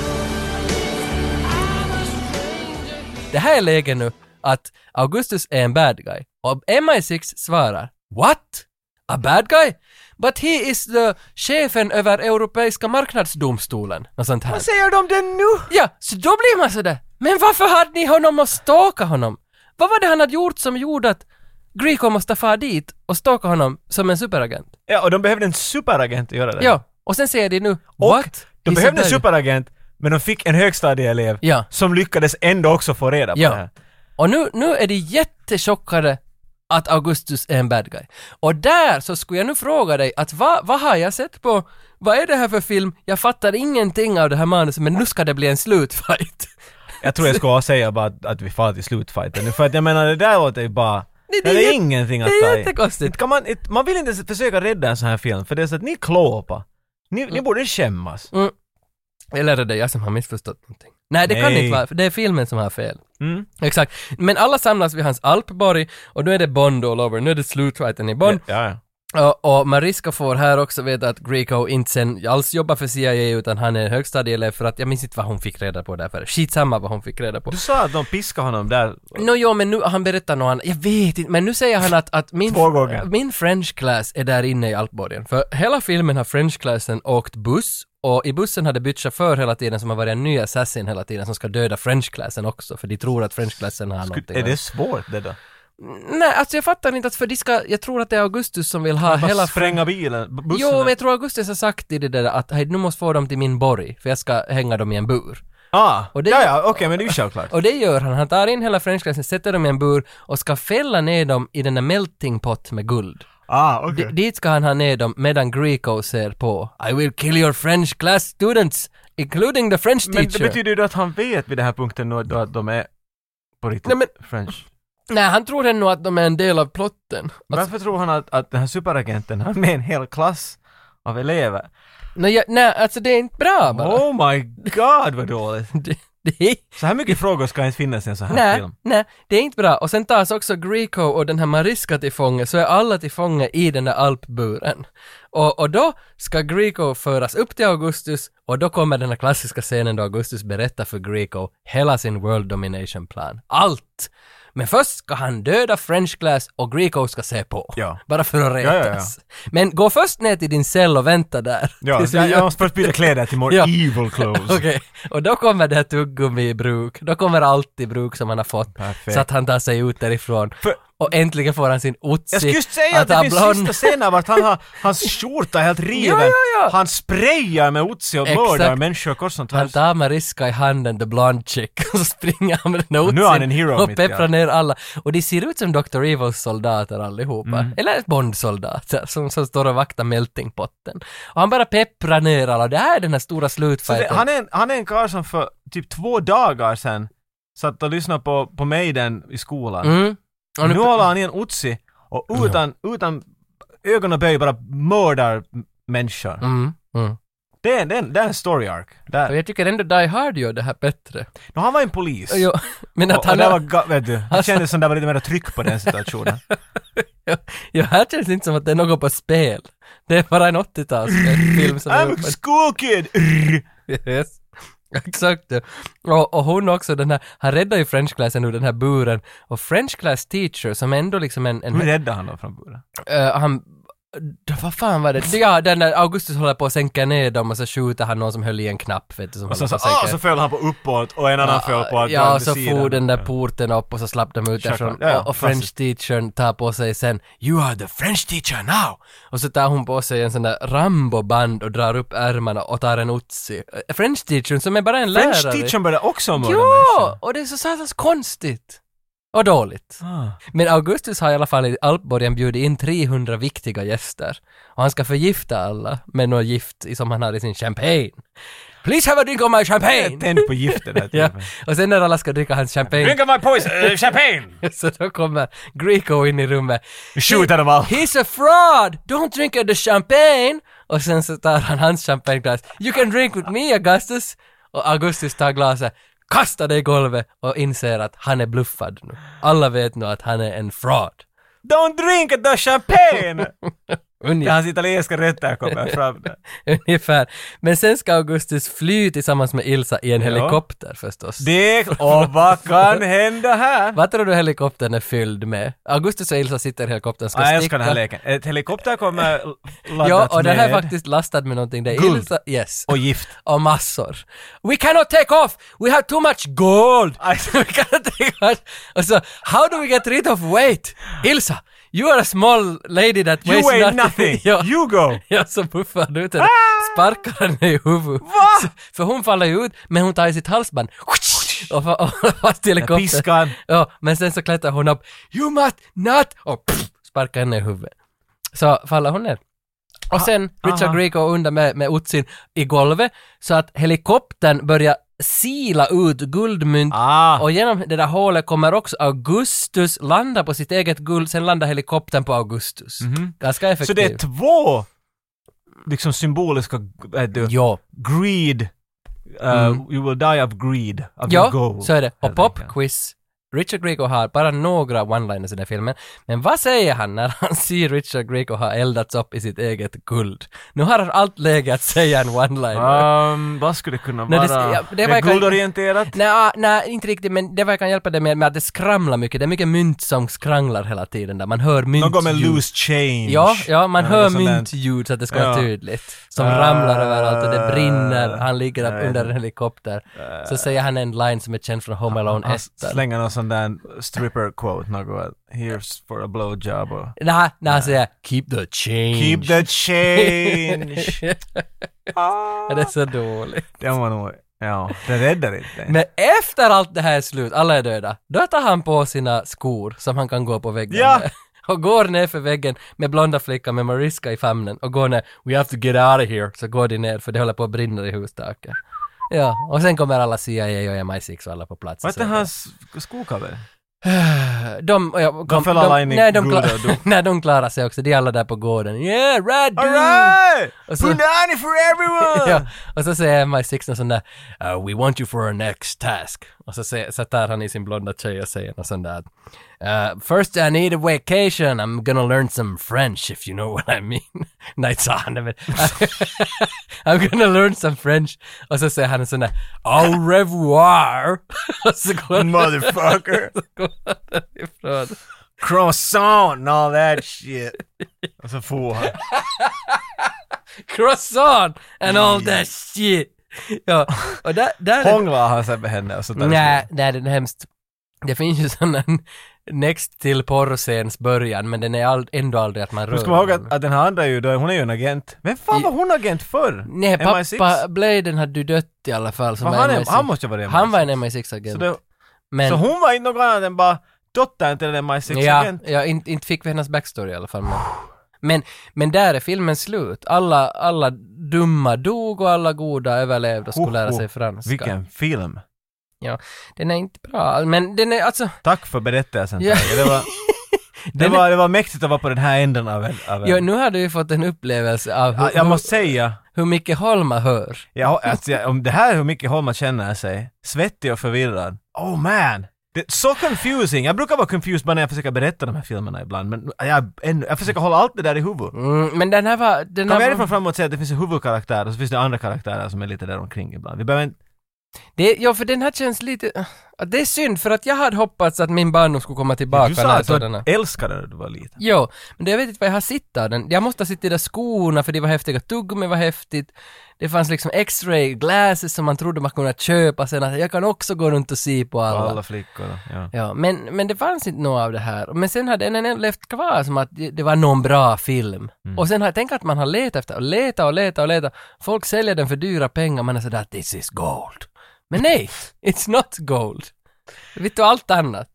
Speaker 1: det här är läget nu att Augustus är en bad guy. Och MI6 svarar What? A bad guy? But he is the chefen över Europeiska marknadsdomstolen. Något sånt här.
Speaker 11: Vad säger de det nu?
Speaker 1: Ja, så då blir man sådär. Men varför hade ni honom och stalka honom? Vad var det han hade gjort som gjorde att Greco måste fara dit och stalka honom som en superagent?
Speaker 2: Ja, och de behövde en superagent att göra det.
Speaker 1: Ja, och sen säger de nu
Speaker 2: Och
Speaker 1: What?
Speaker 2: de
Speaker 1: He's a
Speaker 2: behövde en
Speaker 1: bad-
Speaker 2: superagent, men de fick en högstadieelev
Speaker 1: Ja.
Speaker 2: som lyckades ändå också få reda på det
Speaker 1: Ja.
Speaker 2: här.
Speaker 1: Och nu, nu är de jättechockade att Augustus är en bad guy. Och där så skulle jag nu fråga dig att vad, vad har jag sett på? Vad är det här för film? Jag fattar ingenting av det här manuset men nu ska det bli en slutfight.
Speaker 2: Jag tror jag ska säga bara att, att vi far till slutfighten nu, för att jag menar det där låter ju bara...
Speaker 1: Nej, det
Speaker 2: det är,
Speaker 1: är jätte-
Speaker 2: ingenting att
Speaker 1: det är
Speaker 2: ta i.
Speaker 1: jättekonstigt.
Speaker 2: Inte Kan man, inte- man vill inte ens försöka rädda en sån här film, för det är så att ni klåpar. Ni, ni borde skämmas.
Speaker 1: Mm. Eller är det jag som har missförstått någonting? Nej, det kan
Speaker 2: Nej.
Speaker 1: inte vara, för det är filmen som har fel.
Speaker 2: Mm.
Speaker 1: Exakt. Men alla samlas vid hans alpborg och nu är det Bond all over, nu är det slutfighten i Bond.
Speaker 2: Ja, ja.
Speaker 1: Och, och Mariska får här också veta att Greco inte sen alls jobbar för CIA utan han är högstadieelev för att jag minns inte vad hon fick reda på därför. Skitsamma vad hon fick reda på.
Speaker 2: Du sa att de piskar honom där.
Speaker 1: Nå jo, men nu, han berättar nog han, jag vet inte, men nu säger han att, att min,
Speaker 2: Två gånger.
Speaker 1: min French class är där inne i Alpborgen. För hela filmen har French classen åkt buss och i bussen har det bytt chaufför hela tiden som har varit en ny assassin hela tiden som ska döda French classen också för de tror att French classen har någonting.
Speaker 2: Är det svårt det då?
Speaker 1: Nej, alltså jag fattar inte att för de ska, jag tror att det är Augustus som vill ha
Speaker 2: Bara
Speaker 1: hela...
Speaker 2: spränga bilen, b- bussen?
Speaker 1: Jo, men jag tror Augustus har sagt i det där att hej, nu måste få dem till min borg för jag ska hänga dem i en bur.
Speaker 2: Ah,
Speaker 1: Och det-
Speaker 2: ja, ja, okej, men det är ju självklart.
Speaker 1: Och det gör han. Han tar in hela frenchklassen, sätter dem i en bur och ska fälla ner dem i den där melting pot med guld.
Speaker 2: Ah, okej.
Speaker 1: D- dit ska han ha ner dem medan Greco ser på. I will kill your French class students, including the French
Speaker 2: Men det
Speaker 1: teacher.
Speaker 2: betyder ju då att han vet vid den här punkten nu då att de är på riktigt
Speaker 1: Nej, men-
Speaker 2: French.
Speaker 1: Nej, han tror ännu att de är en del av plotten. Alltså,
Speaker 2: Varför tror han att, att den här superagenten har med en hel klass av elever?
Speaker 1: nej, jag, nej, alltså det är inte bra bara.
Speaker 2: Oh my god vad dåligt!
Speaker 1: Det, det är,
Speaker 2: Så här mycket frågor ska inte finnas i en sån här
Speaker 1: nej,
Speaker 2: film.
Speaker 1: nej, det är inte bra. Och sen tas också Greco och den här Mariska till fånge, så är alla till fånge i den där alpburen. Och, och då ska Greco föras upp till Augustus och då kommer den här klassiska scenen då Augustus berättar för Greco hela sin world domination plan. Allt! Men först ska han döda French Glass och Greco ska se på.
Speaker 2: Ja.
Speaker 1: Bara för att
Speaker 2: Ja, ja, ja.
Speaker 1: retas. Men gå först ner till din cell och vänta där.
Speaker 2: Ja,
Speaker 1: Tills
Speaker 2: så
Speaker 1: vi
Speaker 2: jag,
Speaker 1: gör-
Speaker 2: jag måste först byta kläder till more
Speaker 1: Ja.
Speaker 2: evil clothes.
Speaker 1: Okej, och då kommer det här tuggummi i bruk. Då kommer allt i bruk som han har fått.
Speaker 2: Perfekt.
Speaker 1: Så att han tar sig ut därifrån.
Speaker 2: För-
Speaker 1: och äntligen får han sin otsi.
Speaker 2: Jag skulle just säga att det
Speaker 1: han
Speaker 2: finns
Speaker 1: blond-
Speaker 2: sista scener vart han har, hans skjorta är helt riven.
Speaker 1: Ja, ja, ja.
Speaker 2: Han sprayar med otsi och
Speaker 1: Exakt.
Speaker 2: mördar människor kors och
Speaker 1: Han
Speaker 2: tvärs.
Speaker 1: tar Mariska i handen, the blonde chick, och så springer han med den
Speaker 2: Och nu är han en hero
Speaker 1: och
Speaker 2: mitt i
Speaker 1: pepprar
Speaker 2: allt.
Speaker 1: ner alla. Och de ser ut som Dr. Evils soldater allihopa.
Speaker 2: Mm.
Speaker 1: Eller Bond-soldater som, som står och vaktar meltingpotten. Och han bara pepprar ner alla. Det här är den här stora
Speaker 2: Så det,
Speaker 1: slutfighten.
Speaker 2: han, är en, han är en karl som för typ två dagar sedan satt och lyssnade på, på Maiden i skolan.
Speaker 1: Mm. Och
Speaker 2: nu,
Speaker 1: nu-
Speaker 2: håller han i en otsi och utan, utan ögon och böj bara mördar m- människor.
Speaker 1: Mm. Mm.
Speaker 2: Det, är, det, är, en- det är en story arc. Där.
Speaker 1: Och jag tycker ändå Die Hard gör det här bättre.
Speaker 2: Nu, han var en polis.
Speaker 1: Jo, men att
Speaker 2: och, och
Speaker 1: han...
Speaker 2: det var, ga- vet du, det
Speaker 1: Alltså-
Speaker 2: kändes som det var lite mer tryck på den situationen.
Speaker 1: Ja, här känns det inte som att det är något på spel. Det är bara en 80-talsfilm som är
Speaker 2: I'm a school kid!
Speaker 1: yes. Exakt. ja. Och, och hon också, den här, han räddar ju French classen ur den här buren. Och French class teacher som ändå liksom en... en
Speaker 2: Hur räddade han dem från buren?
Speaker 1: eh, han... d- Vad fan var det? Ja, den där Augustus håller på att sänka ner dem och så skjuter han någon som höll i en knapp, vet du, som
Speaker 2: Och sen så,
Speaker 1: håller på att sänka-
Speaker 2: ah, så föll han på uppåt och en annan föll på att
Speaker 1: Ja,
Speaker 2: dra
Speaker 1: och så
Speaker 2: till sidan.
Speaker 1: for den där
Speaker 2: Ja.
Speaker 1: porten upp och så slapp de ut
Speaker 2: Självklart.
Speaker 1: därifrån.
Speaker 2: Ja, ja,
Speaker 1: och, och
Speaker 2: klassiskt.
Speaker 1: French teachern tar på sig sen “You are the French teacher now!” och så tar hon på sig en sån där Rambo-band och drar upp ärmarna och tar en otsi. Eh, French teachern som är bara en lärare.
Speaker 2: French teachern började också mörda
Speaker 1: Ja! Och det är så satans konstigt. Och dåligt.
Speaker 2: människor. Ah.
Speaker 1: Men Augustus har i alla fall i Alpborgen bjudit in 300 viktiga gäster. Och han ska förgifta alla med något gift som han har i sin champagne. “Please have a drink of my champagne!”
Speaker 2: Tänd på giftet där
Speaker 1: Ja,
Speaker 2: typen.
Speaker 1: och sen när alla ska dricka hans champagne
Speaker 2: Drink of my poison, eh, champagne!
Speaker 1: så då kommer Greco in i rummet.
Speaker 2: Skjuter dem alla.
Speaker 1: He's a fraud! Don't drink the champagne! Och sen så tar han hans champagneglas. You can drink with me Augustus! Och Augustus tar glaset, kastar det i golvet och inser att han är bluffad nu. Alla vet nu att han är en fraud.
Speaker 2: Don't drink the champagne!
Speaker 1: Ungefär.
Speaker 2: Hans italienska rätter kommer fram där.
Speaker 1: Ungefär. Men sen ska Augustus fly tillsammans med Ilsa i en
Speaker 2: Ja.
Speaker 1: helikopter förstås.
Speaker 2: Det, och vad kan hända här?
Speaker 1: Vad tror du helikoptern är fylld med? Augustus och Ilsa sitter i helikoptern och ska
Speaker 2: Ah, jag
Speaker 1: sticka.
Speaker 2: älskar den här leken. Ett helikopter kommer l- laddat
Speaker 1: Ja, och den här är
Speaker 2: med-
Speaker 1: faktiskt lastad med någonting. Det är
Speaker 2: Guld.
Speaker 1: Ilsa, yes.
Speaker 2: Och gift.
Speaker 1: Och massor. We cannot take off! We have too much gold! we cannot take off! Och så, how do we get rid of weight? Ilsa, you are a small lady that
Speaker 2: You
Speaker 1: weighs
Speaker 2: weigh
Speaker 1: nothing.
Speaker 2: nothing.
Speaker 1: ja.
Speaker 2: You Ah! go!
Speaker 1: Ja, så puffar han ut henne, sparkar henne i huvudet. Så- För hon faller ju ut, men hon tar i sitt halsband och fa- och fast i helikoptern.
Speaker 2: piskan.
Speaker 1: Ja, men sen så klättrar hon upp. You must not! Och pff, sparkar henne i huvudet. Så faller hon ner. Och sen Richard
Speaker 2: Ah, aha.
Speaker 1: Grieco går undan med, med otsin i golvet så att helikoptern börjar sila ut guldmynt
Speaker 2: Ah.
Speaker 1: och genom det där hålet kommer också Augustus landa på sitt eget guld, sen landar helikoptern på Augustus. Ganska
Speaker 2: Mhm. Så
Speaker 1: effektivt.
Speaker 2: det är två liksom symboliska, vet du,
Speaker 1: Ja.
Speaker 2: greed. Uh,
Speaker 1: Mm.
Speaker 2: You will die of greed, of your
Speaker 1: Ja,
Speaker 2: goal.
Speaker 1: så är det. Och
Speaker 2: helt enkelt.
Speaker 1: popquiz. Richard Grieco har bara några one-liners i den här filmen. Men vad säger han när han ser Richard Grieco ha eldats upp i sitt eget guld? Nu har han allt läge att säga en one-liner.
Speaker 2: Ehm, vad skulle det kunna
Speaker 1: Nej,
Speaker 2: vara?
Speaker 1: det- ja, det
Speaker 2: det
Speaker 1: var
Speaker 2: är
Speaker 1: kanske-
Speaker 2: guldorienterat?
Speaker 1: Nej, nej, inte riktigt, men det var jag kan hjälpa dig med, med att det skramlar mycket. Det är mycket mynt som skranglar hela tiden där. Man hör myntljud.
Speaker 2: Något med loose change.
Speaker 1: Ja, ja, man
Speaker 2: Eller
Speaker 1: hör
Speaker 2: något sånt där.
Speaker 1: myntljud så att det ska vara
Speaker 2: Ja.
Speaker 1: tydligt. Som
Speaker 2: Ah.
Speaker 1: ramlar överallt och det brinner. Han ligger
Speaker 2: jag
Speaker 1: upp
Speaker 2: vet
Speaker 1: under
Speaker 2: inte.
Speaker 1: en helikopter. Så säger han en line som är känd från Home Alone
Speaker 2: Han
Speaker 1: 1.
Speaker 2: slänger någon sån där stripper-quote, något “Here's for a blowjob” och
Speaker 1: Nej, nej, han säger “Keep the change”.
Speaker 2: “Keep the change”.
Speaker 1: Ja, det är så dåligt.
Speaker 2: den var nog... Ja, den räddar inte.
Speaker 1: Men efter allt det här är slut, alla är döda, då tar han på sina skor som han kan gå på väggen
Speaker 2: Ja.
Speaker 1: med. Och går ner för väggen med blonda flickan med Mariska i famnen och går ner. We have to get out of here. Så går de ner för det håller på att brinna i hustaket. Ja, och sen kommer alla CIA och MI6 och alla på plats.
Speaker 2: Vad
Speaker 1: Så-
Speaker 2: hette hans skokavel?
Speaker 1: De, ja, kom,
Speaker 2: föll alla in i
Speaker 1: nej, de,
Speaker 2: guld
Speaker 1: klar,
Speaker 2: och dog.
Speaker 1: nej, de klarar sig också. De är alla där på gården. Yeah, right dude!
Speaker 2: Alright!
Speaker 1: Och så-
Speaker 2: Punani for everyone!
Speaker 1: ja, och så säger MI6 någon sån där "Uh, “We want you for our next task” och så, säger, så tar han i sin blonda tjej och säger något sånt där uh, “First I need a vacation, I'm gonna learn some French if you know what I mean”. Nej, sa han det men- “I'm gonna learn some French” och så säger han en sån där “Au revoir” och så går
Speaker 2: Mm. Motherfucker!
Speaker 1: så går han därifrån.
Speaker 2: Croissant and all that shit. Och så for han.
Speaker 1: Croissant and all that shit! Ja, och där, där är-
Speaker 2: Hånglar han sig med henne och sånt där.
Speaker 1: Nej, nej, det är hemskt. Det finns ju sån en next till porrscens början, men den är all, ändå aldrig att man rör
Speaker 2: Du ska man ihåg
Speaker 1: den.
Speaker 2: att, att den här andra ju då, hon är ju en agent. Men fan var hon agent förr?
Speaker 1: Nej,
Speaker 2: MI6?
Speaker 1: pappa Bladen hade ju dött i alla fall. Som
Speaker 2: Var
Speaker 1: var
Speaker 2: han,
Speaker 1: MI6.
Speaker 2: han måste ju vara det.
Speaker 1: Han var en MI6-agent.
Speaker 2: Så, det,
Speaker 1: Men...
Speaker 2: så hon liksom var inte någon annan än bara dottern till en
Speaker 1: ja,
Speaker 2: MI6-agent?
Speaker 1: ja, inte, inte fick vi hennes backstory i alla fall. Men, men, men där är filmen slut. Alla, alla dumma dog och alla goda överlevde och skulle
Speaker 2: Ho,
Speaker 1: lära
Speaker 2: ho.
Speaker 1: sig franska.
Speaker 2: Vilken film!
Speaker 1: Ja, den är inte bra. Men den är alltså...
Speaker 2: Tack för berättelsen.
Speaker 1: Ja.
Speaker 2: Tage. Det, var, det,
Speaker 1: Den är-
Speaker 2: var, det var mäktigt att vara på den här änden av en... Av en.
Speaker 1: Ja, nu har du ju fått en upplevelse av hur,
Speaker 2: Ja, jag måste säga,
Speaker 1: hur, hur mycket Holma hör.
Speaker 2: jag, alltså, jag, om det här är hur mycket Holma känner sig, svettig och förvirrad. Oh man! Det är så confusing! Jag brukar vara confused bara när jag försöker berätta de här filmerna ibland, men jag, ännu- jag försöker hålla allt det där i huvudet.
Speaker 1: Mm, men den här var... Den
Speaker 2: Kan vi
Speaker 1: här
Speaker 2: härifrån
Speaker 1: var
Speaker 2: framåt säga att det finns en huvudkaraktär och så finns det andra karaktärer som är lite där omkring ibland. Vi behöver inte...
Speaker 1: det, ja, för den här känns lite... Det är synd, för att jag hade hoppats att min barndom skulle komma tillbaka.
Speaker 2: Du
Speaker 1: när
Speaker 2: sa
Speaker 1: jag
Speaker 2: att
Speaker 1: såg den
Speaker 2: du
Speaker 1: här.
Speaker 2: älskade det när du var liten.
Speaker 1: Jo, men det- jag vet inte vad jag har sett av den. Jag måste ha sett de där skorna, för de var häftiga. Tuggummi var häftigt. Det fanns liksom x-ray glasses som man trodde man kunde köpa sen. Att jag kan också gå runt och se på alla.
Speaker 2: Alla flickor. Ja.
Speaker 1: Ja, men, men det fanns inte något av det här. Men sen hade den ändå levt kvar som att det det var någon bra film. Och sen har jag tänkt att man har letat efter, och letat och letat och letat. Folk säljer den för dyra pengar, man är sådär “this is gold”. Men nej, it's not gold. Vet du allt annat?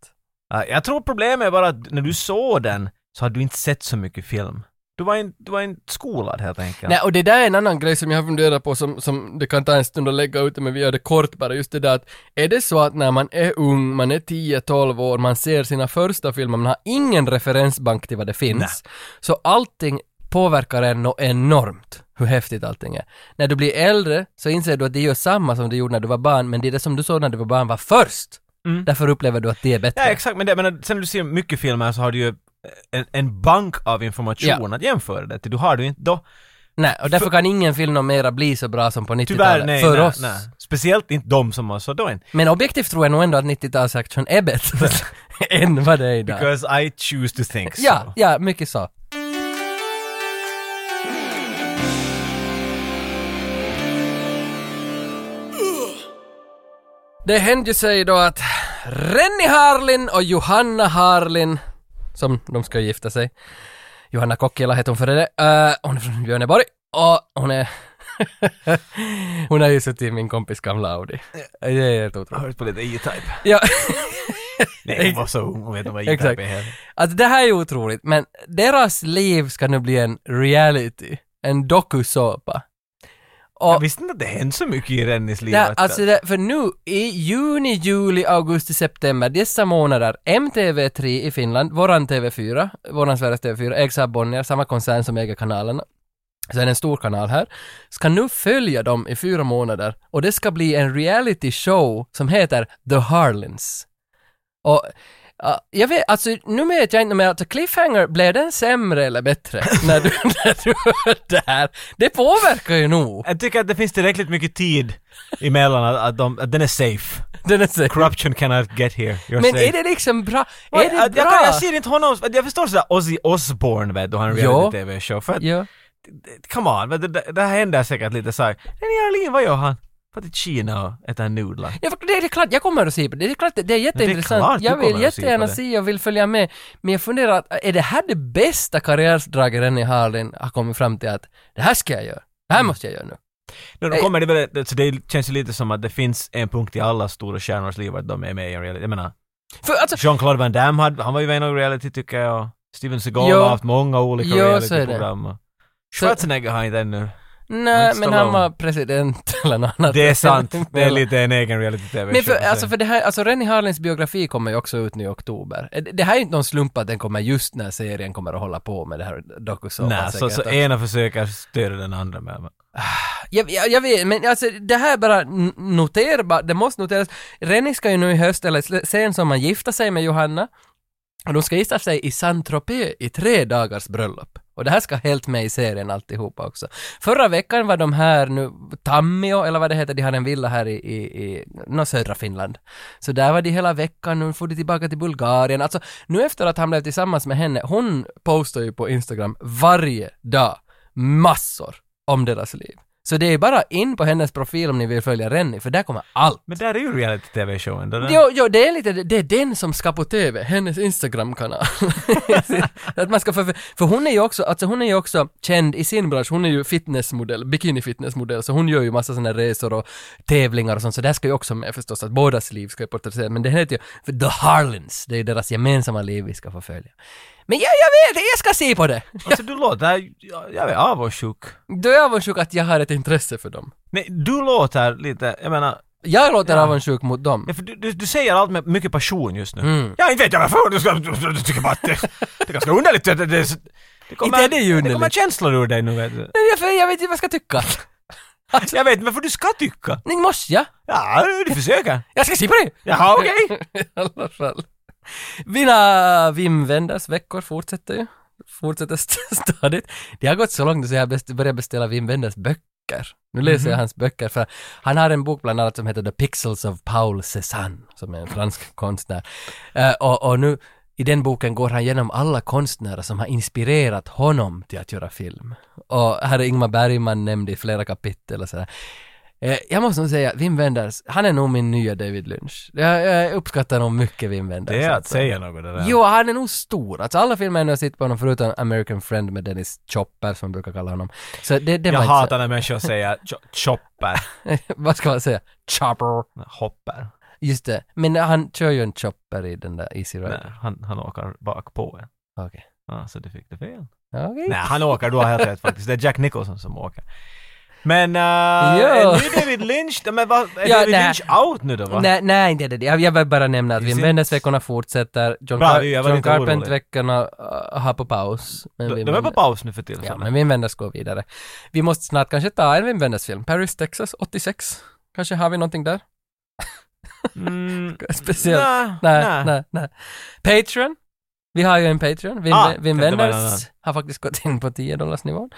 Speaker 2: Ja, Jag tror problemet är bara att när du såg den så hade du inte sett så mycket film. Du var inte, du var inte skolad helt enkelt.
Speaker 1: Nej, och det där är en annan grej som jag har funderat på som, som det kan ta en stund att lägga ut men vi gör det kort bara, just det där att är det så att när man är ung, man är 10-12 år, man ser sina första filmer, man har ingen referensbank till vad det finns, så allting påverkar en nå- enormt hur häftigt allting är. När du blir äldre så inser du att det gör samma som du gjorde när du var barn, men det är det som du såg när du var
Speaker 2: Mm.
Speaker 1: barn var först. Därför upplever du att det är bättre.
Speaker 2: Ja, exakt, men det, men sen när du ser mycket filmer så har du ju eh, en, en bank av information att jämföra det till. Du har du inte då.
Speaker 1: Nej, och därför kan ingen film om mera bli så bra som på 90-talet.
Speaker 2: Tyvärr, nej,
Speaker 1: för
Speaker 2: nej,
Speaker 1: oss.
Speaker 2: nej. Speciellt inte de som har så då inte.
Speaker 1: Men objektivt tror jag nog ändå att 90-talsaction är bättre än vad det är idag.
Speaker 2: Because I choose to think so.
Speaker 1: Ja, ja, mycket så. Det hände ju sig då att Rennie Harlin och Johanna Harlin, som de ska gifta sig, Johanna Kokkila heter hon före det, Eh, hon är från Björneborg och hon är hon har ju suttit i min kompis gamla Audi. Det är helt otroligt.
Speaker 2: Hört på lite E-Type.
Speaker 1: Ja.
Speaker 2: Nej, hon var så ung, hon vet inte vad E-Type
Speaker 1: Exakt.
Speaker 2: är heller.
Speaker 1: Alltså det här är ju otroligt, men deras liv ska nu bli en reality, en dokusåpa.
Speaker 2: Jag visste inte att det hände så mycket i Rennies liv.
Speaker 1: Nej,
Speaker 2: att-
Speaker 1: alltså det, för nu i juni, juli, augusti, september, dessa månader, MTV3 i Finland, våran TV4, våran Sveriges TV4, ägs av Bonnier, samma koncern som äger kanalerna, så är det en stor kanal här, ska nu följa dem i fyra månader och det ska bli en reality show som heter The Harlins. Och ja, jag vet, alltså nu vet jag inte mer, alltså cliffhanger, blev den sämre eller bättre när du, när du hör det här? Det påverkar ju nog.
Speaker 2: Jag tycker att det finns tillräckligt mycket tid emellan att, att, de, att den är safe.
Speaker 1: Den är safe.
Speaker 2: Corruption cannot get here. You're
Speaker 1: Men
Speaker 2: safe.
Speaker 1: är det liksom bra?
Speaker 2: Vad-
Speaker 1: Är det
Speaker 2: att
Speaker 1: bra?
Speaker 2: jag, kan, jag ser inte honom, att jag förstår sådär Ozzy Osbourne vet du, han
Speaker 1: Ja.
Speaker 2: reality-tv-show. För att,
Speaker 1: ja.
Speaker 2: come on, men det, det, det här händer säkert lite såhär, René Arlin, vad gör han? För till Kina och äter nudlar.
Speaker 1: Ja, för det det är klart, jag kommer att se på det. Det är klart, det är jätteintressant.
Speaker 2: klart du
Speaker 1: jag vill
Speaker 2: kommer att se på
Speaker 1: jättegärna
Speaker 2: det.
Speaker 1: se, jag vill följa med. Men jag funderar, att, är det här det bästa karriärsdraget Rennie Harlin har kommit fram till att det här ska jag göra, det här måste jag göra nu.
Speaker 2: Nu
Speaker 1: Eh.
Speaker 2: då kommer det väl, så det känns ju lite som att det finns en punkt i alla stora stjärnors liv att de är med i en reality. Jag menar,
Speaker 1: För alltså,
Speaker 2: Jean-Claude Van Damme, hade, han var ju med i någon reality tycker jag. och Steven Seagal
Speaker 1: Jo.
Speaker 2: har haft många
Speaker 1: Jo,
Speaker 2: olika
Speaker 1: så är det.
Speaker 2: realityprogram. och Schwarzenegger har inte ännu.
Speaker 1: nej,
Speaker 2: Men
Speaker 1: men han
Speaker 2: Stallone.
Speaker 1: var president eller något annat.
Speaker 2: Det är sant, det är lite en egen reality-tv.
Speaker 1: Men för, alltså för det här, alltså Rennie Harlins biografi kommer ju också ut nu i oktober. Eh, Det här är inte någon slump att den kommer just när serien kommer att hålla på med det här dokusåpan
Speaker 2: Nej, så, så
Speaker 1: säkert.
Speaker 2: ena försöker stödja den andra med.
Speaker 1: Jag, jag, jag vet, men alltså det här är bara n- noterbart, det måste noteras. Rennie ska ju nu i höst, eller sl- sen som man gifta sig med Johanna, och de ska gifta sig i Saint-Tropez i tre dagars bröllop. Och det här ska helt med i serien alltihopa också. Förra veckan var de här nu, Tammio, eller vad det heter, de har en villa här i, i, i nå, södra Finland. Så där var de hela veckan, nu får de tillbaka till Bulgarien. Alltså, nu efter att han blev tillsammans med henne, hon postar ju på Instagram varje dag massor om deras liv. Så det är bara in på hennes profil om ni vill följa Rennie, för där kommer allt.
Speaker 2: Men där är ju reality-tv-showen då.
Speaker 1: Jo, jo, det är lite, det är den som ska på TV, hennes Instagram-kanal. att man ska för, för hon är ju också, alltså hon är ju också känd i sin bransch, hon är ju fitnessmodell, bikini-fitnessmodell, så hon gör ju massa sådana resor och tävlingar och sånt, så det här ska ju också med förstås, att bådas liv ska ju porträtteras, men det heter ju för The Harlins, det är ju deras gemensamma liv vi ska få följa. Men jag, jag vet, jag ska se på det!
Speaker 2: Alltså du låter, jag, jag är avundsjuk.
Speaker 1: Då är jag avundsjuk att jag har ett intresse för dem.
Speaker 2: Nej, du låter lite, jag menar,
Speaker 1: Jag låter avundsjuk mot dem.
Speaker 2: Ja, för du, du, du säger allt med mycket passion just nu.
Speaker 1: Mm.
Speaker 2: Ja, inte vet jag varför. Du, ska, du, du, du tycker bara att det, det är ganska underligt. Det, det, det, det kommer,
Speaker 1: Inte är det ju
Speaker 2: Det kommer
Speaker 1: underligt.
Speaker 2: känslor ur dig nu vet du.
Speaker 1: Nej, Jag, jag vet inte vad jag ska tycka.
Speaker 2: Jag vet, men för du ska tycka.
Speaker 1: Nej, måste jag?
Speaker 2: Ja, du försöker.
Speaker 1: Jag ska se på det!
Speaker 2: Jaha, okej.
Speaker 1: I alla fall. Mina vimvänders veckor fortsätter ju. Fortsätter st- stadigt. Det har gått så långt så jag best- börjar beställa Wim Wenders böcker. Nu läser jag
Speaker 2: Mhm.
Speaker 1: hans böcker för han har en bok bland annat som heter The Pixels of Paul Cézanne som är en fransk konstnär. Eh, och, och nu i den boken går han igenom alla konstnärer som har inspirerat honom till att göra film. Och här är Ingmar Bergman nämnd i flera kapitel och sådär. Eh, Jag måste nog säga, Wim Wenders, han är nog min nya David Lynch. Jag, jag uppskattar nog mycket Wim Wenders.
Speaker 2: Det är att
Speaker 1: alltså.
Speaker 2: säga något det där.
Speaker 1: Jo, han är nog stor. Alltså alla filmer jag nu har sett på honom, förutom American Friend med Dennis Chopper, som man brukar kalla honom. Så det, det
Speaker 2: jag
Speaker 1: var
Speaker 2: hatar
Speaker 1: inte
Speaker 2: när människor säger cho- chopper.
Speaker 1: så... Vad ska man säga? Chopper.
Speaker 2: Hopper.
Speaker 1: Just det. Men han kör ju en chopper i den där Easy
Speaker 2: Nej,
Speaker 1: Rider.
Speaker 2: han, han åker bak på en.
Speaker 1: Okej.
Speaker 2: Ja, så du fick det fel.
Speaker 1: Okej.
Speaker 2: Nej, han åker. Du har helt rätt faktiskt. Det är Jack Nicholson som åker. Men,
Speaker 1: Jo.
Speaker 2: uh, nu David Lynch, men vad, är
Speaker 1: Ja,
Speaker 2: David
Speaker 1: nej.
Speaker 2: Lynch out nu då va?
Speaker 1: Nej, nej, inte det. Jag, jag vill bara nämna att Wim Wenders-veckorna fortsätter. John,
Speaker 2: Bra,
Speaker 1: Car-
Speaker 2: jag var
Speaker 1: John
Speaker 2: lite orolig.
Speaker 1: Carpent-veckorna äh, har på paus. Men
Speaker 2: De,
Speaker 1: Wim
Speaker 2: de är på
Speaker 1: Wenders-
Speaker 2: paus nu för tillfället.
Speaker 1: Ja, men Wim Wenders går vidare. Vi måste snart kanske ta en Wim Wenders-film. Paris, Texas, 86. Kanske har vi någonting där?
Speaker 2: Mm,
Speaker 1: Speciellt.
Speaker 2: Nä,
Speaker 1: Nej,
Speaker 2: nä.
Speaker 1: nej, nej. Patreon? Vi har ju en Patreon. Wim,
Speaker 2: Ah,
Speaker 1: Wim
Speaker 2: tänkte bara
Speaker 1: Wenders
Speaker 2: annan.
Speaker 1: har faktiskt gått in på 10 dollars nivån.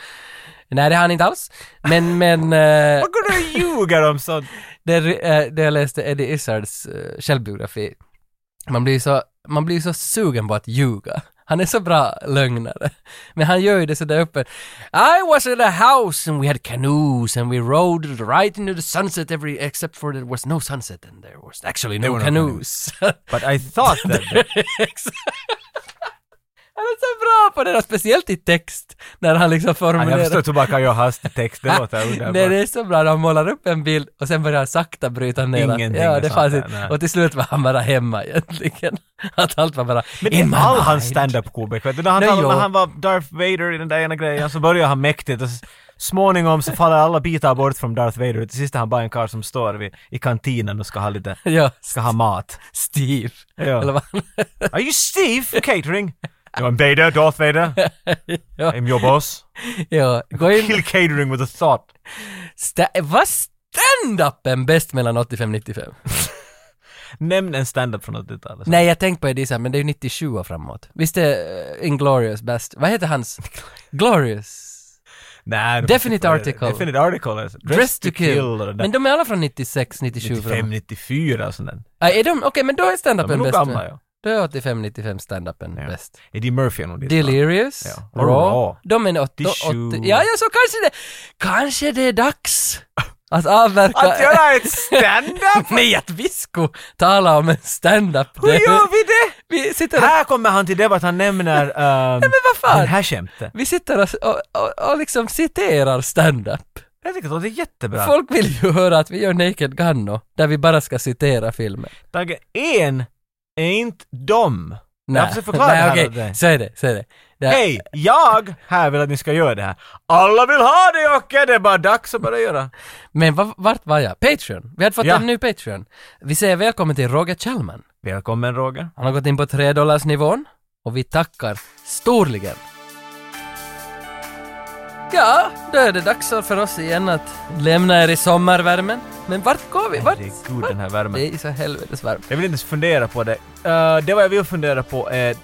Speaker 1: Nej, det har han inte alls. Men, men... eh, Vad
Speaker 2: kunde du ljuga om sånt?
Speaker 1: Där, eh, där jag läste Eddie Izzards eh, självbiografi. Man blir så, man blir så sugen på att ljuga. Han är så bra lögnare. Men han gör ju det så där uppe. I was at a house and we had canoes and we rode right into the sunset every except for there was no sunset and there was actually
Speaker 2: There
Speaker 1: no
Speaker 2: were no
Speaker 1: canoes.
Speaker 2: But I thought that...
Speaker 1: Han är så bra på det där, speciellt i text, när han liksom
Speaker 2: Ja,
Speaker 1: formulerar.
Speaker 2: jag förstår hur man kan göra hastigtext, det låter underbart.
Speaker 1: Nej, det är så bra. Han målar upp en bild och sen börjar han sakta bryta ner den.
Speaker 2: Ingenting
Speaker 1: Ja,
Speaker 2: är
Speaker 1: det
Speaker 2: sant
Speaker 1: fanns
Speaker 2: där,
Speaker 1: inte.
Speaker 2: nej.
Speaker 1: Och till slut var han bara hemma egentligen. Att allt var bara...
Speaker 2: Men
Speaker 1: "In my
Speaker 2: det är all
Speaker 1: mind."
Speaker 2: hans standup-komik, vet du? När han,
Speaker 1: Nej,
Speaker 2: talade- när
Speaker 1: jo.
Speaker 2: han var Darth Vader i den där ena grejen så börjar han mäktigt och s- småningom så faller alla bitar bort från Darth Vader och till sist är han bara en karl som står vid, i kantinen och ska ha lite,
Speaker 1: Ja.
Speaker 2: ska ha mat.
Speaker 1: Steve.
Speaker 2: Ja.
Speaker 1: Eller vad
Speaker 2: Are you Steve for catering? No, I'm Vader, Darth Vader. I'm your boss.
Speaker 1: Ja, gå in...
Speaker 2: Kill catering with a thought.
Speaker 1: Sta- vad stand-upen bäst mellan 85 och 95?
Speaker 2: Nämn en standup från alltså. 80-talet.
Speaker 1: Nej, jag tänkte på det sen, men det är ju 97 och framåt. Visst är uh, Inglorious bäst? Vad heter hans? Glorious?
Speaker 2: Nej, det-
Speaker 1: Definite Article.
Speaker 2: Definite Article. alltså.
Speaker 1: Dress, to kill.
Speaker 2: och den där.
Speaker 1: men de är alla från 96, 97
Speaker 2: 95,
Speaker 1: framåt.
Speaker 2: 94 och sånt där.
Speaker 1: Ah, är de, okej, men då är
Speaker 2: De
Speaker 1: stand-upen
Speaker 2: är nog
Speaker 1: bäst.
Speaker 2: gamla, ja.
Speaker 1: Då är 85, 95 stand-upen bäst.
Speaker 2: Eddie Murphy är nog dit, va?
Speaker 1: Delirious,
Speaker 2: Ja.
Speaker 1: Raw.
Speaker 2: Raw.
Speaker 1: De är 80,
Speaker 2: 87.
Speaker 1: 80, ja, ja, så kanske det, kanske det är dags att avverka...
Speaker 2: Att göra ett stand-up?
Speaker 1: Nej, att vi skulle tala om en stand-up.
Speaker 2: Hur gör vi det?
Speaker 1: Vi sitter och-
Speaker 2: Här kommer han till det att han nämner... Um, Nej,
Speaker 1: vad fan?
Speaker 2: Den här skämtet.
Speaker 1: Vi sitter och, och, och, och liksom citerar stand-up.
Speaker 2: Jag tycker att det är jättebra.
Speaker 1: Folk vill ju höra att vi gör Naked Gunno, där vi bara ska citera filmen.
Speaker 2: Tage, en är inte dom. Jag har försökt förklara det
Speaker 1: Nej
Speaker 2: här
Speaker 1: okej,
Speaker 2: åt dig.
Speaker 1: säg det, säg det. det här-
Speaker 2: Hej, jag här vill att ni ska göra det här. Alla vill ha det Jocke, det är bara dags att börja göra.
Speaker 1: Men va- vart var jag? Patreon! Vi hade fått
Speaker 2: Ja.
Speaker 1: en ny Patreon. Vi säger välkommen till Roger Kjellman.
Speaker 2: Välkommen Roger.
Speaker 1: Han har gått in på 3 dollars nivån och vi tackar storligen. Ja, då är det dags för oss igen att lämna er i sommarvärmen. Men vart går vi? Vart?
Speaker 2: Gud den här värmen.
Speaker 1: Det är så helvetes varmt.
Speaker 2: Jag vill inte ens fundera på det. Eh, det vad jag vill fundera på är...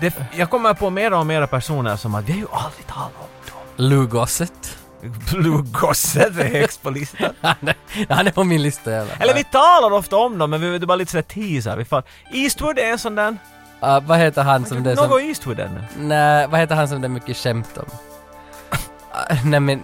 Speaker 2: Det, jag kommer på mera och mera personer som att vi har ju aldrig talat
Speaker 1: Lou Gossett.
Speaker 2: om Blue Gossett är högst på listan.
Speaker 1: han, är, han är på min lista i alla fall.
Speaker 2: Eller vi talar ofta om dem men vi det är bara lite sådär teasar. Vi fan. Eastwood är en sån där...
Speaker 1: Ja, vad heter han som det som...
Speaker 2: Något Eastwood är nu.
Speaker 1: Nej, vad heter han som det är mycket skämt om? Ah, nej men...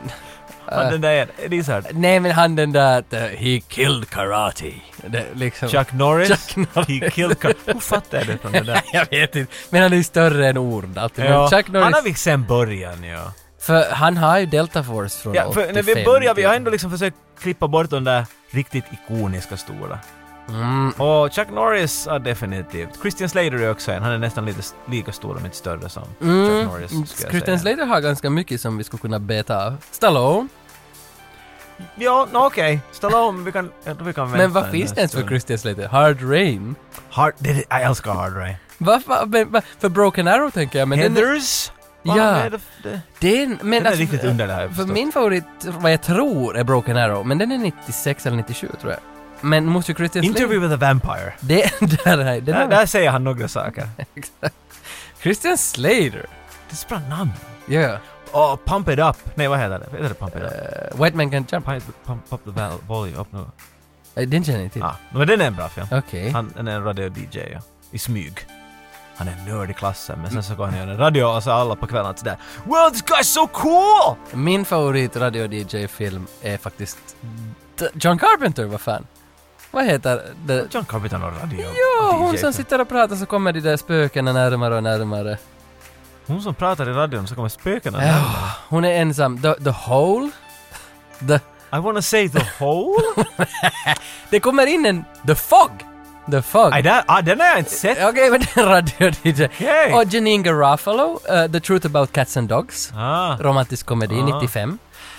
Speaker 2: Han
Speaker 1: eh,
Speaker 2: den där är... Lizard.
Speaker 1: nej men han den där att eh, he killed karate. Det, liksom.
Speaker 2: Chuck Norris.
Speaker 1: Chuck Norris.
Speaker 2: He killed Car- Hur fattar jag det från det där?
Speaker 1: jag vet inte. Men han är ju större än ord alltid. Men Chuck Norris.
Speaker 2: Han har vi sen början ja.
Speaker 1: För han har ju Delta Force från
Speaker 2: ja för
Speaker 1: 85.
Speaker 2: när vi börjar, vi har ändå liksom försökt klippa bort de där riktigt ikoniska stora.
Speaker 1: Mm.
Speaker 2: Och Chuck Norris, ja definitivt. Christian Slater är också en, han är nästan lite s- lika stor om inte större som
Speaker 1: Mm.
Speaker 2: Chuck Norris. ska jag
Speaker 1: Christian
Speaker 2: säga.
Speaker 1: Slater har ganska mycket som vi skulle kunna beta av. Stallone.
Speaker 2: Ja, no, okej. Stallone, vi kan, jag tror vi kan vänta.
Speaker 1: Men vad
Speaker 2: en
Speaker 1: finns det ens för
Speaker 2: stund.
Speaker 1: Christian Slater? Hard Rain?
Speaker 2: Hard, det, är- jag älskar Hard Ray.
Speaker 1: Va, va, men, va, för Broken Arrow tänker jag, men den...
Speaker 2: Heathers? Vad
Speaker 1: Ja.
Speaker 2: är det- det-
Speaker 1: Den, men alltså,
Speaker 2: Den är riktigt underlig, har jag
Speaker 1: För
Speaker 2: förstått.
Speaker 1: min favorit, vad jag tror, är Broken Arrow, men den är 96 eller 97 tror jag. Men måste ju Christian Slater...
Speaker 2: Interview with a Vampire.
Speaker 1: Det, där, är- den
Speaker 2: Där,
Speaker 1: har-
Speaker 2: där säger han några saker.
Speaker 1: Christian Slater! Eh,
Speaker 2: Det är så bra namn.
Speaker 1: Ja,
Speaker 2: Och Pump It Up. Nej, vad heter det? Heter det Pump It Up?
Speaker 1: Eh, White Man Can Jump.
Speaker 2: Pump, pump up the val- volume up nu.
Speaker 1: Eh, Den känner jag till.
Speaker 2: Ah, men den är en bra film.
Speaker 1: Okej.
Speaker 2: Han, han är en radio-DJ, ja. I smyg. Han är en nörd i klassen, men sen så går han och gör en radio och så alla på kvällen sådär “Wow, this guy's so cool!”
Speaker 1: Min favorit radio-DJ-film är faktiskt D- John Carpenter, vad fan? Vad heter det?
Speaker 2: John Carpenter har radio.
Speaker 1: Ja, hon
Speaker 2: DJ.
Speaker 1: som sitter och pratar så kommer de där spökena närmare och närmare.
Speaker 2: Hon som pratar i radion så kommer spökena
Speaker 1: Ja, hon är ensam. The, the Hole? The...
Speaker 2: I wanna say the hole?
Speaker 1: Det kommer in en The Fog! The Fog.
Speaker 2: Nej, där, ah, den har jag inte sett.
Speaker 1: Okej, men det är radio-DJ.
Speaker 2: Okej.
Speaker 1: Och Janine Garofalo, eh, The Truth About Cats and Dogs.
Speaker 2: Ah.
Speaker 1: Romantisk komedi,
Speaker 2: Ah.
Speaker 1: 95.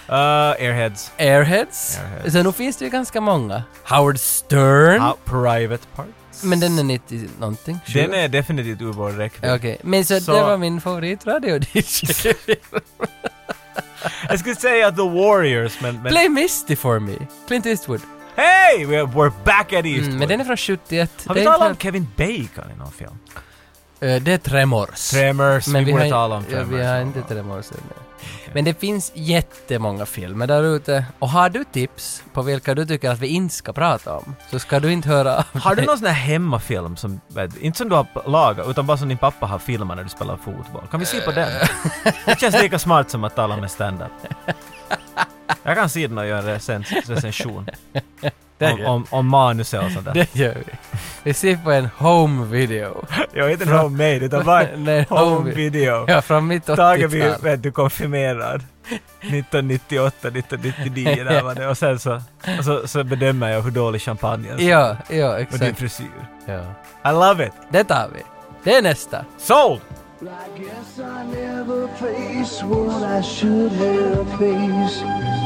Speaker 2: Uh, airheads.
Speaker 1: Airheads.
Speaker 2: Airheads.
Speaker 1: Så nu finns det ju ganska många. Howard Stern.
Speaker 2: Ah, private parts.
Speaker 1: Mm. Men den är 90 någonting.
Speaker 2: Den är definitivt ur vår räckvidd.
Speaker 1: Okej, men så,
Speaker 2: Så-
Speaker 1: det var min favoritradio DJ.
Speaker 2: Jag skulle säga The Warriors, men... men
Speaker 1: Play Misty for me. Clint Eastwood.
Speaker 2: Hey! We're, we're back at Eastwood!
Speaker 1: Mm, men den är från 71.
Speaker 2: Har vi
Speaker 1: Det är
Speaker 2: talat om
Speaker 1: inte-
Speaker 2: Kevin Bacon i någon film?
Speaker 1: Eh, Det är Tremors.
Speaker 2: Tremors, vi
Speaker 1: har
Speaker 2: borde
Speaker 1: in-
Speaker 2: tala om
Speaker 1: ja, Vi
Speaker 2: Tremors.
Speaker 1: har inte Tremors ännu. Men det finns jättemånga filmer där ute. Och har du tips på vilka du tycker att vi inte ska prata om, så ska du inte höra av
Speaker 2: Har du
Speaker 1: dig.
Speaker 2: någon sån här hemmafilm som, vet, inte som du har lagat, utan bara som din pappa har filmat när du spelar fotboll? Kan vi se på den?
Speaker 1: Eh.
Speaker 2: Det känns lika smart som att tala om en stand-up. Jag kan se den och göra en recens- recension.
Speaker 1: Det
Speaker 2: Om,
Speaker 1: gör-
Speaker 2: om, om manuset och sånt där.
Speaker 1: Det gör vi. Vi ser på en home video.
Speaker 2: Jag inte en homemade, utan bara en
Speaker 1: Nej,
Speaker 2: home video.
Speaker 1: Ja, från mitt
Speaker 2: Tage blir
Speaker 1: 80-tal.
Speaker 2: vet du, konfirmerad. 1998, 1999 där var det. Och sen så, och så, så bedömer jag hur dålig champagne är.
Speaker 1: Ja, ja,
Speaker 2: Och din
Speaker 1: exakt.
Speaker 2: frisyr.
Speaker 1: Ja.
Speaker 2: I love it!
Speaker 1: Det tar vi. Det är nästa.
Speaker 2: Sold!
Speaker 6: Guess I never faced what I should have faced.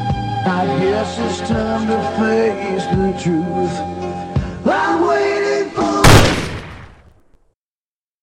Speaker 6: I guess it's time to face the truth. I'm waiting.